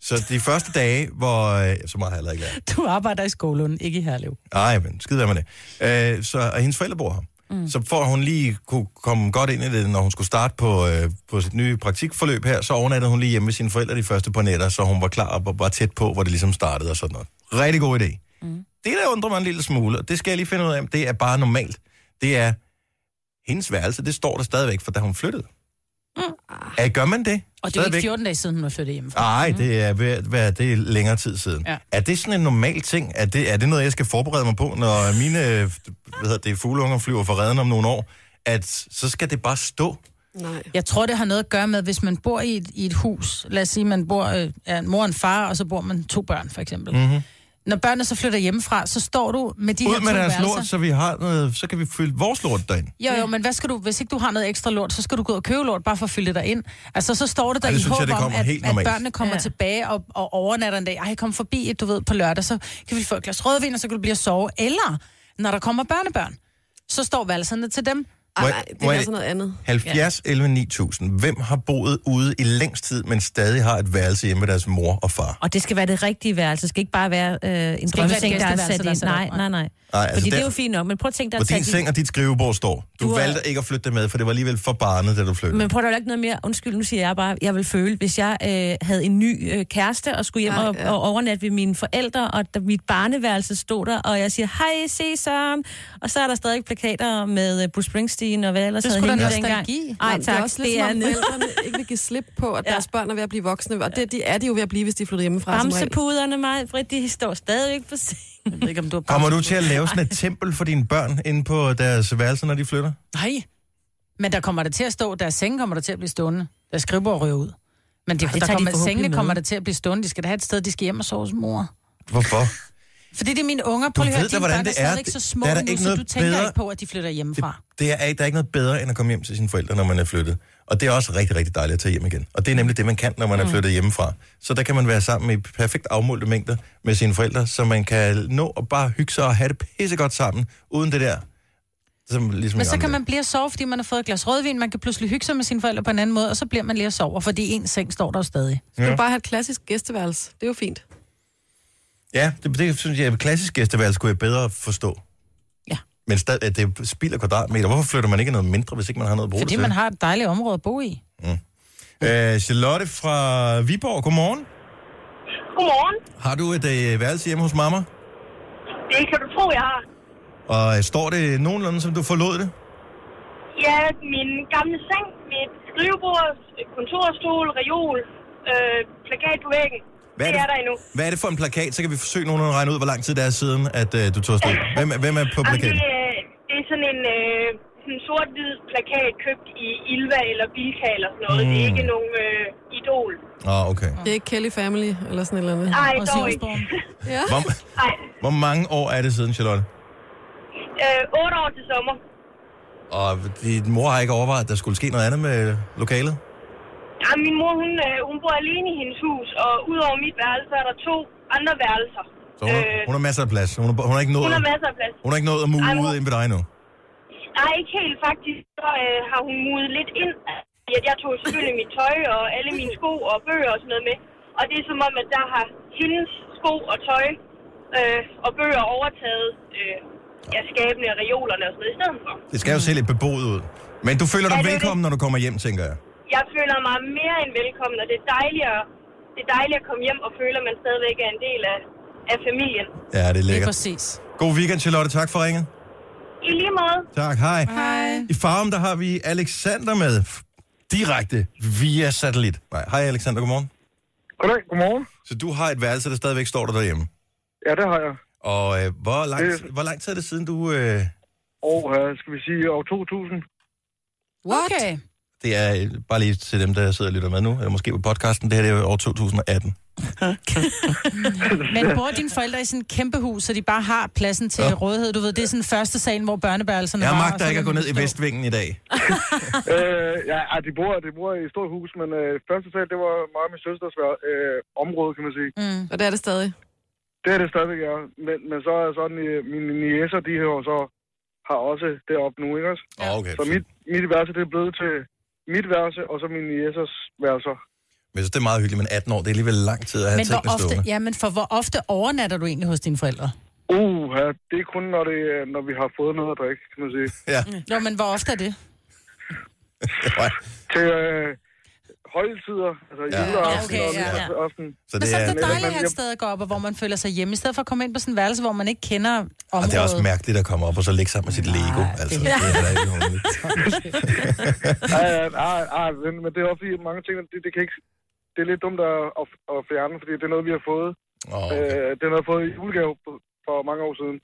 [SPEAKER 1] så de første dage, hvor, øh, så meget har jeg heller ikke lært.
[SPEAKER 3] Du arbejder i Skålund, ikke i Herlev.
[SPEAKER 1] Nej, men skid være med det. Øh, så, og hendes forældre bor her. Mm. Så for at hun lige kunne komme godt ind i det, når hun skulle starte på, øh, på sit nye praktikforløb her, så overnattede hun lige hjemme med sine forældre de første par nætter, så hun var klar og var tæt på, hvor det ligesom startede og sådan noget. Rigtig god idé. Mm. Det, der undrer mig en lille smule, og det skal jeg lige finde ud af, om det er bare normalt, det er, hendes værelse, det står der stadigvæk, for da hun flyttede. Mm. Ja, gør man det?
[SPEAKER 3] Ah. Og det er jo ikke
[SPEAKER 1] Stadigvæk?
[SPEAKER 3] 14 dage siden, hun var flyttet hjemmefra.
[SPEAKER 1] Nej, det er, ved, hvad, det er længere tid siden. Ja.
[SPEAKER 3] Mhm. Ja.
[SPEAKER 1] Er det sådan en normal ting? Er det, er det noget, jeg skal forberede mig på, når mine øh, hvad hedder det, fugleunger flyver fra redden om nogle år? At så skal det bare stå.
[SPEAKER 2] Nej.
[SPEAKER 3] Mm. Jeg tror, det har noget at gøre med, hvis man bor i et, i et hus. Lad os sige, man bor øh, er en mor og en far, og så bor man to børn, for eksempel. Mm-hmm. Når børnene så flytter hjemmefra, så står du med de
[SPEAKER 1] Mhm. Ud
[SPEAKER 3] her
[SPEAKER 1] med
[SPEAKER 3] to
[SPEAKER 1] deres
[SPEAKER 3] værelser.
[SPEAKER 1] lort, så, vi har noget, så kan vi fylde vores lort derind.
[SPEAKER 3] Jo, jo, men hvad skal du, hvis ikke du har noget ekstra lort, så skal du gå ud og købe lort, bare for at fylde det dig ind. Altså, så står det der
[SPEAKER 1] Ej, det
[SPEAKER 3] i
[SPEAKER 1] synes
[SPEAKER 3] håb
[SPEAKER 1] jeg, det
[SPEAKER 3] om,
[SPEAKER 1] kommer
[SPEAKER 3] at,
[SPEAKER 1] helt
[SPEAKER 3] at
[SPEAKER 1] normalt.
[SPEAKER 3] børnene kommer
[SPEAKER 6] Ja.
[SPEAKER 3] ja. tilbage og, og overnatter en dag. Ej, kom forbi, du ved, på lørdag, så kan vi få et glas rødvin, og så kan du blive at sove. Eller, når der kommer børnebørn, så står valserne til dem.
[SPEAKER 2] Ej,
[SPEAKER 1] Må jeg-
[SPEAKER 2] nej, det
[SPEAKER 1] må
[SPEAKER 2] er
[SPEAKER 1] jeg-
[SPEAKER 2] altså noget andet.
[SPEAKER 1] 70, 11, 9000. Hvem har boet ude i længst tid, men stadig har et værelse hjemme med deres mor og far?
[SPEAKER 6] Og det skal være det rigtige værelse. Det skal ikke bare være øh, en drømmeseng, der er
[SPEAKER 3] gæsteværelse,
[SPEAKER 6] sat
[SPEAKER 3] der er
[SPEAKER 6] ind.
[SPEAKER 3] sat
[SPEAKER 6] Nej,
[SPEAKER 3] op.
[SPEAKER 6] nej, nej.
[SPEAKER 1] Nej, altså
[SPEAKER 6] Fordi det er
[SPEAKER 1] der-
[SPEAKER 6] jo fint nok, men prøv at tænke dig
[SPEAKER 1] Hvor
[SPEAKER 6] at
[SPEAKER 1] din
[SPEAKER 6] tage
[SPEAKER 1] seng og dit skrivebord står. Du,
[SPEAKER 6] Du
[SPEAKER 1] du
[SPEAKER 6] er-
[SPEAKER 1] valgte ikke at flytte det med, for det var alligevel for barnet, da du flyttede.
[SPEAKER 6] Men prøv at ikke noget mere. Undskyld, nu siger jeg bare, jeg vil føle, hvis jeg øh, havde en ny øh, kæreste og skulle hjem
[SPEAKER 2] Ej,
[SPEAKER 6] og,
[SPEAKER 2] ja.
[SPEAKER 6] og overnatte ved mine forældre, og der, mit barneværelse stod der, og jeg siger, hej Sesam, og så er der stadig plakater med øh, Bruce Springsteen og hvad ellers
[SPEAKER 3] Det
[SPEAKER 6] havde
[SPEAKER 3] skulle da
[SPEAKER 6] hængt dengang.
[SPEAKER 3] nostalgi.
[SPEAKER 6] Ej,
[SPEAKER 2] Jamen,
[SPEAKER 6] tak.
[SPEAKER 2] Det er også lidt, som om
[SPEAKER 6] en
[SPEAKER 2] forældrene ikke vil give slip på, at
[SPEAKER 6] Ja.
[SPEAKER 2] deres børn er ved at blive voksne. Og det de er de jo ved at blive, hvis de flytter hjemmefra. som regel.
[SPEAKER 6] Bamsepuderne, mig, Britt, de står stadigvæk på sengen.
[SPEAKER 3] Jeg ved ikke, om du har
[SPEAKER 1] Kommer du til at lave sådan et tempel for dine børn inde på deres værelse, når de flytter?
[SPEAKER 3] Nej. Men der kommer det til at stå, deres senge kommer der til at blive stående. Der skrivebord ryger ud. Men det,
[SPEAKER 6] Ej,
[SPEAKER 3] Ej,
[SPEAKER 6] det
[SPEAKER 3] det
[SPEAKER 6] tager de
[SPEAKER 3] der kommer,
[SPEAKER 6] forhåbentlig
[SPEAKER 3] sengene
[SPEAKER 6] med.
[SPEAKER 3] kommer der til at blive stående. De skal da have et sted, de skal hjem og sove hos mor.
[SPEAKER 1] Hvorfor?
[SPEAKER 3] Fordi det er mine unger,
[SPEAKER 1] Du
[SPEAKER 3] prøv lige
[SPEAKER 1] ved
[SPEAKER 3] at høre,
[SPEAKER 1] da,
[SPEAKER 3] dine
[SPEAKER 1] hvordan
[SPEAKER 3] børn er
[SPEAKER 1] det er.
[SPEAKER 3] stadigvæk så
[SPEAKER 1] Det-
[SPEAKER 3] små
[SPEAKER 1] der er da
[SPEAKER 3] nu,
[SPEAKER 1] ikke
[SPEAKER 3] så
[SPEAKER 1] noget
[SPEAKER 3] du tænker
[SPEAKER 1] bedre-
[SPEAKER 3] ikke på, at de flytter hjemmefra.
[SPEAKER 1] Det er, der er ikke noget bedre, end at komme hjem til sine forældre, når man er flyttet. Og det er også rigtig, rigtig dejligt at tage hjem igen. Og det er nemlig det, man kan, når man
[SPEAKER 3] Mm.
[SPEAKER 1] er flyttet hjemmefra. Så der kan man være sammen i perfekt afmålte mængder med sine forældre, så man kan nå at bare hygge sig og have det pissegodt sammen, uden det der. Som, ligesom i
[SPEAKER 3] Men så
[SPEAKER 1] gamle
[SPEAKER 3] kan
[SPEAKER 1] dage.
[SPEAKER 3] man blive at sove, fordi man har fået et glas rødvin. Man kan pludselig hygge sig med sine forældre på en anden måde, og så bliver man lige at sove, fordi en seng står der jo stadig.
[SPEAKER 2] Du kan bare have et klassisk gæsteværelse. Det er jo fint.
[SPEAKER 1] Ja, det, det synes jeg, at klassisk gæsteværelse kunne jeg bedre forstå.
[SPEAKER 3] Ja.
[SPEAKER 1] Men stad, at det spilder kvadratmeter. Hvorfor flytter man ikke noget mindre, hvis ikke man har noget at bruge
[SPEAKER 3] Fordi
[SPEAKER 1] det til?
[SPEAKER 3] man har et dejligt område at bo i.
[SPEAKER 1] Øh, Charlotte fra Viborg, godmorgen.
[SPEAKER 10] Godmorgen.
[SPEAKER 1] Har du et øh, værelse hjemme hos mamma?
[SPEAKER 10] Det kan du tro, jeg har.
[SPEAKER 1] Og øh, står det nogenlunde, som du forlod det?
[SPEAKER 10] Ja, min gamle seng, mit skrivebord, kontorstol, reol, øh, plakat på væggen.
[SPEAKER 1] Hvad er
[SPEAKER 10] det?
[SPEAKER 1] det?
[SPEAKER 10] er der endnu.
[SPEAKER 1] Hvad er det for en plakat? Så kan vi forsøge nogen at regne ud, hvor lang tid det er siden, at øh, du tog afsted. Hvem, er- hvem er på
[SPEAKER 10] Jamen, det,
[SPEAKER 1] plakaten?
[SPEAKER 10] øh, det er sådan en øh, sådan en sort-hvid plakat købt i Ilva eller Bilka eller sådan noget. Mm. Det er ikke
[SPEAKER 1] Hmm.
[SPEAKER 10] nogen øh, idol.
[SPEAKER 1] Åh, oh, okay.
[SPEAKER 2] Det er ikke Kelly Family eller sådan et eller andet.
[SPEAKER 10] Nej,
[SPEAKER 3] Og
[SPEAKER 10] dog ikke.
[SPEAKER 3] Sivsborg.
[SPEAKER 2] Ja.
[SPEAKER 1] Hvor,
[SPEAKER 10] Nej,
[SPEAKER 1] hvor mange år er det siden, Charlotte?
[SPEAKER 10] øh, otte år til sommer.
[SPEAKER 1] Og din mor har ikke overvejet, at der skulle ske noget andet med lokalet?
[SPEAKER 10] Ja, min mor, hun, øh, hun bor alene i hendes hus, og udover mit værelse er der to andre værelser.
[SPEAKER 1] Så hun, øh, hun har masser af plads. Hun har, hun har ikke nået,
[SPEAKER 10] hun har masser af plads.
[SPEAKER 1] hun har ikke nået at mule
[SPEAKER 10] Ej,
[SPEAKER 1] ud
[SPEAKER 10] hun-
[SPEAKER 1] ind ved dig endnu.
[SPEAKER 10] Nej, ikke helt faktisk. Så øh, har hun mudet lidt ind. Jeg, jeg tog selvfølgelig mit tøj og alle mine sko og bøger og sådan noget med. Og det er som om, at der har hendes sko og tøj øh, og bøger overtaget øh, ja, skabene og reolerne og sådan noget i stedet for.
[SPEAKER 1] Det skal jo se lidt beboet ud. Men du føler dig
[SPEAKER 10] Ja, det er
[SPEAKER 1] velkommen, når du kommer hjem, tænker jeg.
[SPEAKER 10] Jeg føler mig mere end velkommen, og det er dejligt at, det er dejligt at komme hjem og føle, at man stadigvæk er en del af, af familien.
[SPEAKER 1] Ja, det er
[SPEAKER 3] Lige
[SPEAKER 1] lækkert.
[SPEAKER 3] præcis.
[SPEAKER 1] God weekend, Charlotte. Tak for ringet.
[SPEAKER 10] I lige måde.
[SPEAKER 1] Tak, hej. Hej. I Farum, der har vi Alexander med f- direkte via satellit. Nej, hej Alexander, godmorgen.
[SPEAKER 11] Goddag, godmorgen.
[SPEAKER 1] Så du har et værelse, der stadigvæk står der derhjemme.
[SPEAKER 11] Ja, det har jeg.
[SPEAKER 1] Og øh, hvor, lang,
[SPEAKER 11] Det-
[SPEAKER 1] hvor lang tid er det siden, du... Øh,
[SPEAKER 11] Og øh, skal vi sige år 2000?
[SPEAKER 2] What? Okay.
[SPEAKER 3] Okay.
[SPEAKER 1] det er øh, bare lige til dem, der sidder og lytter med nu, eller måske på podcasten, det her det er jo år 2018.
[SPEAKER 3] Men bor dine forældre i sådan et kæmpe hus, så de bare har pladsen til
[SPEAKER 1] Ja.
[SPEAKER 3] ja. rådighed? Du ved, det er sådan første salen, hvor børnebærelserne
[SPEAKER 1] Jeg
[SPEAKER 3] var, og
[SPEAKER 1] magter
[SPEAKER 3] så
[SPEAKER 1] ikke at
[SPEAKER 3] kan
[SPEAKER 1] gå
[SPEAKER 3] man
[SPEAKER 1] ned i
[SPEAKER 3] stå.
[SPEAKER 1] Vestvingen i dag.
[SPEAKER 11] øh, ja, ej, de bor, de bor i et stort hus, men øh, første sal, det var mig og min søsters vær- øh, område, kan man sige.
[SPEAKER 3] Mm.
[SPEAKER 2] Og det er det stadig.
[SPEAKER 11] Det er det stadigvæk, ja. Men, men så er sådan, øh, mine nieser, de har jo så har også deroppe nu, ikke også?
[SPEAKER 1] Ja. Okay,
[SPEAKER 11] Så mit, mit værelse, det er blevet til mit værelse, og så mine niesers værelser.
[SPEAKER 1] Men jeg synes, det er meget hyggeligt, men 18 år, det er alligevel lang tid at have
[SPEAKER 3] Men hvor
[SPEAKER 1] tingene stående.
[SPEAKER 3] ofte, ja, men for hvor ofte overnatter du egentlig hos dine forældre?
[SPEAKER 11] Uh, ja, det er kun, når, det, er- når vi har fået noget at drikke, kan man sige.
[SPEAKER 1] Ja.
[SPEAKER 3] Jo, men hvor ofte er det?
[SPEAKER 1] Nej,
[SPEAKER 11] Til øh, højtider, altså
[SPEAKER 1] Ja.
[SPEAKER 11] ja. juleaften
[SPEAKER 3] Ja,
[SPEAKER 11] ja,
[SPEAKER 3] okay,
[SPEAKER 11] okay, og
[SPEAKER 3] ja.
[SPEAKER 11] nytårsaften.
[SPEAKER 1] så
[SPEAKER 3] Men
[SPEAKER 1] det
[SPEAKER 3] så
[SPEAKER 1] er,
[SPEAKER 3] er det
[SPEAKER 11] netop,
[SPEAKER 3] dejligt at
[SPEAKER 11] men
[SPEAKER 3] have et
[SPEAKER 11] jeg-
[SPEAKER 3] sted at gå op, og hvor man føler sig hjemme, i stedet for at komme ind på sådan en værelse, hvor man ikke kender
[SPEAKER 1] og
[SPEAKER 3] området.
[SPEAKER 1] det er også mærkeligt at komme op og så ligge sammen med sit Lego. Altså, det er da ikke nogen.
[SPEAKER 11] Nej, nej, nej, men, men det er også fordi, mange ting, det, det, kan ikke, det er lidt dumt at, at, at fjerne, fordi det er noget, vi har fået.
[SPEAKER 1] Åh,
[SPEAKER 11] Okay.
[SPEAKER 1] okay. Mm.
[SPEAKER 11] Øh, det er noget, vi har fået i julegave på- for mange år siden.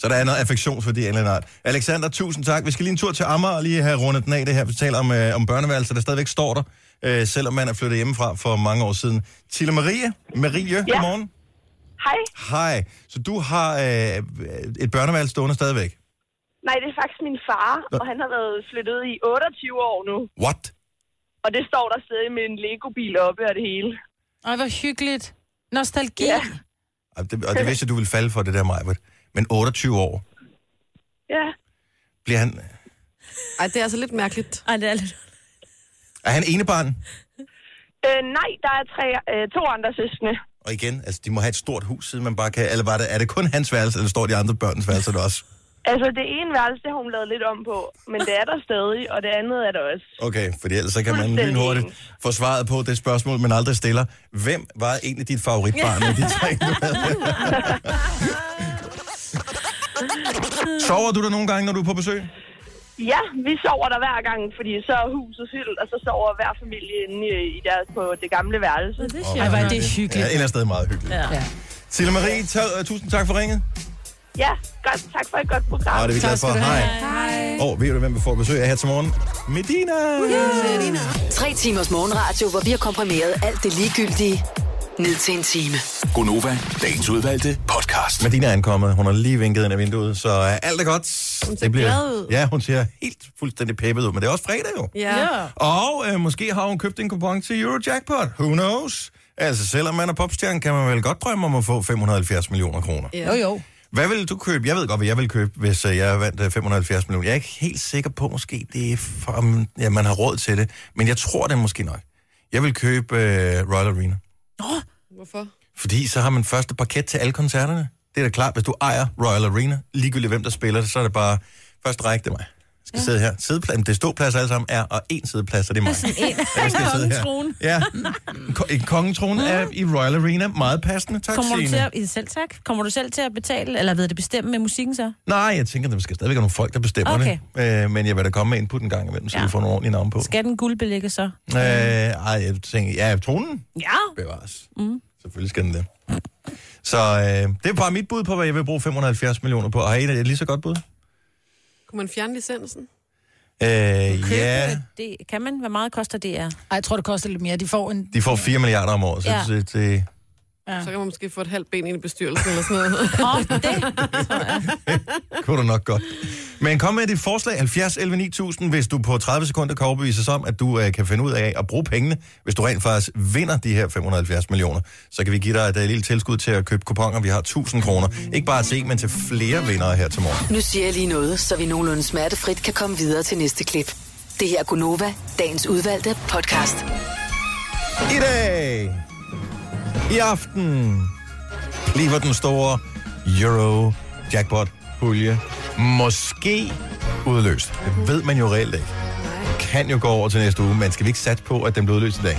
[SPEAKER 1] Så der er noget affektionsværdi af en eller anden art. Alexander, tusind tak. Vi skal lige en tur til Amager og lige have rundet den af det her. Vi taler om, øh, om børneværelser, der stadigvæk står der, øh, selvom man er flyttet hjemmefra for mange år siden. Tille Marie, Marie, ja. godmorgen.
[SPEAKER 10] Hej.
[SPEAKER 1] Hej. Så du har øh, et børneværelse stående stadigvæk.
[SPEAKER 10] Nej, det er faktisk min far,
[SPEAKER 1] Nå.
[SPEAKER 10] og han har været flyttet i 28 år nu.
[SPEAKER 1] What?
[SPEAKER 10] Og det står der stadig med en Lego-bil oppe og det hele.
[SPEAKER 3] Ej, hvor hyggeligt. Nostalgi.
[SPEAKER 10] Ja.
[SPEAKER 3] Ja.
[SPEAKER 1] Ej, det- Og det vidste jeg, du ville falde for, det der, Majbert. Men 28 år,
[SPEAKER 10] Ja.
[SPEAKER 1] bliver han...
[SPEAKER 2] Ej, det er altså lidt mærkeligt.
[SPEAKER 6] Ej, det er lidt...
[SPEAKER 1] Er han enebarn?
[SPEAKER 10] Øh, nej, der er tre, øh, to andre søskende.
[SPEAKER 1] Og igen, altså, de må have et stort hus, siden man bare kan... Eller var det, er det kun hans værelse, eller står de andre børns værelser der også?
[SPEAKER 10] Altså, det ene værelse, det har hun lavet lidt om på, men det er der stadig, og det andet er der også.
[SPEAKER 1] Okay, fordi ellers så kan man
[SPEAKER 10] Fuldstændig
[SPEAKER 1] lynhurtigt
[SPEAKER 10] enig.
[SPEAKER 1] få svaret på det spørgsmål, man aldrig stiller. Hvem var egentlig dit favoritbarn af de tre, du havde? Sover du der nogle gange, når du er på besøg?
[SPEAKER 10] Ja, vi sover der hver gang, fordi så er huset fyldt, og så sover hver familie inde i, i deres, på det gamle værelse.
[SPEAKER 3] Ej, hvor er det
[SPEAKER 1] Ja, et
[SPEAKER 3] hyggeligt.
[SPEAKER 1] eller andet sted meget hyggeligt. Ja.
[SPEAKER 3] Ja.
[SPEAKER 1] Sille Marie, ta- tusind tak for ringet.
[SPEAKER 10] Ja, godt. Tak for et godt program.
[SPEAKER 1] Og det er vi glade for. Hej. Og ved du, hvem vi får besøg af her til morgen? Medina!
[SPEAKER 8] Tre timers morgenradio, hvor vi har komprimeret alt det ligegyldige ned til en time.
[SPEAKER 1] Gonova, dagens udvalgte podcast. Medina er ankommet. Hun har lige vinket ind af vinduet, så øh, alt er godt. Hun
[SPEAKER 2] ser glad ud.
[SPEAKER 1] Ja, hun ser helt fuldstændig peppet ud, men det er også fredag jo.
[SPEAKER 2] Ja. ja.
[SPEAKER 1] Og øh, måske har hun købt en kupon til Eurojackpot. Who knows? Altså, selvom man er popstjerne, kan man vel godt drømme om at få 570 millioner kroner.
[SPEAKER 3] Jo, jo.
[SPEAKER 1] Hvad ville du købe? Jeg ved godt, hvad jeg ville købe, hvis øh, jeg vandt øh, 570 millioner. Jeg er ikke helt sikker på, måske det er for, om ja, man har råd til det, men jeg tror det måske nok. Jeg vil købe øh, Royal Arena,
[SPEAKER 2] Hvorfor?
[SPEAKER 1] fordi så har man første parket til alle koncerterne. Det er da klart, hvis du ejer Royal Arena, ligegyldigt hvem der spiller det, så er det bare første række, det er mig. Jeg skal ja. sidde her. Sideplads, det er ståplads alle sammen er, og én sideplads, og det er mig. Jeg skal sidde her. Ja, Ko- en kongetrone er i Royal Arena. Meget passende. Tak,
[SPEAKER 6] Kommer du, til
[SPEAKER 1] Signe.
[SPEAKER 6] at, i selv, tak. Kommer du selv til at betale, eller ved det bestemme med musikken så?
[SPEAKER 1] Nej, jeg tænker, der skal stadigvæk være nogle folk, der bestemmer
[SPEAKER 6] Okay.
[SPEAKER 1] det. Øh, men jeg vil da komme med input en gang imellem, så ja. vi får nogle ordentlige navne på.
[SPEAKER 6] Skal den guldbelægge så?
[SPEAKER 1] Øh, ej, jeg tænker, ja, tronen
[SPEAKER 6] Ja.
[SPEAKER 1] bevares.
[SPEAKER 6] Mm.
[SPEAKER 1] Selvfølgelig skal den det. Så øh, det er bare mit bud på, hvad jeg vil bruge 570 millioner på. Har I et lige så godt bud?
[SPEAKER 2] Kunne man fjerne licensen?
[SPEAKER 1] Øh,
[SPEAKER 6] Købe
[SPEAKER 1] ja,
[SPEAKER 6] et- Det, kan man? Hvor meget koster det er?
[SPEAKER 3] Ej, jeg tror, det koster lidt mere. De får en...
[SPEAKER 1] de får 4 milliarder om året, så
[SPEAKER 2] Ja.
[SPEAKER 1] ja. det, det,
[SPEAKER 2] Ja. Så kan man måske få et halvt ben ind i bestyrelsen eller sådan noget.
[SPEAKER 6] Åh, det.
[SPEAKER 1] kunne du nok godt. Men kom med dit forslag 70 11 9000, hvis du på 30 sekunder kan overbevise os om, at du øh, kan finde ud af at bruge pengene. Hvis du rent faktisk vinder de her 570 millioner, så kan vi give dig et, øh, lille tilskud til at købe kuponer. Vi har 1000 kroner. Ikke bare til en, men til flere vindere her til morgen.
[SPEAKER 8] Nu siger jeg lige noget, så vi nogenlunde smertefrit kan komme videre til næste klip. Det her er Gunova, dagens udvalgte podcast.
[SPEAKER 1] I dag, i aften, bliver den store Euro Jackpot pulje måske udløst. Det ved man jo reelt ikke. Kan jo gå over til næste uge, men skal vi ikke satse på, at den bliver udløst i dag?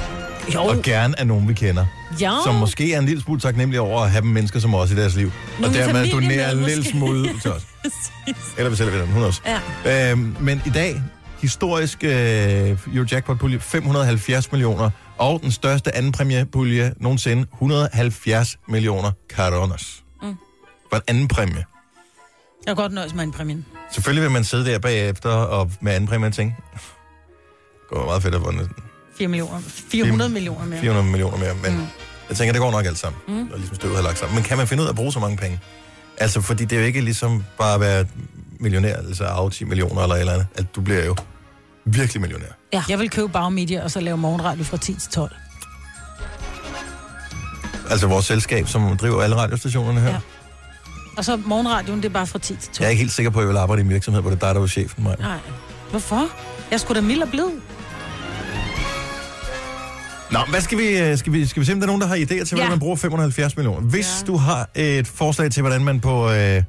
[SPEAKER 6] Jo.
[SPEAKER 1] Og gerne af nogen, vi kender.
[SPEAKER 6] Ja.
[SPEAKER 1] Som måske er en lille smule taknemmelig over at have dem mennesker som os i deres liv.
[SPEAKER 6] Nogle
[SPEAKER 1] og dermed
[SPEAKER 6] familiemedlemmer
[SPEAKER 1] donere en lille
[SPEAKER 6] måske.
[SPEAKER 1] smule ud til os. Eller vi sælger ved dem, hun også.
[SPEAKER 6] Ja.
[SPEAKER 1] Øhm, men i dag, historisk øh, Eurojackpot-pulje, 570 millioner, og den største anden præmiepulje nogensinde, 170 millioner caronas.
[SPEAKER 3] Mm.
[SPEAKER 1] For en anden præmie.
[SPEAKER 3] Jeg kan godt nøjes med en præmien.
[SPEAKER 1] Selvfølgelig vil man sidde der bagefter og med anden præmie og tænke, det går meget fedt at have vundet
[SPEAKER 3] 4 millioner. 400 millioner mere.
[SPEAKER 1] 400 millioner mere, men mm. jeg tænker, det går nok alt sammen. Mm. Og ligesom støvet har lagt sammen. Men kan man finde ud af at bruge så mange penge? Altså, fordi det er jo ikke ligesom bare at være millionær, altså arve 10 millioner eller et eller andet. Altså, du bliver jo virkelig millionær.
[SPEAKER 3] Ja. Jeg vil købe bagmedie, og så lave morgenradio fra 10 til 12.
[SPEAKER 1] Altså vores selskab, som driver alle radiostationerne her. Ja.
[SPEAKER 3] Og så morgenradioen, det er bare fra 10 til 12.
[SPEAKER 1] Jeg er ikke helt sikker på, at jeg vil arbejde i en virksomhed, hvor det er dig, der var chefen. Maja.
[SPEAKER 3] Nej. Hvorfor? Jeg skulle da mild og blid.
[SPEAKER 1] Nå, hvad skal vi, øh, skal vi, skal vi se, om der er nogen, der har idéer til, hvordan
[SPEAKER 3] Ja.
[SPEAKER 1] man bruger 570 millioner? Hvis ja. du har et forslag til, hvordan man på, øh,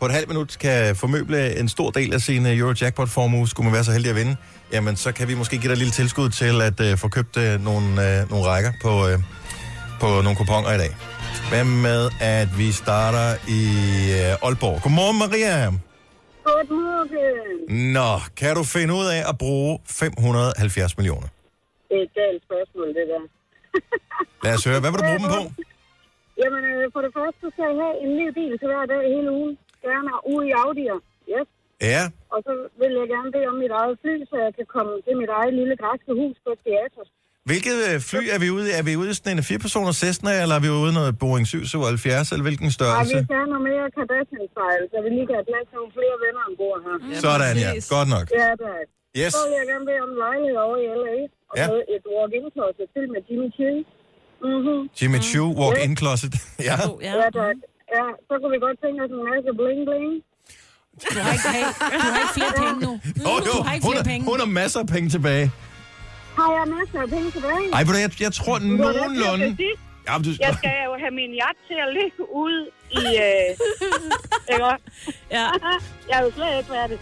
[SPEAKER 1] på et halvt minut kan formøble en stor del af sin øh, Eurojackpot-formue, skulle man være så heldig at vinde, jamen så kan vi måske give dig et lille tilskud til at øh, få købt øh, nogle, øh, nogle rækker på, øh, på nogle kuponer i dag. Hvad med, at vi starter i øh, Aalborg? Godmorgen, Maria.
[SPEAKER 12] Godmorgen.
[SPEAKER 1] Nå, kan du finde ud af at bruge 570 millioner?
[SPEAKER 12] Det er et galt spørgsmål, det der.
[SPEAKER 1] Lad os høre, hvad vil du bruge dem på?
[SPEAKER 12] Jamen, øh, for det første skal jeg have en ny bil til hver dag hele ugen. Gerne ude i Audi'er. Yes.
[SPEAKER 1] Ja,
[SPEAKER 12] Og så vil jeg gerne bede om mit eget fly, så jeg kan komme til mit eget lille græske hus på et teater.
[SPEAKER 1] Hvilket øh, fly er vi ude i? Er vi ude i sådan en 4-personer Cessna, eller er vi ude i noget Boeing 777, eller hvilken
[SPEAKER 12] Og vi
[SPEAKER 1] størrelse?
[SPEAKER 12] skal have noget mere Kardashian-style, så vi lige kan have plads til nogle flere venner ombord her.
[SPEAKER 1] Mm. Sådan, ja. Godt nok.
[SPEAKER 12] Ja, tak.
[SPEAKER 1] Yes.
[SPEAKER 12] Så vil jeg gerne bede om en lejlighed over i L.A. Og
[SPEAKER 1] Ja.
[SPEAKER 12] ja. et walk-in-closet til med Jimmy Chill. Mm-hmm.
[SPEAKER 1] Jimmy Choo, walk-in closet. ja.
[SPEAKER 12] Ja. ja, tak. Ja, så kunne vi godt tænke os en masse bling-bling.
[SPEAKER 3] Du har ikke, du har ikke flere penge nu.
[SPEAKER 1] Oh, jo, hun, har, hun har masser af penge tilbage.
[SPEAKER 12] Har jeg masser af penge tilbage?
[SPEAKER 1] Ej, ved du, hvad, jeg, jeg tror
[SPEAKER 12] Du har da ikke flere
[SPEAKER 1] nogenlunde...
[SPEAKER 12] til sidst.
[SPEAKER 1] Ja, men du,
[SPEAKER 12] Jeg skal jo have min yacht til at ligge ude i... Øh, ikke også?
[SPEAKER 6] Ja.
[SPEAKER 12] jeg er jo slet ikke færdig.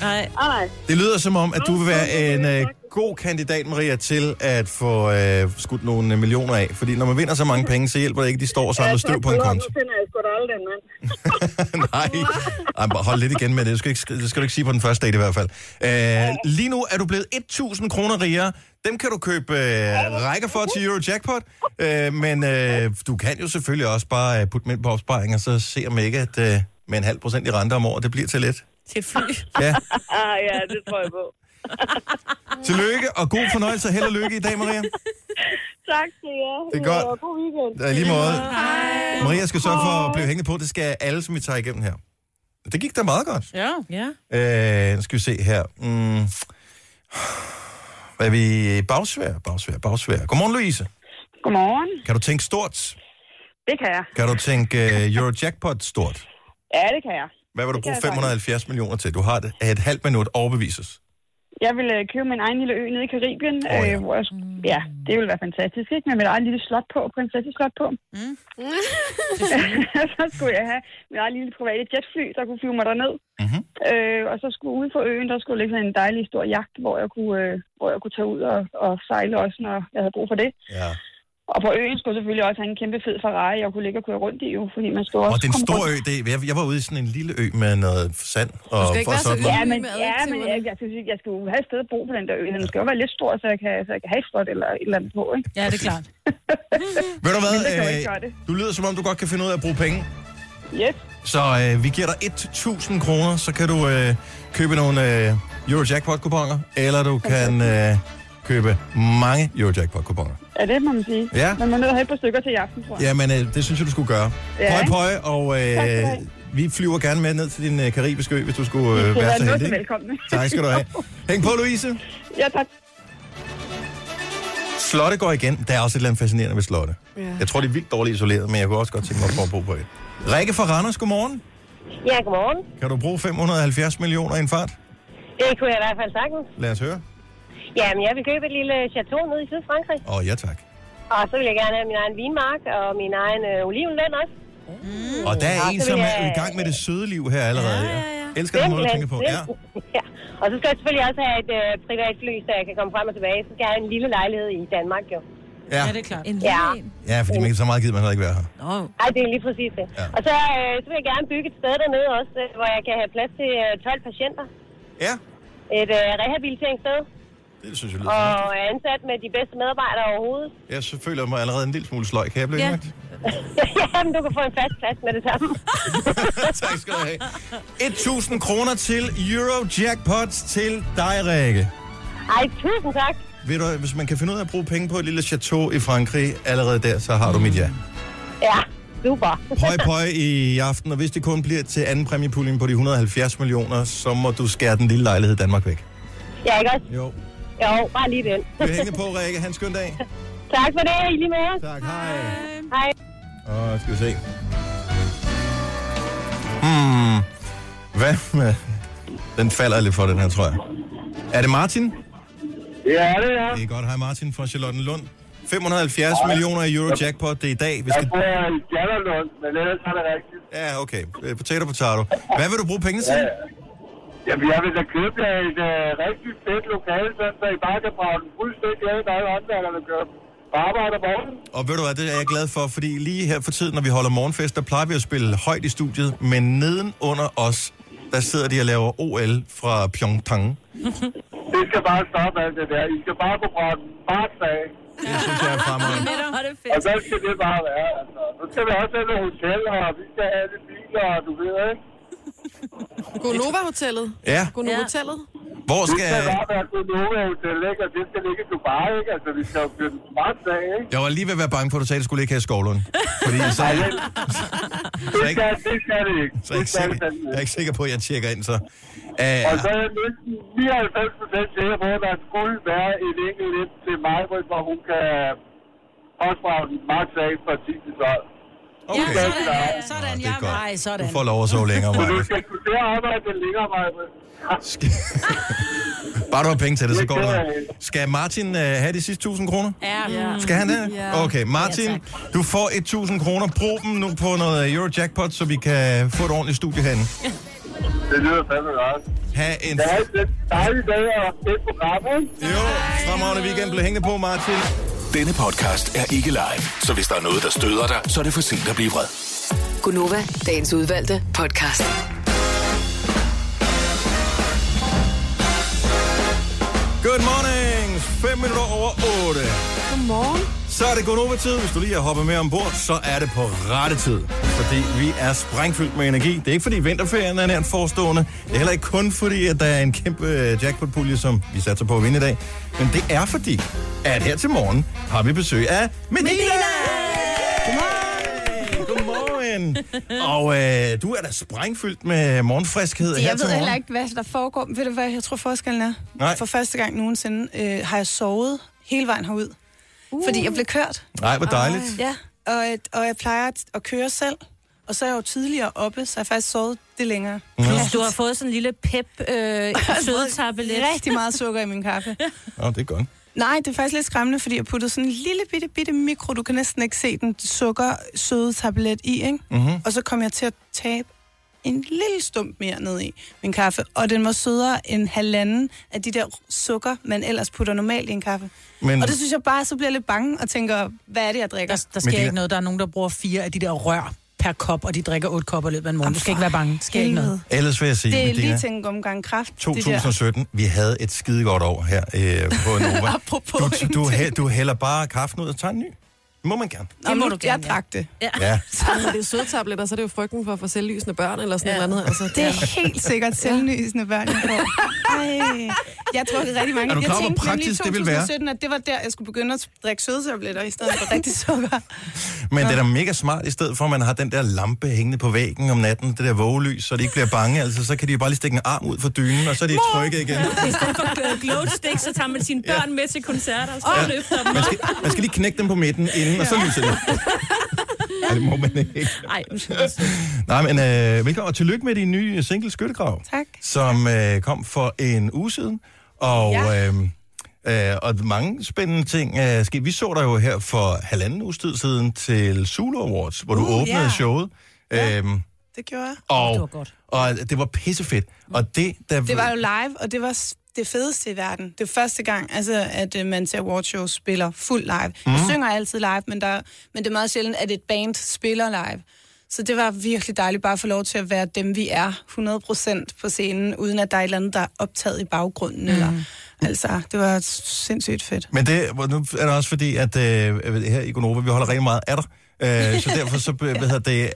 [SPEAKER 6] Nej.
[SPEAKER 12] Ah, nej.
[SPEAKER 1] det lyder som om, at du vil være en øh, god kandidat, Maria, til at få øh, skudt nogle øh, millioner af. Fordi når man vinder så mange penge, så hjælper det ikke, de står og samler støv på en konto.
[SPEAKER 12] Nu finder jeg sgu da aldrig den mand.
[SPEAKER 1] Nej, Ej, bare hold lidt igen med det. Det skal, du ikke, sk- det skal du ikke sige på den første date i hvert fald. Øh, lige nu er du blevet 1.000 kroner rigere. Dem kan du købe øh, rækker for til Eurojackpot. Øh, men øh, du kan jo selvfølgelig også bare øh, putte dem ind på opsparing, og så se om ikke, at øh, med en halv procent i rente om året, det bliver til lidt.
[SPEAKER 6] Til et fly.
[SPEAKER 1] Ja.
[SPEAKER 12] Ah, ja, det tror jeg på.
[SPEAKER 1] Tillykke og god fornøjelse. Held og lykke i dag, Maria.
[SPEAKER 12] Tak til jer.
[SPEAKER 1] Det er godt.
[SPEAKER 12] Ja, God weekend.
[SPEAKER 1] Ja, i Øh, lige måde. Maria skal sørge for at blive hængende på. Det skal alle, som vi tager igennem her. Det gik da meget godt.
[SPEAKER 3] Ja. ja.
[SPEAKER 1] Øh, nu skal vi se her. Mm. Hvad er vi? Bagsvær, bagsvær, bagsvær. Godmorgen, Louise.
[SPEAKER 12] Godmorgen.
[SPEAKER 1] Kan du tænke stort?
[SPEAKER 12] Det kan jeg.
[SPEAKER 1] Kan du tænke uh, Eurojackpot stort?
[SPEAKER 12] Ja, det kan jeg.
[SPEAKER 1] Hvad vil du
[SPEAKER 12] Det
[SPEAKER 1] bruge
[SPEAKER 12] kan jeg
[SPEAKER 1] 570 millioner til? Du har et, et halvt minut overbevises.
[SPEAKER 12] Jeg vil øh, købe min egen lille ø nede i Karibien.
[SPEAKER 1] Åh,
[SPEAKER 12] Oh,
[SPEAKER 1] ja.
[SPEAKER 12] ja. Øh, hvor jeg, s- ja, det ville være fantastisk, ikke? Med mit eget lille slot på, prinsesseslot på. Mm. så skulle jeg have mit eget lille private jetfly, der kunne flyve mig derned.
[SPEAKER 1] Mm-hmm.
[SPEAKER 12] Øh, og så skulle ude på øen, der skulle ligge sådan en dejlig stor jagt, hvor jeg kunne, øh, hvor jeg kunne tage ud og, og sejle også, når jeg havde brug for det.
[SPEAKER 1] Ja.
[SPEAKER 12] Og på øen skulle jeg selvfølgelig også have en kæmpe fed Ferrari, jeg kunne ligge og køre rundt i, jo, fordi man skulle også
[SPEAKER 1] Og det er en
[SPEAKER 12] komme
[SPEAKER 1] stor
[SPEAKER 12] rundt.
[SPEAKER 1] ø. Det, er- jeg, jeg var ude i sådan en lille ø med noget sand. Og, og sådan noget.
[SPEAKER 12] Ja, men, ja, men jeg, jeg, skal, sige, jeg skal jo have et sted at bo på den der ø. så Den skal jo være lidt stor, så jeg kan, så jeg kan have et slot eller et eller andet på, ikke?
[SPEAKER 3] Ja, det er klart.
[SPEAKER 1] Ved du
[SPEAKER 12] Men det kan jo
[SPEAKER 1] hvad? øh,
[SPEAKER 12] ikke gøre det.
[SPEAKER 1] du lyder som om, du godt kan finde ud af at bruge penge.
[SPEAKER 12] Yes.
[SPEAKER 1] Så øh, vi giver dig 1.000 kroner, så kan du øh, købe nogle øh, Eurojackpot-kuponer, eller du kan øh, købe mange Eurojackpot-kuponer.
[SPEAKER 12] Ja, det må man sige.
[SPEAKER 1] Ja.
[SPEAKER 12] Men man er nødt til at have et par stykker til i aften, tror jeg.
[SPEAKER 1] Jamen, øh, det synes jeg, du skulle gøre.
[SPEAKER 12] Ja,
[SPEAKER 1] Pøj,
[SPEAKER 12] ikke?
[SPEAKER 1] pøj, og
[SPEAKER 12] Tak skal du
[SPEAKER 1] øh,
[SPEAKER 12] have.
[SPEAKER 1] vi flyver gerne med ned til din øh, karibiske ø, hvis du skulle øh,
[SPEAKER 12] Det
[SPEAKER 1] være
[SPEAKER 12] er
[SPEAKER 1] så
[SPEAKER 12] noget
[SPEAKER 1] heldig.
[SPEAKER 12] velkommen.
[SPEAKER 1] Tak skal du have. Hæng på, Louise.
[SPEAKER 12] ja, tak.
[SPEAKER 1] Slotte går igen. Der er også et eller andet fascinerende ved slotte.
[SPEAKER 12] Ja.
[SPEAKER 1] Jeg tror, det er vildt dårligt isoleret, men jeg kunne også godt tænke mig at prøve at bo på et. Rikke fra Randers, godmorgen.
[SPEAKER 13] Ja, godmorgen.
[SPEAKER 1] Kan du bruge 570 millioner i en fart?
[SPEAKER 13] Det kunne jeg i hvert fald sagtens.
[SPEAKER 1] Lad os høre.
[SPEAKER 13] Jamen, jeg vil købe et lille chateau nede i Sydfrankrig.
[SPEAKER 1] Åh, oh, ja tak.
[SPEAKER 13] Og så vil jeg gerne have min egen vinmark og min egen øh, olivenland også. Mm.
[SPEAKER 1] Og der er en, som er i gang med det søde liv her allerede. Ja, ja, ja. Elsker den måde, du tænker på. Ja.
[SPEAKER 13] ja. Og så skal jeg selvfølgelig også have et øh, privat fly, så jeg kan komme frem og tilbage. Så skal jeg have en lille lejlighed i Danmark, jo.
[SPEAKER 1] Ja.
[SPEAKER 13] det er klart. En lille ja.
[SPEAKER 1] ja, fordi man, så meget gider man heller ikke være her.
[SPEAKER 13] Oh. Ej, det er lige præcis det. Ja. Og så, øh, så vil jeg gerne bygge et sted dernede også, øh, hvor jeg kan have plads til øh, 12 patienter.
[SPEAKER 1] Ja.
[SPEAKER 13] Et øh, rehabiliteringssted.
[SPEAKER 1] Det synes jeg lyder
[SPEAKER 13] Og
[SPEAKER 1] fornuftigt.
[SPEAKER 13] er ansat med de bedste medarbejdere overhovedet.
[SPEAKER 1] Jeg så føler mig allerede en lille smule sløj. Kan jeg blive ja.
[SPEAKER 13] Jamen, du kan få en fast plads med det samme.
[SPEAKER 1] tak skal du have. 1000 kroner til Eurojackpot til dig, Rikke.
[SPEAKER 13] Ej, tusind tak.
[SPEAKER 1] Ved du, hvis man kan finde ud af at bruge penge på et lille chateau i Frankrig, allerede der, så har du mit ja.
[SPEAKER 13] Ja, super.
[SPEAKER 1] Pøj, pøj i aften, og hvis det kun bliver til anden præmiepuljen på de 170 millioner, så må du skære den lille lejlighed i Danmark væk.
[SPEAKER 13] ja, ikke også?
[SPEAKER 1] Jo.
[SPEAKER 13] Jo, bare lige den.
[SPEAKER 1] Vi er hængende på, Rikke. Ha' en skøn dag.
[SPEAKER 13] tak for det. I lige med.
[SPEAKER 1] Tak, hej.
[SPEAKER 13] Hej.
[SPEAKER 1] Og skal vi se. Hmm. Hvad med... Den falder lidt for, den her, tror jeg. Er det Martin?
[SPEAKER 11] Ja, det er.
[SPEAKER 1] Det er godt. Hej Martin fra Charlotten Lund. 570 millioner i euro jackpot, det er i dag. Vi skal...
[SPEAKER 11] Jeg bor i Jallerlund, men ellers er det rigtigt.
[SPEAKER 1] Ja, okay. Øh, Potato, potato. Hvad vil du bruge pengene til?
[SPEAKER 11] Ja. Jamen, jeg vil da købe jer et øh, rigtig fedt lokale, sådan, så I bare kan brage den fuldstændig af, der er jo andre, der vil købe på arbejde om morgenen.
[SPEAKER 1] Og ved du hvad, det er jeg glad for, fordi lige her for tiden, når vi holder morgenfest, der plejer vi at spille højt i studiet, men nedenunder os, der sidder de og laver OL fra Pyeongchang.
[SPEAKER 11] Det skal bare stoppe alt det der. I skal bare kunne brage den bare af.
[SPEAKER 1] Det synes jeg er fremragende.
[SPEAKER 11] Og så skal det bare være, altså. Nu skal vi også have nogle hoteller, og vi skal have alle biler, og du ved, ikke?
[SPEAKER 2] Gonova-hotellet.
[SPEAKER 1] Ja.
[SPEAKER 2] Gonova-hotellet.
[SPEAKER 1] Hvor
[SPEAKER 11] Vi skal bare være på nogle hotel, ikke? Og øh, det skal ligge i Dubai, ikke? Altså, vi skal jo købe den smart af, ikke?
[SPEAKER 1] Jeg var lige ved at være bange for, at du sagde, at du skulle ikke have skovlund. Fordi så er
[SPEAKER 11] Nej,
[SPEAKER 1] jeg,
[SPEAKER 11] det, det, skal, det skal det ikke.
[SPEAKER 1] så er jeg, ikke, sikker, jeg er ikke sikker på, at jeg tjekker ind, så.
[SPEAKER 11] Og så
[SPEAKER 1] Uh,
[SPEAKER 11] er jeg næsten 99 procent sikker på, at der skulle være en enkelt lidt til mig, hvor hun kan opdrage den max af fra 10 til 12.
[SPEAKER 1] Okay. Ja,
[SPEAKER 11] sådan,
[SPEAKER 3] sådan, jeg er mig, sådan.
[SPEAKER 1] du får lov at sove længere,
[SPEAKER 11] Så du
[SPEAKER 1] Maja.
[SPEAKER 11] skal kunne der arbejde lidt længere, Maja.
[SPEAKER 1] Bare du har penge til det, så
[SPEAKER 11] Det
[SPEAKER 1] går det.
[SPEAKER 11] gør
[SPEAKER 1] nok. Skal Martin uh, have de sidste 1000 kroner?
[SPEAKER 3] Ja.
[SPEAKER 1] Skal han det? Okay, Martin, du får 1000 kroner. Brug dem nu på noget Eurojackpot, så vi kan få et ordentligt studie herinde.
[SPEAKER 11] Det lyder fandme godt.
[SPEAKER 1] Ha' en...
[SPEAKER 11] Det er en dejlig dag og fedt program, ikke?
[SPEAKER 1] Jo, fremragende weekend. Bliv hængende på, Martin.
[SPEAKER 9] Denne podcast er ikke live, så hvis der er noget, der støder dig, så er det for sent at blive vred.
[SPEAKER 8] Gunova, dagens udvalgte podcast.
[SPEAKER 1] Good mornings. 5 minutter over 8.
[SPEAKER 2] Godmorgen.
[SPEAKER 1] Så er det Gonova-tid. Hvis du lige har hoppet med ombord, så er det på rette tid. Fordi vi er sprængfyldt med energi. Det er ikke fordi vinterferien er nært forestående. Det er heller ikke kun fordi, at der er en kæmpe øh, jackpot-pulje, som vi satser på at vinde i dag. Men det er fordi, at her til morgen har vi besøg af Medina! Godmorgen! Godmorgen! Og øh, du er da sprængfyldt med morgenfriskhed her
[SPEAKER 14] Jeg
[SPEAKER 1] til
[SPEAKER 14] ved
[SPEAKER 1] morgen.
[SPEAKER 14] heller ikke, hvad der foregår. Men Ved du, hvad jeg tror forskellen er?
[SPEAKER 1] Nej.
[SPEAKER 14] For første gang nogensinde øh, har jeg sovet hele vejen herud. Uh. Fordi jeg blev kørt.
[SPEAKER 1] Nej, hvor dejligt.
[SPEAKER 14] Ja, og, øh, og jeg plejer at- at køre selv. Og så er jeg jo tidligere oppe, så jeg har faktisk sovet det længere.
[SPEAKER 1] Ja.
[SPEAKER 6] Plus, du har fået sådan en lille pep øh, sødetablet.
[SPEAKER 14] Rigtig meget sukker i min kaffe.
[SPEAKER 1] Nå, det er godt.
[SPEAKER 14] Nej, det er faktisk lidt skræmmende, fordi jeg puttede sådan en lille bitte, bitte mikro, du kan næsten ikke se den, sukker søde tablet i, ikke?
[SPEAKER 1] Mhm.
[SPEAKER 14] Og så kom jeg til at tabe en lille stump mere ned i min kaffe, og den var sødere end halvanden af de der sukker, man ellers putter normalt i en kaffe.
[SPEAKER 1] Men-
[SPEAKER 14] Men... Og det synes jeg bare, så bliver jeg lidt bange og tænker, hvad er det, jeg drikker?
[SPEAKER 3] Der sker ikke noget. Der er nogen, der bruger fire af de der rør per kop, og de drikker otte kopper i løbet af en morgen. Du skal ikke være bange. Der sker ikke noget.
[SPEAKER 1] Ellers vil jeg sige,
[SPEAKER 14] Det er
[SPEAKER 1] Medina,
[SPEAKER 14] lige til en omgang kraft. det der.
[SPEAKER 1] 2017, vi havde et skidegodt år her øh, på Nova.
[SPEAKER 14] Apropos
[SPEAKER 1] du, du, hæ- du hælder bare kaffen ud og tager en ny. Det må man gerne.
[SPEAKER 14] Nå, men jeg drak det.
[SPEAKER 1] Ja.
[SPEAKER 2] Så er det sødtabletter, så er det jo frygten for at få selvlysende børn eller sådan ja.
[SPEAKER 14] Ja.
[SPEAKER 2] et eller andet. Altså,
[SPEAKER 14] Det er helt sikkert selvlysende børn, jeg får. Ej, jeg har drukket rigtig mange.
[SPEAKER 1] Er du klar over,
[SPEAKER 14] jeg
[SPEAKER 1] hvor praktisk det ville være?
[SPEAKER 14] 2017, at det var der, jeg skulle begynde at drikke sødetabletter i stedet for rigtig sukker.
[SPEAKER 1] Men det er da mega smart, i stedet for at man har den der lampe hængende på væggen om natten, det der vågelys, så de ikke bliver bange, altså så kan de jo bare lige stikke en arm ud for dynen, og så er de trykket igen.
[SPEAKER 6] I stedet for øh, glow stick, så tager man sine børn med til koncerter, og så
[SPEAKER 1] Ja.
[SPEAKER 6] løfter dem
[SPEAKER 1] Man
[SPEAKER 6] op.
[SPEAKER 1] skal, man skal lige knække dem på midten inden, og så lyser det. Ej, det må man ikke.
[SPEAKER 6] Ej, nu skal jeg sige.
[SPEAKER 1] Nej, men øh, velkommen og tillykke med din nye single Skyttegrav.
[SPEAKER 14] Tak.
[SPEAKER 1] Som øh, kom for en uge siden. Og, ja. øh, øh, og mange spændende ting øh, skete. Vi så dig jo her for halvanden uges tid siden til Zulu Awards, hvor du
[SPEAKER 14] Uh,
[SPEAKER 1] åbnede
[SPEAKER 14] ja.
[SPEAKER 1] showet. Ja. Øhm,
[SPEAKER 14] Det gjorde jeg.
[SPEAKER 1] og, det var godt. Og det var pissefedt. Og det, der,
[SPEAKER 14] Det var jo live, og det var s- det fedeste i verden. Det er første gang, altså, at øh, man til awardshows spiller fuld live. Mm. Jeg
[SPEAKER 1] Mhm.
[SPEAKER 14] synger altid live, men, der, men det er meget sjældent, at et band spiller live. Så det var virkelig dejligt bare at få lov til at være dem, vi er 100% på scenen, uden at der er et eller andet, der er optaget i baggrunden. Mm. Eller, altså, det var sindssygt fedt.
[SPEAKER 1] Men det hvor- nu er det også fordi, at øh, her i Gonova, vi holder rigtig meget af dig. Øh, så derfor så, ja. hvad hedder det,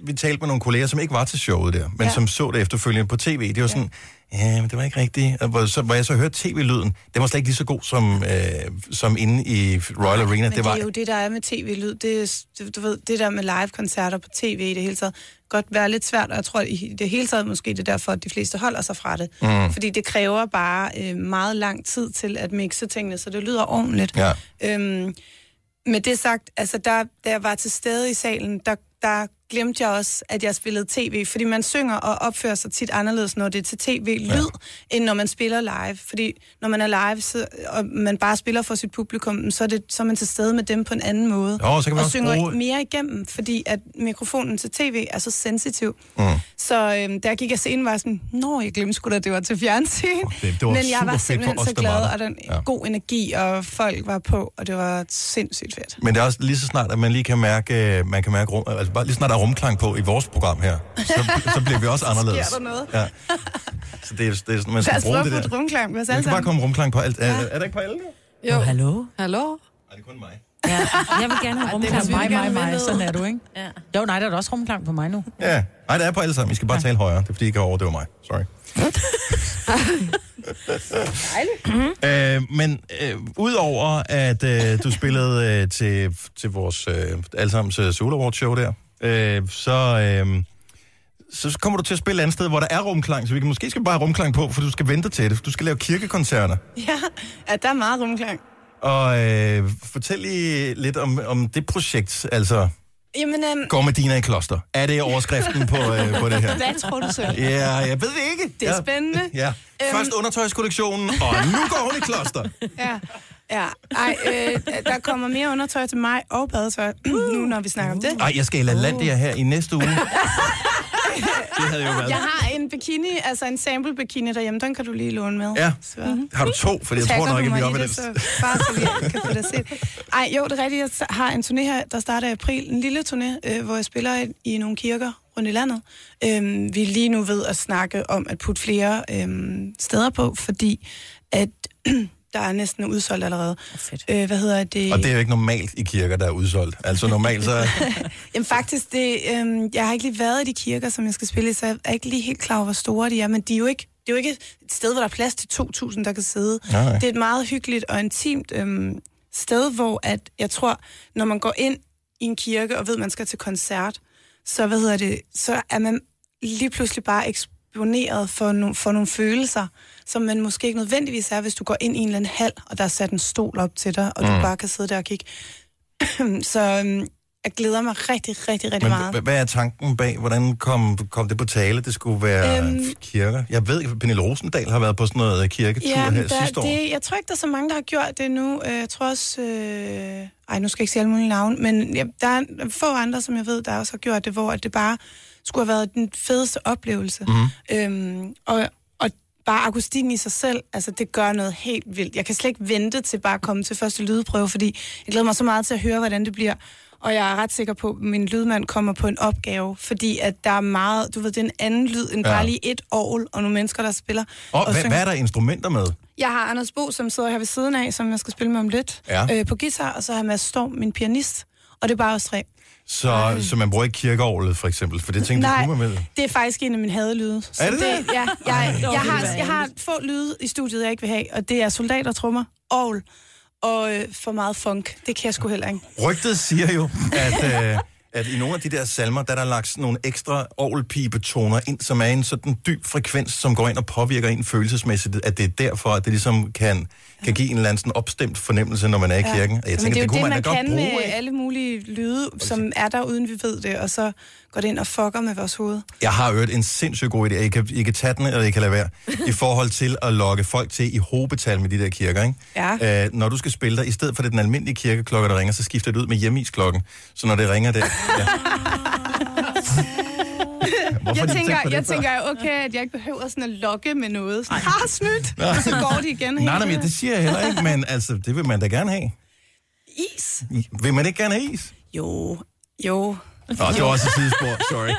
[SPEAKER 1] vi talte med nogle kolleger, som ikke var til showet der, men ja.
[SPEAKER 14] Ja.
[SPEAKER 1] som så det efterfølgende på tv. Det var sådan, ja, men det var ikke rigtigt. Og hvor, så, hvor jeg så hørte tv-lyden, den var slet ikke lige så god som, øh, som inde i Royal Arena.
[SPEAKER 14] Men det,
[SPEAKER 1] det var,
[SPEAKER 14] det er jo det, der er med tv-lyd. Det, er- det- du ved, det der med live-koncerter på tv i det hele taget, godt være lidt svært, og jeg tror i det hele taget måske, det er derfor, at de fleste holder sig fra det.
[SPEAKER 1] Mm.
[SPEAKER 14] Fordi det kræver bare øh, meget lang tid til at mixe tingene, så det lyder ordentligt.
[SPEAKER 1] Ja.
[SPEAKER 14] Øhm, med det sagt, altså der, da jeg var til stede i salen, der, der glemte jeg også, at jeg spillede tv, fordi man synger og opfører sig tit anderledes, når det er til tv-lyd, ja. end når man spiller live. Fordi når man er live, så, og man bare spiller for sit publikum, så er, det, så er man til stede med dem på en anden måde.
[SPEAKER 1] Jo, så kan man
[SPEAKER 14] og
[SPEAKER 1] også
[SPEAKER 14] synger
[SPEAKER 1] bruge-
[SPEAKER 14] mere igennem, fordi at mikrofonen til tv er så sensitiv.
[SPEAKER 1] Mm.
[SPEAKER 14] Så øhm, der gik jeg scenen, var jeg sådan, nå, jeg glemte sgu da, det var til fjernsyn.
[SPEAKER 1] det- det var
[SPEAKER 14] Men jeg
[SPEAKER 1] super
[SPEAKER 14] var
[SPEAKER 1] fedt for
[SPEAKER 14] simpelthen
[SPEAKER 1] os,
[SPEAKER 14] så
[SPEAKER 1] der var
[SPEAKER 14] glad,
[SPEAKER 1] der.
[SPEAKER 14] og den
[SPEAKER 1] Ja.
[SPEAKER 14] ja. god energi, og folk var på, og det var sindssygt fedt.
[SPEAKER 1] Men det er også lige så snart, at man lige kan mærke, øh, man kan mærke rum, altså bare lige så snart der er rumklang på i vores program her, så, så bliver vi også
[SPEAKER 14] Så sker
[SPEAKER 1] anderledes.
[SPEAKER 14] der noget.
[SPEAKER 1] Ja. Så det er, det er, man
[SPEAKER 14] Lad
[SPEAKER 1] skal
[SPEAKER 14] os prøve
[SPEAKER 1] bruge
[SPEAKER 14] at
[SPEAKER 1] det
[SPEAKER 14] få et
[SPEAKER 1] der.
[SPEAKER 14] rumklang med os
[SPEAKER 1] Man
[SPEAKER 14] alle
[SPEAKER 1] kan bare
[SPEAKER 14] sammen.
[SPEAKER 1] komme rumklang på alt. Er, er der ikke på alle?
[SPEAKER 2] Jo.
[SPEAKER 6] Oh, hallo?
[SPEAKER 2] Hallo?
[SPEAKER 3] Ja. Jeg vil gerne have rumklang på
[SPEAKER 2] måske, vi
[SPEAKER 3] mig,
[SPEAKER 2] gerne
[SPEAKER 3] mig,
[SPEAKER 2] vil
[SPEAKER 3] mig.
[SPEAKER 2] ned.
[SPEAKER 3] Sådan er du, ikke?
[SPEAKER 6] Ja.
[SPEAKER 3] Jo, nej, der er da også rumklang på mig nu.
[SPEAKER 1] Ja. Nej, det er på alle sammen. I skal bare ja. tale højere. Det er fordi, I ikke over. Det var mig. Sorry.
[SPEAKER 14] Mm.
[SPEAKER 1] øh, men øh, udover at øh, du spillede øh, til, til vores øh, allesammens øh, Soul Awards show der, øh, så, øh, så kommer du til at spille et andet sted, hvor der er rumklang, så vi kan måske skal bare have rumklang på, for du skal vente til det. Du skal lave kirkekoncerter.
[SPEAKER 14] Ja, ja der er meget rumklang.
[SPEAKER 1] Og øh, fortæl lige lidt om, om det projekt, altså
[SPEAKER 14] Jamen, øhm,
[SPEAKER 1] Går med Dina i kloster. Er det overskriften på, øh, på det her?
[SPEAKER 14] Hvad tror du selv?
[SPEAKER 1] Ja, jeg ved det ikke.
[SPEAKER 14] Det er
[SPEAKER 1] Ja.
[SPEAKER 14] spændende. Øhm.
[SPEAKER 1] Ja. Først undertøjskollektionen, og nu går hun i kloster.
[SPEAKER 14] ja. Ja, ej, øh, der kommer mere undertøj til mig og badetøj, nu når vi snakker om det.
[SPEAKER 1] Ej, jeg skal i LaLandia her i næste uge. Det havde jo været.
[SPEAKER 14] Jeg har en bikini, altså en sample bikini derhjemme, den kan du lige låne med.
[SPEAKER 1] Ja. Mhm.
[SPEAKER 14] Så. Mm-hmm.
[SPEAKER 1] Har du to? Fordi jeg tror nok, at vi er oppe i den.
[SPEAKER 14] Bare så vi kan få det set. Ej, jo, det er rigtigt. Jeg har en turné her, der starter i april. En lille turné, øh, hvor jeg spiller i, i nogle kirker rundt i landet. Øhm, vi er lige nu ved at snakke om at putte flere øhm, steder på, fordi at der er næsten udsolgt allerede. Øh, hvad hedder det?
[SPEAKER 1] Og det er jo ikke normalt i kirker, der er udsolgt. Altså normalt så...
[SPEAKER 14] Jamen faktisk, det, øhm, jeg har ikke lige været i de kirker, som jeg skal spille i, så jeg er ikke lige helt klar over, hvor store de er, men de er jo ikke, det er jo ikke et sted, hvor der er plads til 2.000, der kan sidde.
[SPEAKER 1] Nej.
[SPEAKER 14] Det er et meget hyggeligt og intimt øhm, sted, hvor at, jeg tror, når man går ind i en kirke og ved, at man skal til koncert, så, hvad hedder det, så er man lige pludselig bare eksponeret for, no, for nogle følelser, som man måske ikke nødvendigvis er, hvis du går ind i en eller anden hal, og der er sat en stol op til dig, og mm.
[SPEAKER 1] Mm.
[SPEAKER 14] du bare kan sidde der og kigge. så øhm, jeg glæder mig rigtig, rigtig, rigtig
[SPEAKER 1] Men
[SPEAKER 14] meget.
[SPEAKER 1] h- hvad er tanken bag? Hvordan kom, kom det på tale, det skulle være
[SPEAKER 14] Øhm.
[SPEAKER 1] øhm... kirker? Jeg ved, at Pernille Rosendal har været på sådan noget øh, kirketur ja, her
[SPEAKER 14] men
[SPEAKER 1] der, sidste år. Det...
[SPEAKER 14] det, jeg tror ikke, der er så mange, der har gjort det nu. Øh, Jeg tror også... Øh, ej, nu skal jeg ikke sige alle mulige navne, men ja, der er få andre, som jeg ved, der også har gjort det, hvor at det bare skulle have været den fedeste oplevelse.
[SPEAKER 1] Mhm.
[SPEAKER 14] Mm. Øhm, og, og bare akustikken i sig selv, altså det gør noget helt vildt. Jeg kan slet ikke vente til bare at komme til første lydprøve, fordi jeg glæder mig så meget til at høre, hvordan det bliver. Og jeg er ret sikker på, at min lydmand kommer på en opgave, fordi at der er meget, du ved, det er en anden lyd end
[SPEAKER 1] Ja.
[SPEAKER 14] ja. bare lige et orgel og nogle mennesker, der spiller.
[SPEAKER 1] Og, hvad,
[SPEAKER 14] synger.
[SPEAKER 1] hvad er der instrumenter med?
[SPEAKER 14] Jeg har Anders Bo, som sidder her ved siden af, som jeg skal spille med om lidt,
[SPEAKER 1] Ja.
[SPEAKER 14] øh, på guitar, og så har jeg Mads Storm, min pianist, og det er bare os tre.
[SPEAKER 1] Så, så man bruger ikke kirkeorglet, for eksempel, for det tænkte
[SPEAKER 14] Nej.
[SPEAKER 1] du kunne med.
[SPEAKER 14] Det er faktisk en af mine hadelyde. Så
[SPEAKER 1] Er det det?
[SPEAKER 14] Ja, jeg, jeg,
[SPEAKER 4] Ej.
[SPEAKER 14] jeg, har, jeg har få lyde i studiet, jeg ikke vil have, og det er soldater, trommer, orgel og øh, for meget funk. Det kan jeg sgu heller ikke.
[SPEAKER 1] Rygtet siger jo, at, øh, at i nogle af de der salmer, der er der lagt sådan nogle ekstra orgelpipetoner ind, som er en sådan dyb frekvens, som går ind og påvirker en følelsesmæssigt, at det er derfor, at det ligesom kan, kan give en eller anden sådan opstemt fornemmelse, når man er i kirken. Og jeg tænker,
[SPEAKER 14] Men det er
[SPEAKER 1] det,
[SPEAKER 14] jo
[SPEAKER 1] det kunne
[SPEAKER 14] det,
[SPEAKER 1] man,
[SPEAKER 14] man
[SPEAKER 1] da godt
[SPEAKER 14] kan øh,
[SPEAKER 1] bruge.
[SPEAKER 14] med
[SPEAKER 1] ikke?
[SPEAKER 14] alle mulige lyde, som er der, uden vi ved det, og så går det ind og fucker med vores hoved.
[SPEAKER 1] Jeg har hørt en sindssygt god idé. I kan, I kan tage den, eller I kan lade være. I forhold til at lokke folk til i hobetal med de der kirker, ikke?
[SPEAKER 14] Ja.
[SPEAKER 1] Øh, når du skal spille dig, i stedet for det er den almindelige kirkeklokke, der ringer, så skifter det ud med hjemmeisklokken. Så når det ringer der... Ja. Hvorfor har de
[SPEAKER 14] jeg
[SPEAKER 1] ikke tænkt
[SPEAKER 14] tænker,
[SPEAKER 1] på det
[SPEAKER 14] jeg
[SPEAKER 1] før?
[SPEAKER 14] tænker okay, at jeg ikke behøver sådan at lokke med noget. Sådan, har snydt! Og så går de igen.
[SPEAKER 1] Nej,
[SPEAKER 14] hele
[SPEAKER 1] nej, men
[SPEAKER 14] tiden.
[SPEAKER 1] det siger jeg heller ikke, men altså, det vil man da gerne have.
[SPEAKER 14] Is.
[SPEAKER 1] Vil man ikke gerne have is?
[SPEAKER 14] Jo, jo.
[SPEAKER 1] Nå, det var også et sidespor, sorry.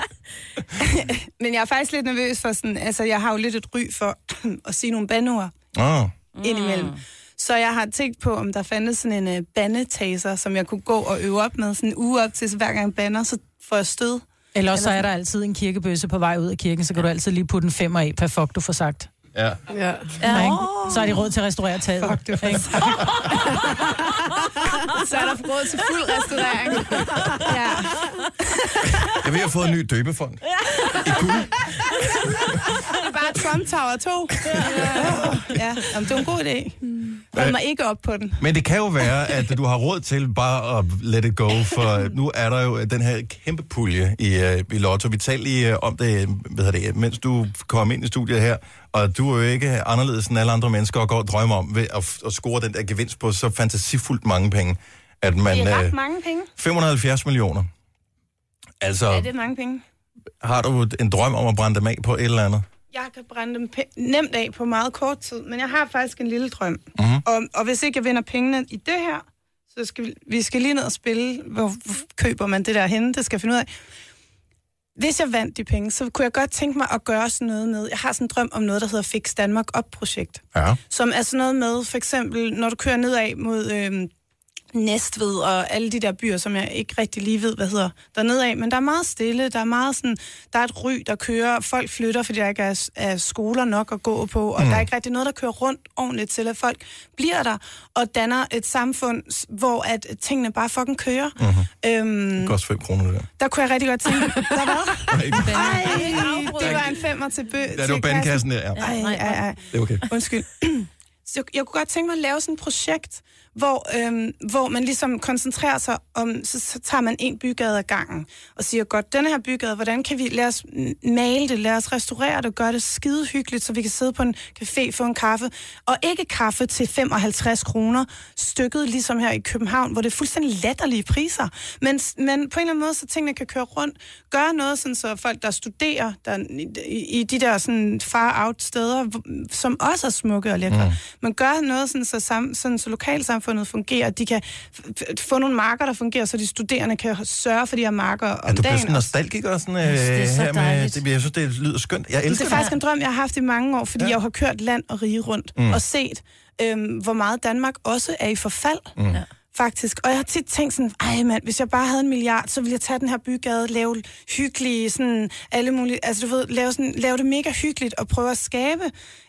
[SPEAKER 14] Men jeg er faktisk lidt nervøs for sådan, altså jeg har jo lidt et ry for at sige nogle bandeord
[SPEAKER 1] Oh.
[SPEAKER 14] mm. indimellem. Så jeg har tænkt på, om der fandtes sådan en uh, bandetaser, som jeg kunne gå og øve op med sådan en uge op til, så hver gang jeg bander, så får jeg stød.
[SPEAKER 3] Eller også så er der altid en kirkebøsse på vej ud af kirken, så kan du altid lige putte en femmer i per fuck, du får sagt.
[SPEAKER 1] Ja.
[SPEAKER 2] Ja.
[SPEAKER 3] Ja. ikke? Så har de råd til at restaurere taget. Fuck, du får sagt.
[SPEAKER 14] Så er der råd til fuld restaurering. ja.
[SPEAKER 1] Jeg vil have fået en ny døbefond.
[SPEAKER 14] Bare Trump Tower 2. ja, ja. Jamen, det er en god idé. Hold mig ikke op på den.
[SPEAKER 1] Men det kan jo være, at du har råd til bare at let it go, for nu er der jo den her kæmpe pulje i, øh, i Lotto. Vi talte lige øh, om det, hvad hedder det, mens du kom ind i studiet her, og du er jo ikke anderledes end alle andre mennesker og går og drømmer om ved at, f- at score den der gevinst på så fantasifuldt mange penge, at man...
[SPEAKER 14] det er
[SPEAKER 1] øh,
[SPEAKER 14] ret mange penge.
[SPEAKER 1] 570 millioner. Altså,
[SPEAKER 14] Ja, det er mange penge.
[SPEAKER 1] har du en drøm om at brænde dem af på et eller andet?
[SPEAKER 14] Jeg kan brænde dem pe- nemt af på meget kort tid, men jeg har faktisk en lille drøm.
[SPEAKER 1] Mhm.
[SPEAKER 14] Og, og hvis ikke jeg vinder pengene i det her, så skal vi, vi skal lige ned og spille. Hvor, hvor køber man det der henne? Det skal jeg finde ud af. Hvis jeg vandt de penge, så kunne jeg godt tænke mig at gøre sådan noget med... Jeg har sådan en drøm om noget, der hedder Fix Danmark Op-projekt.
[SPEAKER 1] Ja.
[SPEAKER 14] Som er sådan noget med, for eksempel, når du kører nedad mod øhm, Næstved og alle de der byer, som jeg ikke rigtig lige ved, hvad hedder dernede af. Men der er meget stille, der er meget sådan, der er et ry, der kører, folk flytter, fordi der ikke er, er skoler nok at gå på, og mm. der er ikke rigtig noget, der kører rundt ordentligt til, at folk bliver der og danner et samfund, s- hvor at tingene bare fucking kører. Mm. Øhm,
[SPEAKER 1] Mhm. Det koster 5 kroner, det der.
[SPEAKER 14] der kunne jeg rigtig godt tænke, der var...
[SPEAKER 1] Nej.
[SPEAKER 14] Ej, det var en femmer til bø.
[SPEAKER 1] Ja, det
[SPEAKER 14] til
[SPEAKER 1] var bandkassen der, ja.
[SPEAKER 14] Ej, ej, ej.
[SPEAKER 1] Det er okay.
[SPEAKER 14] Undskyld. Så jeg kunne godt tænke mig at lave sådan et projekt, hvor, øhm, hvor man ligesom koncentrerer sig om, så, så tager man en bygade ad gangen, og siger, godt, den her bygade, hvordan kan vi, lade os m- male det, lade os restaurere det, gøre det skide hyggeligt, så vi kan sidde på en café, få en kaffe, og ikke kaffe til 55 kroner, stykket ligesom her i København, hvor det er fuldstændig latterlige priser. Men, men på en eller anden måde, så tingene kan køre rundt, gøre noget, sådan, så folk, der studerer der, i, i de der sådan far-out steder, hvor- som også er smukke og lækre, mm. men gøre noget, sådan, så, sam, sådan, så lokalsamfundet samfundet fungerer. De kan f- f- få nogle marker, der fungerer, så de studerende kan sørge for de her marker om
[SPEAKER 1] Er du
[SPEAKER 14] dagen.
[SPEAKER 1] blevet sådan nostalgiker og sådan øh,
[SPEAKER 14] synes, det er så
[SPEAKER 1] her med,
[SPEAKER 14] dejligt.
[SPEAKER 1] det, jeg synes, det lyder skønt. Jeg elsker
[SPEAKER 14] det er faktisk en drøm, jeg har haft i mange år, fordi ja. jeg jo har kørt land og rige rundt
[SPEAKER 1] Mm.
[SPEAKER 14] mm. og set, øhm, hvor meget Danmark også er i forfald.
[SPEAKER 1] Mm. Ja.
[SPEAKER 14] Faktisk. Og jeg har tit tænkt sådan, ej mand, hvis jeg bare havde en milliard, så ville jeg tage den her bygade, lave hyggelige, sådan alle mulige, altså du ved, lave, sådan, lave det mega hyggeligt og prøve at skabe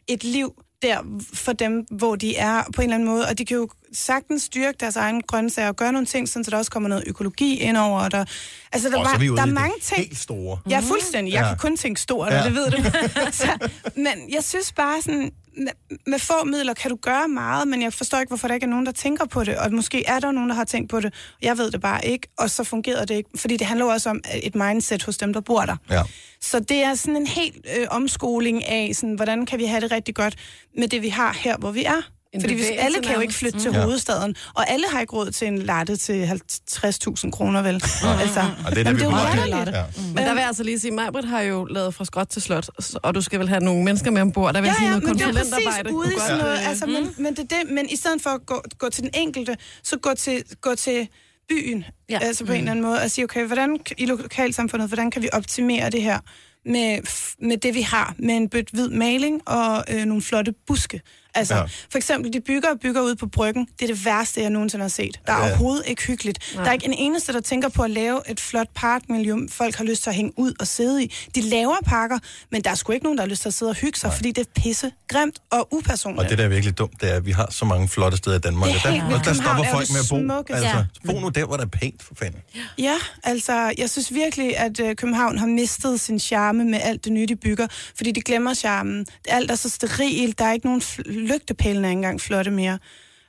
[SPEAKER 14] et liv der for dem, hvor de er på en eller anden måde. Og de kan jo sagtens styrke deres egen grøntsager og gøre nogle ting, sådan, så der også kommer noget økologi ind over. Og der, altså, der,
[SPEAKER 1] Åh, så
[SPEAKER 14] var,
[SPEAKER 1] vi ude
[SPEAKER 14] der er
[SPEAKER 1] i det
[SPEAKER 14] mange ting.
[SPEAKER 1] Helt store.
[SPEAKER 14] Ja, fuldstændig. Jeg
[SPEAKER 1] Ja.
[SPEAKER 14] kan kun tænke stort,
[SPEAKER 1] Ja.
[SPEAKER 14] ja. det ved du. så, men jeg synes bare sådan, med- med få midler kan du gøre meget, men jeg forstår ikke, hvorfor der ikke er nogen, der tænker på det. Og måske er der nogen, der har tænkt på det. Jeg ved det bare ikke, og så fungerer det ikke. Fordi det handler jo også om øh, et mindset hos dem, der bor der.
[SPEAKER 1] Ja.
[SPEAKER 14] Så det er sådan en helt øh, omskoling af, sådan, hvordan kan vi have det rigtig godt med det, vi har her, hvor vi er.
[SPEAKER 2] En
[SPEAKER 14] Fordi hvis
[SPEAKER 2] bevægelse
[SPEAKER 14] alle kan jo ikke
[SPEAKER 2] nærmest.
[SPEAKER 14] flytte
[SPEAKER 2] Mm.
[SPEAKER 14] til
[SPEAKER 1] Ja.
[SPEAKER 14] hovedstaden, og alle har ikke råd til en latte til 50.000 kroner, vel? altså,
[SPEAKER 1] Og det er det,
[SPEAKER 14] Jamen,
[SPEAKER 1] vi
[SPEAKER 14] jo
[SPEAKER 1] kommer til.
[SPEAKER 14] latterligt.
[SPEAKER 1] Ja.
[SPEAKER 2] Men der vil jeg altså lige sige, Majbrit har jo lavet fra skråt til slot, s- og du skal vel have nogle mennesker med ombord, der vil sige noget
[SPEAKER 14] men det er jo
[SPEAKER 2] konsulentarbejde.
[SPEAKER 14] præcis ude i
[SPEAKER 2] kunne
[SPEAKER 14] sådan
[SPEAKER 2] godt,
[SPEAKER 14] noget.
[SPEAKER 2] øh,
[SPEAKER 14] Altså, men, men, det er det, men i stedet for at gå, gå til den enkelte, så gå til, gå til byen,
[SPEAKER 6] Ja.
[SPEAKER 14] ja. altså på
[SPEAKER 6] Mm.
[SPEAKER 14] en eller anden måde, og sige, okay, hvordan k- i lokalsamfundet, hvordan kan vi optimere det her med, f- med det, vi har, med en bødt hvid maling og øh, nogle flotte buske. Altså,
[SPEAKER 1] Ja.
[SPEAKER 14] ja. for eksempel, de bygger og bygger ude på bryggen. Det er det værste, jeg nogensinde har set. Der er
[SPEAKER 1] Ja.
[SPEAKER 14] ja. overhovedet ikke hyggeligt.
[SPEAKER 2] Nej.
[SPEAKER 14] Nej. Der er ikke en eneste, der tænker på at lave et flot parkmiljø, folk har lyst til at hænge ud og sidde i. De laver parker, men der er sgu ikke nogen, der har lyst til at sidde og hygge sig, Nej. fordi det er pisse grimt og upersonligt.
[SPEAKER 1] Og det, der er virkelig dumt, det er, at vi har så mange flotte steder i Danmark.
[SPEAKER 14] Det er
[SPEAKER 1] og der,
[SPEAKER 14] helt vildt.
[SPEAKER 1] og der stopper
[SPEAKER 14] København er jo
[SPEAKER 1] folk
[SPEAKER 14] det
[SPEAKER 1] med at bo.
[SPEAKER 14] smukkeste.
[SPEAKER 1] Altså,
[SPEAKER 14] Ja.
[SPEAKER 1] bo nu der, hvor der er pænt for fanden.
[SPEAKER 14] Ja, altså, jeg synes virkelig, at øh, København har mistet sin charme med alt det nye, de bygger, fordi de glemmer charmen. Alt er så sterilt, der er ikke nogen fl- lygtepælen er ikke engang flotte mere.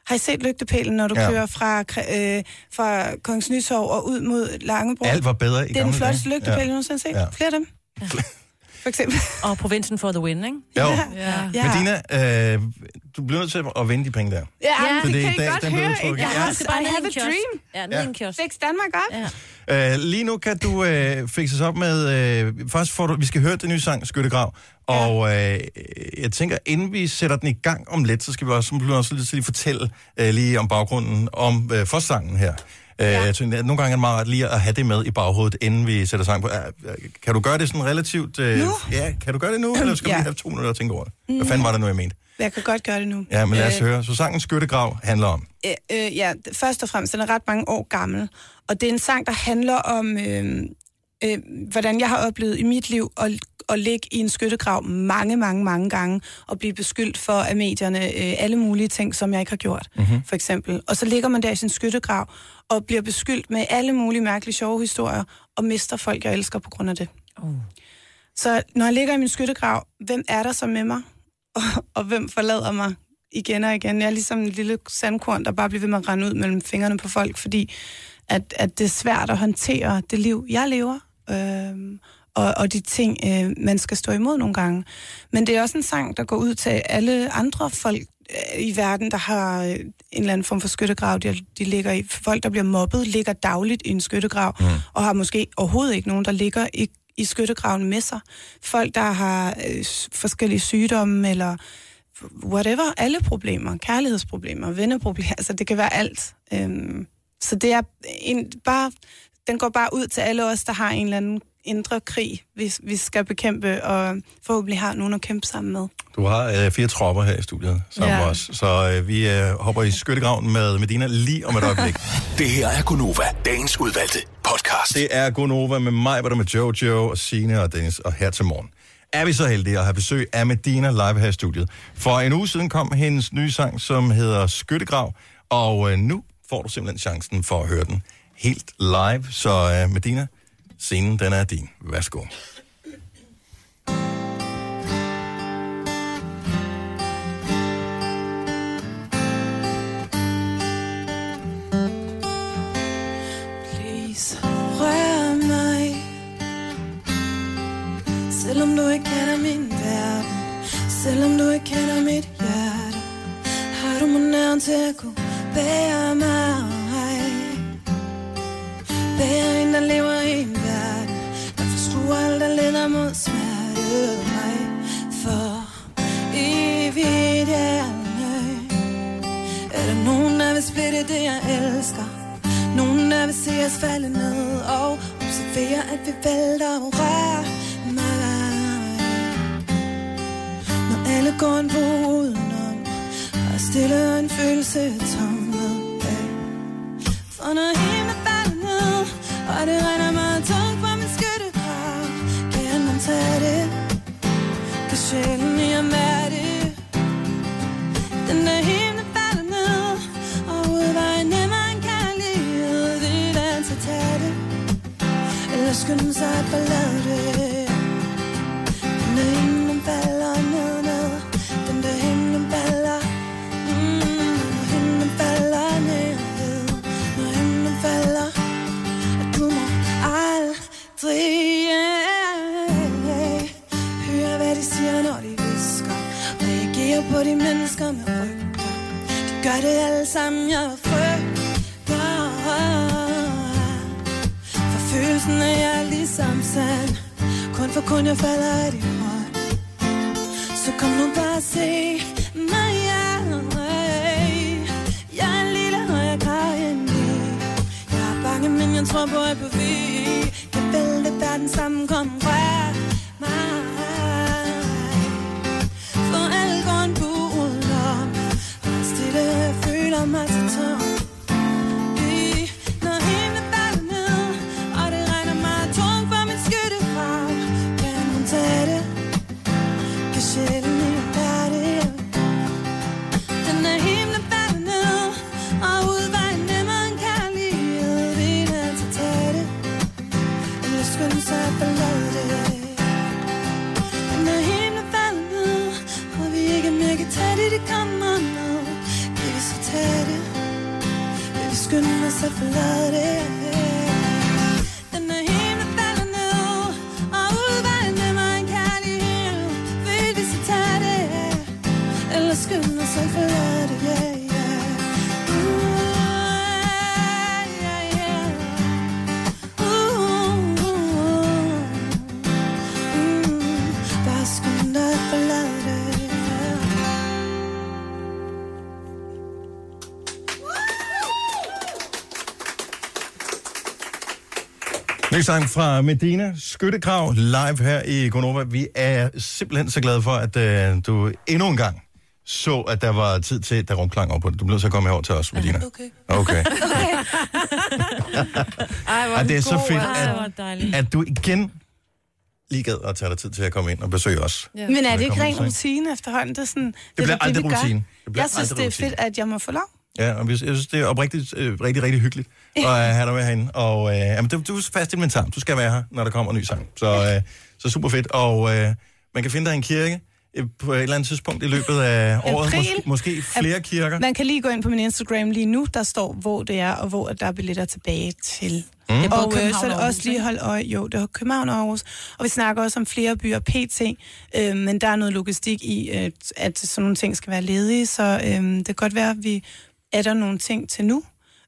[SPEAKER 14] Har I set lygtepælen, når du
[SPEAKER 1] Ja.
[SPEAKER 14] ja. kører fra, Kre- øh, fra Kongens Nytorv og ud mod Langebro?
[SPEAKER 1] Alt var bedre i
[SPEAKER 14] Det er den
[SPEAKER 1] gamle
[SPEAKER 14] flotteste
[SPEAKER 1] dage.
[SPEAKER 14] lygtepæl,
[SPEAKER 1] Ja.
[SPEAKER 14] jeg nogensinde har set.
[SPEAKER 1] Ja.
[SPEAKER 14] Ja. Flere af dem. For eksempel.
[SPEAKER 6] Og provinsen for the win, ikke?
[SPEAKER 1] Jo. Ja.
[SPEAKER 14] Ja.
[SPEAKER 1] Men Dina, øh, du bliver nødt til at vinde de penge der.
[SPEAKER 14] Ja,
[SPEAKER 1] Fordi
[SPEAKER 14] det kan
[SPEAKER 1] i
[SPEAKER 14] I
[SPEAKER 1] dag,
[SPEAKER 14] godt
[SPEAKER 1] den blev
[SPEAKER 14] høre.
[SPEAKER 1] udtrykket.
[SPEAKER 14] ikke? Jeg
[SPEAKER 1] Ja.
[SPEAKER 14] har også bare
[SPEAKER 6] Bare ned i
[SPEAKER 14] have
[SPEAKER 6] en
[SPEAKER 14] a
[SPEAKER 6] kiosk.
[SPEAKER 14] dream.
[SPEAKER 6] Ja, ned i en kiosk.
[SPEAKER 14] Fix Danmark op. Ja.
[SPEAKER 1] Øh, lige nu kan du øh, fikse os op med... Øh, først får du... Vi skal høre den nye sang, Skyttegrav. Og øh, jeg tænker, inden vi sætter den i gang om lidt, så skal vi også, så bliver vi også lige til at fortælle øh, lige om baggrunden om øh, for sangen her. Øh, ja. jeg tænker, at nogle gange er det meget rart lige at have det med i baghovedet, inden vi sætter sang på. Øh, øh, kan du gøre det sådan relativt... Øh,
[SPEAKER 14] Nu?
[SPEAKER 1] Ja, kan du gøre det nu, eller skal ja.
[SPEAKER 14] Ja.
[SPEAKER 1] vi have to minutter at tænke over det? Hvad fanden var det nu, jeg mente?
[SPEAKER 14] Jeg kan godt gøre det nu.
[SPEAKER 1] Ja, men lad os
[SPEAKER 14] Øh,
[SPEAKER 1] høre. Så sangen Skyttegrav handler om...
[SPEAKER 14] øh, øh, ja, d- først og fremmest, den er ret mange år gammel. Og det er en sang, der handler om, øh, øh, hvordan jeg har oplevet i mit liv at, at ligge i en skyttegrav mange, mange, mange gange, og blive beskyldt for af medierne øh, alle mulige ting, som jeg ikke har gjort, mm-hmm. for eksempel. Og så ligger man der i sin skyttegrav, og bliver beskyldt med alle mulige mærkelige sjove historier, og mister folk, jeg elsker på grund af det.
[SPEAKER 6] Oh.
[SPEAKER 14] Så når jeg ligger i min skyttegrav, hvem er der så med mig? Og, og hvem forlader mig igen og igen? Jeg er ligesom en lille sandkorn, der bare bliver ved med at rende ud mellem fingrene på folk, fordi at, at det er svært at håndtere det liv, jeg lever, øhm, og, og de ting, øh, man skal stå imod nogle gange. Men det er også en sang, der går ud til alle andre folk øh, i verden, der har øh, en eller anden form for skyttegrav, de, de ligger i. Folk, der bliver mobbet, ligger dagligt i en skyttegrav, mm. og har måske overhovedet ikke nogen, der ligger i, i skyttegraven med sig. Folk, der har øh, s- forskellige sygdomme, eller whatever, alle problemer, kærlighedsproblemer, venneproblemer, altså det kan være alt. Øhm, så det er en, bare, den går bare ud til alle os, der har en eller anden indre krig, vi, vi skal bekæmpe, og forhåbentlig har nogen at kæmpe sammen med.
[SPEAKER 1] Du har øh, fire tropper her i studiet sammen ja.
[SPEAKER 14] Ja.
[SPEAKER 1] med os, så øh, vi øh, hopper i skyttegraven med Medina lige om et øjeblik.
[SPEAKER 9] Det her er Gonova, dagens udvalgte podcast.
[SPEAKER 1] det er Gonova med mig, hvor der med Jojo og Sine og Dennis, og her til morgen. Er vi så heldige at have besøg af Medina live her i studiet. For en uge siden kom hendes nye sang, som hedder Skyttegrav, og øh, nu får du simpelthen chancen for at høre den helt live. Så øh, Medina, scenen den er din. Værsgo.
[SPEAKER 15] Please, rør mig Selvom du ikke kender min verden Selvom du ikke kender mit hjerte Har du mit navn til at kunne bære mig Bære en, der lever i en verden Der forstuer alt, der leder mod smerte mig For evigt er mig Er der nogen, der vil splitte mennesker Nogen er ved se os falde ned Og observerer at vi vælter og rører mig Når alle går en bro udenom Og stiller en følelse af tomhed af. For når himlen falder ned Og det regner meget tungt på min skyttegrav Kan man tage det Kan sjælen i at mærke det den der himmel falder ned Og udvejen nemmere end kærlighed Det er dans at tage det Eller skynde sig at forlade det Den der himmel falder ned, ned Den der himmel falder Mm, når himlen falder ned, når himlen falder, at du må aldrig, yeah. Høre, hvad de siger, når de visker. Reagerer på de mennesker med rygter. De gør det alle sammen, jeg frygter. For følelsen er jeg ligesom sand. Kun for kun jeg falder af din hånd. Så kom nu bare og se mig an. Jeg er en lille og jeg græder en Jeg er bange, men jeg tror på, at på vi kan vælte verden sammen. Kom, rør mig. For alle går en bul om Og stille jeg føler mig så tom I, Når himlen falder ned Og det regner meget tungt på min skyttegrav Kan hun tage det? Kan sjælen ikke bære det? Den er himlen falder ned Og udvejen nemmere end kærlighed Det er der til at tage det Eller skynde sig at forlade det når himlen falder ned Og vi ikke mere kan tage det, det kommer nu Kan vi så tage det Vil vi skynde os at forlade det Den når himlen falder ned Og udvejen nemmere end kærlighed Vil vi så tage det Eller skynde os at forlade det yeah, yeah. Uh, yeah, yeah. Uh, uh, uh. Bare skynd dig at forlade det.
[SPEAKER 1] Ny sang fra Medina, Skyttegrav, live her i Gonova. Vi er simpelthen så glade for, at øh, du endnu en gang så, at der var tid til, der rumklang over på det. Du bliver så komme herover til os, Medina. Okay. Okay.
[SPEAKER 2] Ej, hvor
[SPEAKER 1] Ej, det er
[SPEAKER 2] den
[SPEAKER 1] så
[SPEAKER 2] god,
[SPEAKER 1] fedt,
[SPEAKER 2] altså. Ej, hvor
[SPEAKER 1] at,
[SPEAKER 2] dejligt.
[SPEAKER 1] at du igen lige gad at tage dig tid til at komme ind og besøge os.
[SPEAKER 14] Ja. Men er
[SPEAKER 1] Når
[SPEAKER 14] det
[SPEAKER 1] vi
[SPEAKER 14] ikke
[SPEAKER 1] kommer
[SPEAKER 14] ren
[SPEAKER 1] på besøg.
[SPEAKER 14] rutine efterhånden? Det, er sådan, det,
[SPEAKER 1] bliver
[SPEAKER 14] er da
[SPEAKER 1] aldrig
[SPEAKER 14] vi gør.
[SPEAKER 1] rutine. Det bliver
[SPEAKER 14] jeg synes,
[SPEAKER 1] aldrig
[SPEAKER 14] det er fedt, at jeg må få lov.
[SPEAKER 1] Ja, og vi- jeg synes, det er oprigtigt øh, rigtig, rigtig hyggeligt at øh, have dig med herinde. Og øh, jamen, du, du er fast inventar. Du skal være her, når der kommer en ny sang. Så, øh, så super fedt. Og øh, man kan finde dig i en kirke øh, på et eller andet tidspunkt i løbet af året.
[SPEAKER 14] April.
[SPEAKER 1] Mås- måske flere kirker.
[SPEAKER 14] Man kan lige gå ind på min Instagram lige nu, der står, hvor det er, og hvor at der er billetter tilbage til.
[SPEAKER 1] Mm. Det er både
[SPEAKER 14] Og øh,
[SPEAKER 1] København
[SPEAKER 14] så er det
[SPEAKER 1] og
[SPEAKER 14] også lige holde øje, jo, det er København og Aarhus, og vi snakker også om flere byer pt, øh, men der er noget logistik i, øh, at sådan nogle ting skal være ledige, så øh, det kan godt være, at vi er der nogle ting til nu,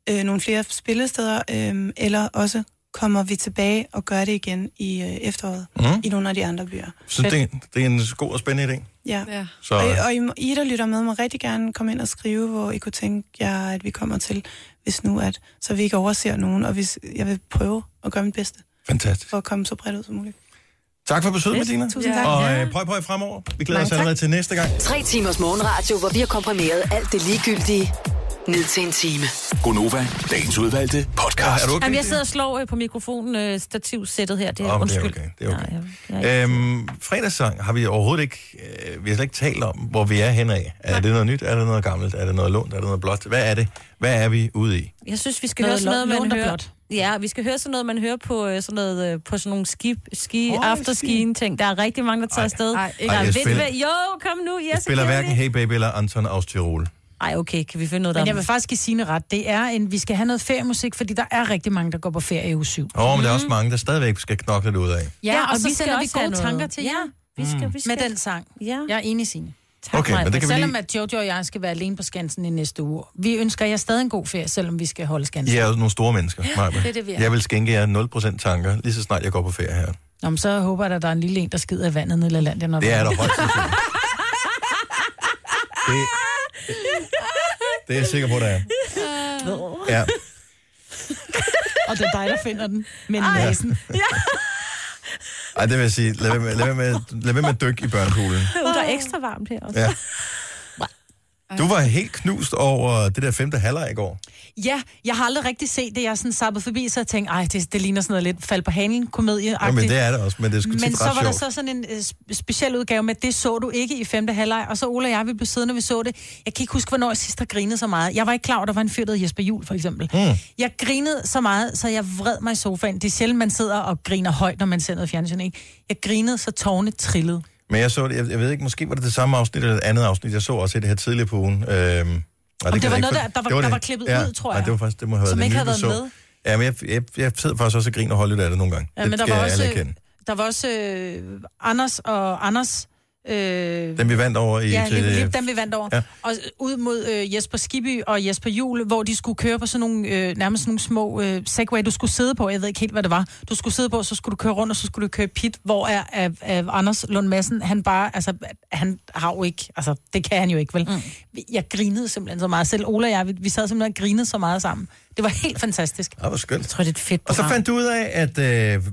[SPEAKER 14] øh, nogle flere spillesteder, øh, eller også kommer vi tilbage og gør det igen i øh, efteråret
[SPEAKER 1] Mm.
[SPEAKER 14] mm. i nogle af de andre byer.
[SPEAKER 1] Så det, det er en god og spændende idé.
[SPEAKER 14] Ja. ja.
[SPEAKER 1] Så-
[SPEAKER 14] Så... Og, I- og I, må- I, der lytter med, må rigtig gerne komme ind og skrive, hvor I kunne tænke jer, at vi kommer til, hvis nu at, så vi ikke overser nogen, og hvis, jeg vil prøve at gøre mit bedste.
[SPEAKER 1] Fantastisk.
[SPEAKER 14] For at komme så bredt ud som muligt.
[SPEAKER 1] Tak for besøget,
[SPEAKER 14] Fedt.
[SPEAKER 1] Medina.
[SPEAKER 14] Tusind tak.
[SPEAKER 1] Og
[SPEAKER 14] Ja.
[SPEAKER 1] øh, prøv, prøv fremover. Vi glæder
[SPEAKER 8] Mange
[SPEAKER 1] os allerede
[SPEAKER 8] tak.
[SPEAKER 1] til næste gang.
[SPEAKER 8] Tre timers morgenradio, hvor vi har komprimeret alt det ligegyldige ned til en time.
[SPEAKER 9] Gonova, dagens udvalgte podcast.
[SPEAKER 6] Jamen, jeg sidder og slår øh, på mikrofonstativsættet her. Det er,
[SPEAKER 1] Åh, men det er
[SPEAKER 6] undskyld.
[SPEAKER 1] okay, det er okay.
[SPEAKER 6] Nej, jeg, jeg,
[SPEAKER 1] Øhm, fredagssang har vi overhovedet ikke, øh, vi har slet ikke talt om, hvor vi er henad. Er det noget nyt? Er det noget gammelt? Er det noget lånt? Er det noget blåt? Hvad er det? Hvad er vi ude i?
[SPEAKER 6] jeg synes, vi skal
[SPEAKER 3] Noget
[SPEAKER 6] høre sådan noget, man
[SPEAKER 3] lånt- lånt og
[SPEAKER 6] hører.
[SPEAKER 3] blåt.
[SPEAKER 6] Ja, vi skal høre sådan noget, man hører på, øh, sådan, noget, øh, på sådan nogle ski, ski
[SPEAKER 3] Åh,
[SPEAKER 6] oh, afterskien ting. Der er rigtig mange, der tager afsted. Ej,
[SPEAKER 1] ikke. Ej, jeg spiller-
[SPEAKER 6] Jo, kom nu, yes,
[SPEAKER 1] Jeg spiller hverken Hey Baby eller Anton aus Tirol.
[SPEAKER 6] Ej, okay, kan vi finde noget, der...
[SPEAKER 3] Men jeg vil faktisk give sine ret. Det er en, vi skal have noget feriemusik, fordi der er rigtig mange, der går på ferie i uge 7.
[SPEAKER 1] Åh, oh, men der
[SPEAKER 6] Mm.
[SPEAKER 1] er også mange, der stadigvæk skal knokle det ud af.
[SPEAKER 3] Ja, og, og
[SPEAKER 6] så
[SPEAKER 3] vi
[SPEAKER 6] skal
[SPEAKER 3] sender vi
[SPEAKER 6] også have
[SPEAKER 3] gode
[SPEAKER 6] noget.
[SPEAKER 3] tanker til
[SPEAKER 6] Ja,
[SPEAKER 3] jer.
[SPEAKER 6] vi skal, vi skal.
[SPEAKER 3] Med den sang.
[SPEAKER 6] Ja.
[SPEAKER 3] Jeg er enig, Signe.
[SPEAKER 1] Tak, Mm. Okay, Maja. men det kan vi
[SPEAKER 3] selvom
[SPEAKER 1] lige-
[SPEAKER 3] at Jojo og jeg skal være alene på Skansen i næste uge. Vi ønsker jer stadig en god ferie, selvom vi skal holde Skansen.
[SPEAKER 1] I er jo nogle store mennesker. Maja.
[SPEAKER 3] det er det, vi er.
[SPEAKER 1] Jeg vil skænke jer 0% tanker, lige så snart jeg går på ferie her.
[SPEAKER 3] Nå, men så håber jeg, at der er en lille en, der skider i vandet nede i Lalandia. Når
[SPEAKER 1] Det
[SPEAKER 3] vi-
[SPEAKER 1] er der højt sandsynligt. Det, det er jeg sikker på, der er. Ja.
[SPEAKER 3] og det er dig, der finder den. Men
[SPEAKER 1] Ej.
[SPEAKER 3] næsen.
[SPEAKER 16] Ja.
[SPEAKER 1] Ej, det vil jeg sige, lad være med, lad være med, lad være med at dykke i børnekuglen.
[SPEAKER 6] Øv, der er ekstra varmt her også.
[SPEAKER 1] Ja. Du var helt knust over det der femte halvleg i går.
[SPEAKER 3] Ja, jeg har aldrig rigtig set det. Jeg er sådan sappet forbi, så jeg tænkte, ej, det, det ligner sådan noget lidt fald på hanen komedie
[SPEAKER 1] Ja, men det er det også, men det er sgu tit
[SPEAKER 3] Men
[SPEAKER 1] ret
[SPEAKER 3] så var
[SPEAKER 1] sjovt.
[SPEAKER 3] der så sådan en øh, sp- speciel udgave med, at det så du ikke i femte halvleg, og så Ola og jeg, vi blev siddende, og vi så det. Jeg kan ikke huske, hvornår jeg sidst har grinet så meget. Jeg var ikke klar over, der var en fyr, der hed Jesper Jul, for eksempel.
[SPEAKER 1] Mm.
[SPEAKER 3] Jeg grinede så meget, så jeg vred mig i sofaen. Det er sjældent, man sidder og griner højt, når man ser noget fjernsyn, ikke? Jeg grinede, så tårne trillede.
[SPEAKER 1] Men jeg så det, jeg, jeg ved ikke, måske var det det samme afsnit eller et andet afsnit. Jeg så også et her tidligere på ugen. Øhm, og det, kan jeg
[SPEAKER 3] det var
[SPEAKER 1] ikke,
[SPEAKER 3] noget,
[SPEAKER 1] for-
[SPEAKER 3] der- der var-
[SPEAKER 1] det-
[SPEAKER 3] der var klippet
[SPEAKER 1] ja,
[SPEAKER 3] ud, tror
[SPEAKER 1] Nej,
[SPEAKER 3] jeg.
[SPEAKER 1] det var faktisk, det må have
[SPEAKER 3] Som
[SPEAKER 1] været
[SPEAKER 3] ikke
[SPEAKER 1] det
[SPEAKER 3] havde
[SPEAKER 1] nye, vi
[SPEAKER 3] været
[SPEAKER 1] så. Ja, men jeg, jeg, jeg sidder faktisk også og griner og holder lidt af det nogle gange.
[SPEAKER 3] Ja,
[SPEAKER 1] det
[SPEAKER 3] men der
[SPEAKER 1] skal
[SPEAKER 3] var
[SPEAKER 1] jeg
[SPEAKER 3] også,
[SPEAKER 1] alle erkende.
[SPEAKER 3] der var også øh, Anders og Anders... Øh,
[SPEAKER 1] Dem vi vandt over i...
[SPEAKER 3] ja,
[SPEAKER 1] til, øh,
[SPEAKER 3] lige, lige dem vi vandt over.
[SPEAKER 1] Ja.
[SPEAKER 3] Ja. Og ud mod øh, Jesper Skibby og Jesper Jul, hvor de skulle køre på sådan nogle, øh, nærmest sådan nogle små øh, segway, du skulle sidde på. Jeg ved ikke helt, hvad det var. Du skulle sidde på, så skulle du køre rundt, og så skulle du køre pit, hvor er, er, er Anders Lund Madsen, han bare, altså, han har jo ikke, altså, det kan han jo ikke, vel? Mm. Jeg grinede simpelthen så meget. Selv Ola og jeg, vi, vi sad simpelthen og grinede så meget sammen. Det var helt fantastisk.
[SPEAKER 1] Ja, hvor skønt. Jeg
[SPEAKER 3] tror, det er et fedt
[SPEAKER 1] Og så
[SPEAKER 3] program.
[SPEAKER 1] fandt du ud af, at øh,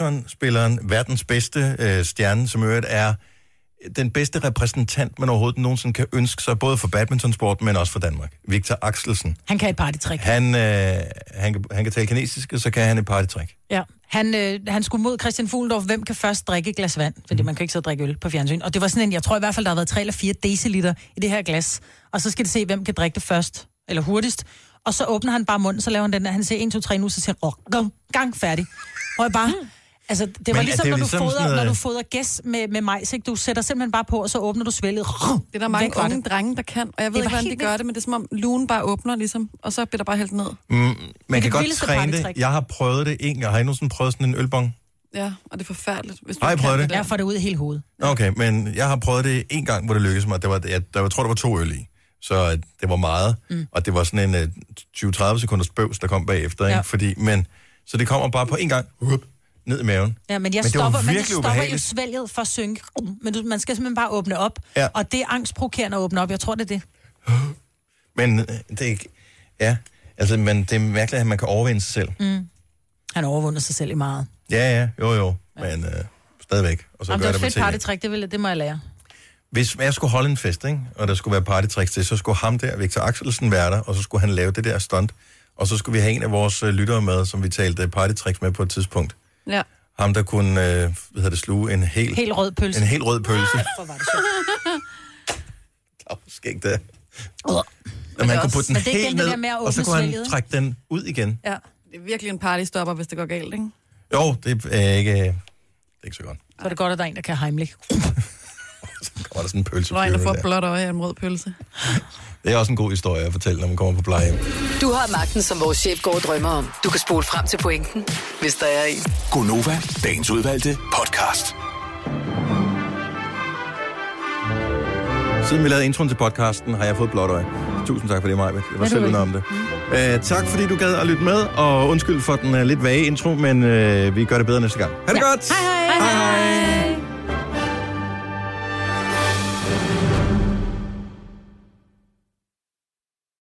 [SPEAKER 1] badmintonspilleren, verdens bedste øh, stjerne, som i øvrigt er øh, den bedste repræsentant, man overhovedet nogensinde kan ønske sig, både for badmintonsport, men også for Danmark. Victor Axelsen.
[SPEAKER 3] Han kan et partytrick.
[SPEAKER 1] Han, øh, han, kan, han kan tale kinesisk, og så kan han et partytrick.
[SPEAKER 3] Ja, han, øh, han skulle mod Christian Fuglendorf, hvem kan først drikke et glas vand? Fordi man kan ikke sidde og drikke øl på fjernsyn. Og det var sådan en, jeg tror i hvert fald, der har været 3 eller 4 deciliter i det her glas. Og så skal det se, hvem kan drikke det først, eller hurtigst. Og så åbner han bare munden, så laver han den der, han siger 1, 2, 3 nu, så siger han, oh, gang, gang, færdig. Og jeg bare, altså det var
[SPEAKER 1] Men er
[SPEAKER 3] ligesom,
[SPEAKER 1] det jo
[SPEAKER 3] når, du
[SPEAKER 1] ligesom
[SPEAKER 3] fodrer,
[SPEAKER 1] sådan noget-
[SPEAKER 3] når du fodrer gæs med, med majs, ikke? du sætter simpelthen bare på, og så åbner du svælget.
[SPEAKER 2] Det er der mange unge drenge, der kan, og jeg ved ikke, hvordan de gør det, men det er som om lugen bare åbner, ligesom, og så bliver der bare hældt ned.
[SPEAKER 1] Mm, man
[SPEAKER 2] det
[SPEAKER 1] kan godt
[SPEAKER 2] vildeste
[SPEAKER 1] træne det.
[SPEAKER 2] partytrick.
[SPEAKER 1] Jeg har prøvet det en gang. Har I nogensinde prøvet sådan en ølbong?
[SPEAKER 2] Ja, og det er forfærdeligt. Hvis du
[SPEAKER 1] Har I
[SPEAKER 2] ikke
[SPEAKER 1] prøvet
[SPEAKER 2] kan
[SPEAKER 1] det?
[SPEAKER 2] der.
[SPEAKER 1] Jeg
[SPEAKER 3] får det ud i hele hovedet.
[SPEAKER 1] Okay, men jeg har prøvet det en gang, hvor det lykkedes mig. Det var, jeg, der, jeg tror, der var to øl i. Så øh, det var meget. Mm. Og det var sådan en øh, 20-30 sekunders bøvs, der kom bagefter. Ikke?
[SPEAKER 3] Ja.
[SPEAKER 1] Fordi, men, så det kommer bare på en gang. Hup, ned i maven.
[SPEAKER 3] Ja, men jeg
[SPEAKER 1] men
[SPEAKER 3] men
[SPEAKER 1] det var
[SPEAKER 3] stopper, men jeg
[SPEAKER 1] virkelig
[SPEAKER 3] stopper jo
[SPEAKER 1] ubehageligt.
[SPEAKER 3] svælget for at synke. Uh, Men du, man skal simpelthen bare åbne op.
[SPEAKER 1] Ja.
[SPEAKER 3] Og det er angstprovokerende at åbne op. Jeg tror, det er det.
[SPEAKER 1] Men øh, det er ikke... Ja, altså, men det er mærkeligt, at man kan overvinde sig selv.
[SPEAKER 3] Mm. Han overvundet sig selv i meget.
[SPEAKER 1] Ja, ja, jo, jo. Men øh, stadigvæk. Og så
[SPEAKER 3] Jamen,
[SPEAKER 1] gør
[SPEAKER 3] det
[SPEAKER 1] det
[SPEAKER 3] er et
[SPEAKER 1] på
[SPEAKER 3] fedt
[SPEAKER 1] tv.
[SPEAKER 3] partytrick, det, vil, jeg- det må jeg lære.
[SPEAKER 1] Hvis jeg skulle holde en fest, ikke? og der skulle være partytricks til, så skulle ham der, Victor Axelsen, være der, og så skulle han lave det der stunt. Og så skulle vi have en af vores øh, lyttere med, som vi talte øh, partytricks med på et tidspunkt.
[SPEAKER 2] Ja.
[SPEAKER 1] Ham, der kunne øh, hvad hedder det, sluge en helt,
[SPEAKER 3] Helt rød pølse.
[SPEAKER 1] En helt rød pølse.
[SPEAKER 2] Ah!
[SPEAKER 3] Hvor var
[SPEAKER 1] Åh, skægt det.
[SPEAKER 3] Uh.
[SPEAKER 1] Og man kunne
[SPEAKER 2] også-
[SPEAKER 1] putte den
[SPEAKER 2] Men det er
[SPEAKER 1] helt
[SPEAKER 2] igen det
[SPEAKER 1] ned,
[SPEAKER 2] der med at
[SPEAKER 1] og så
[SPEAKER 2] åbne
[SPEAKER 1] kunne han
[SPEAKER 2] svælget.
[SPEAKER 1] trække den ud igen.
[SPEAKER 2] Ja, det er virkelig en partystopper, hvis det går galt, ikke?
[SPEAKER 1] Jo, det er ikke, øh, det er ikke så godt.
[SPEAKER 3] Så er det godt, at der er en, der kan heimlich.
[SPEAKER 1] Kommer der sådan en pølse?
[SPEAKER 2] Så der er en, der får et blåt øje af en rød pølse.
[SPEAKER 1] Det er også en god historie at fortælle, når man kommer på plejehjem.
[SPEAKER 8] Du har magten, som vores chef går og drømmer om. Du kan spole frem til pointen, hvis der er en.
[SPEAKER 9] Gonova, dagens udvalgte podcast.
[SPEAKER 1] Siden vi lavede introen til podcasten, har jeg fået blåt øje. Tusind tak for det, Maja. Jeg var selv under om det.
[SPEAKER 2] Mm.
[SPEAKER 1] Uh, tak fordi du gad at lytte med, øh, og undskyld for den uh, lidt vage intro, men uh, vi gør det bedre næste gang. Ha' det ja. godt!
[SPEAKER 16] Hej hej. hej, hej.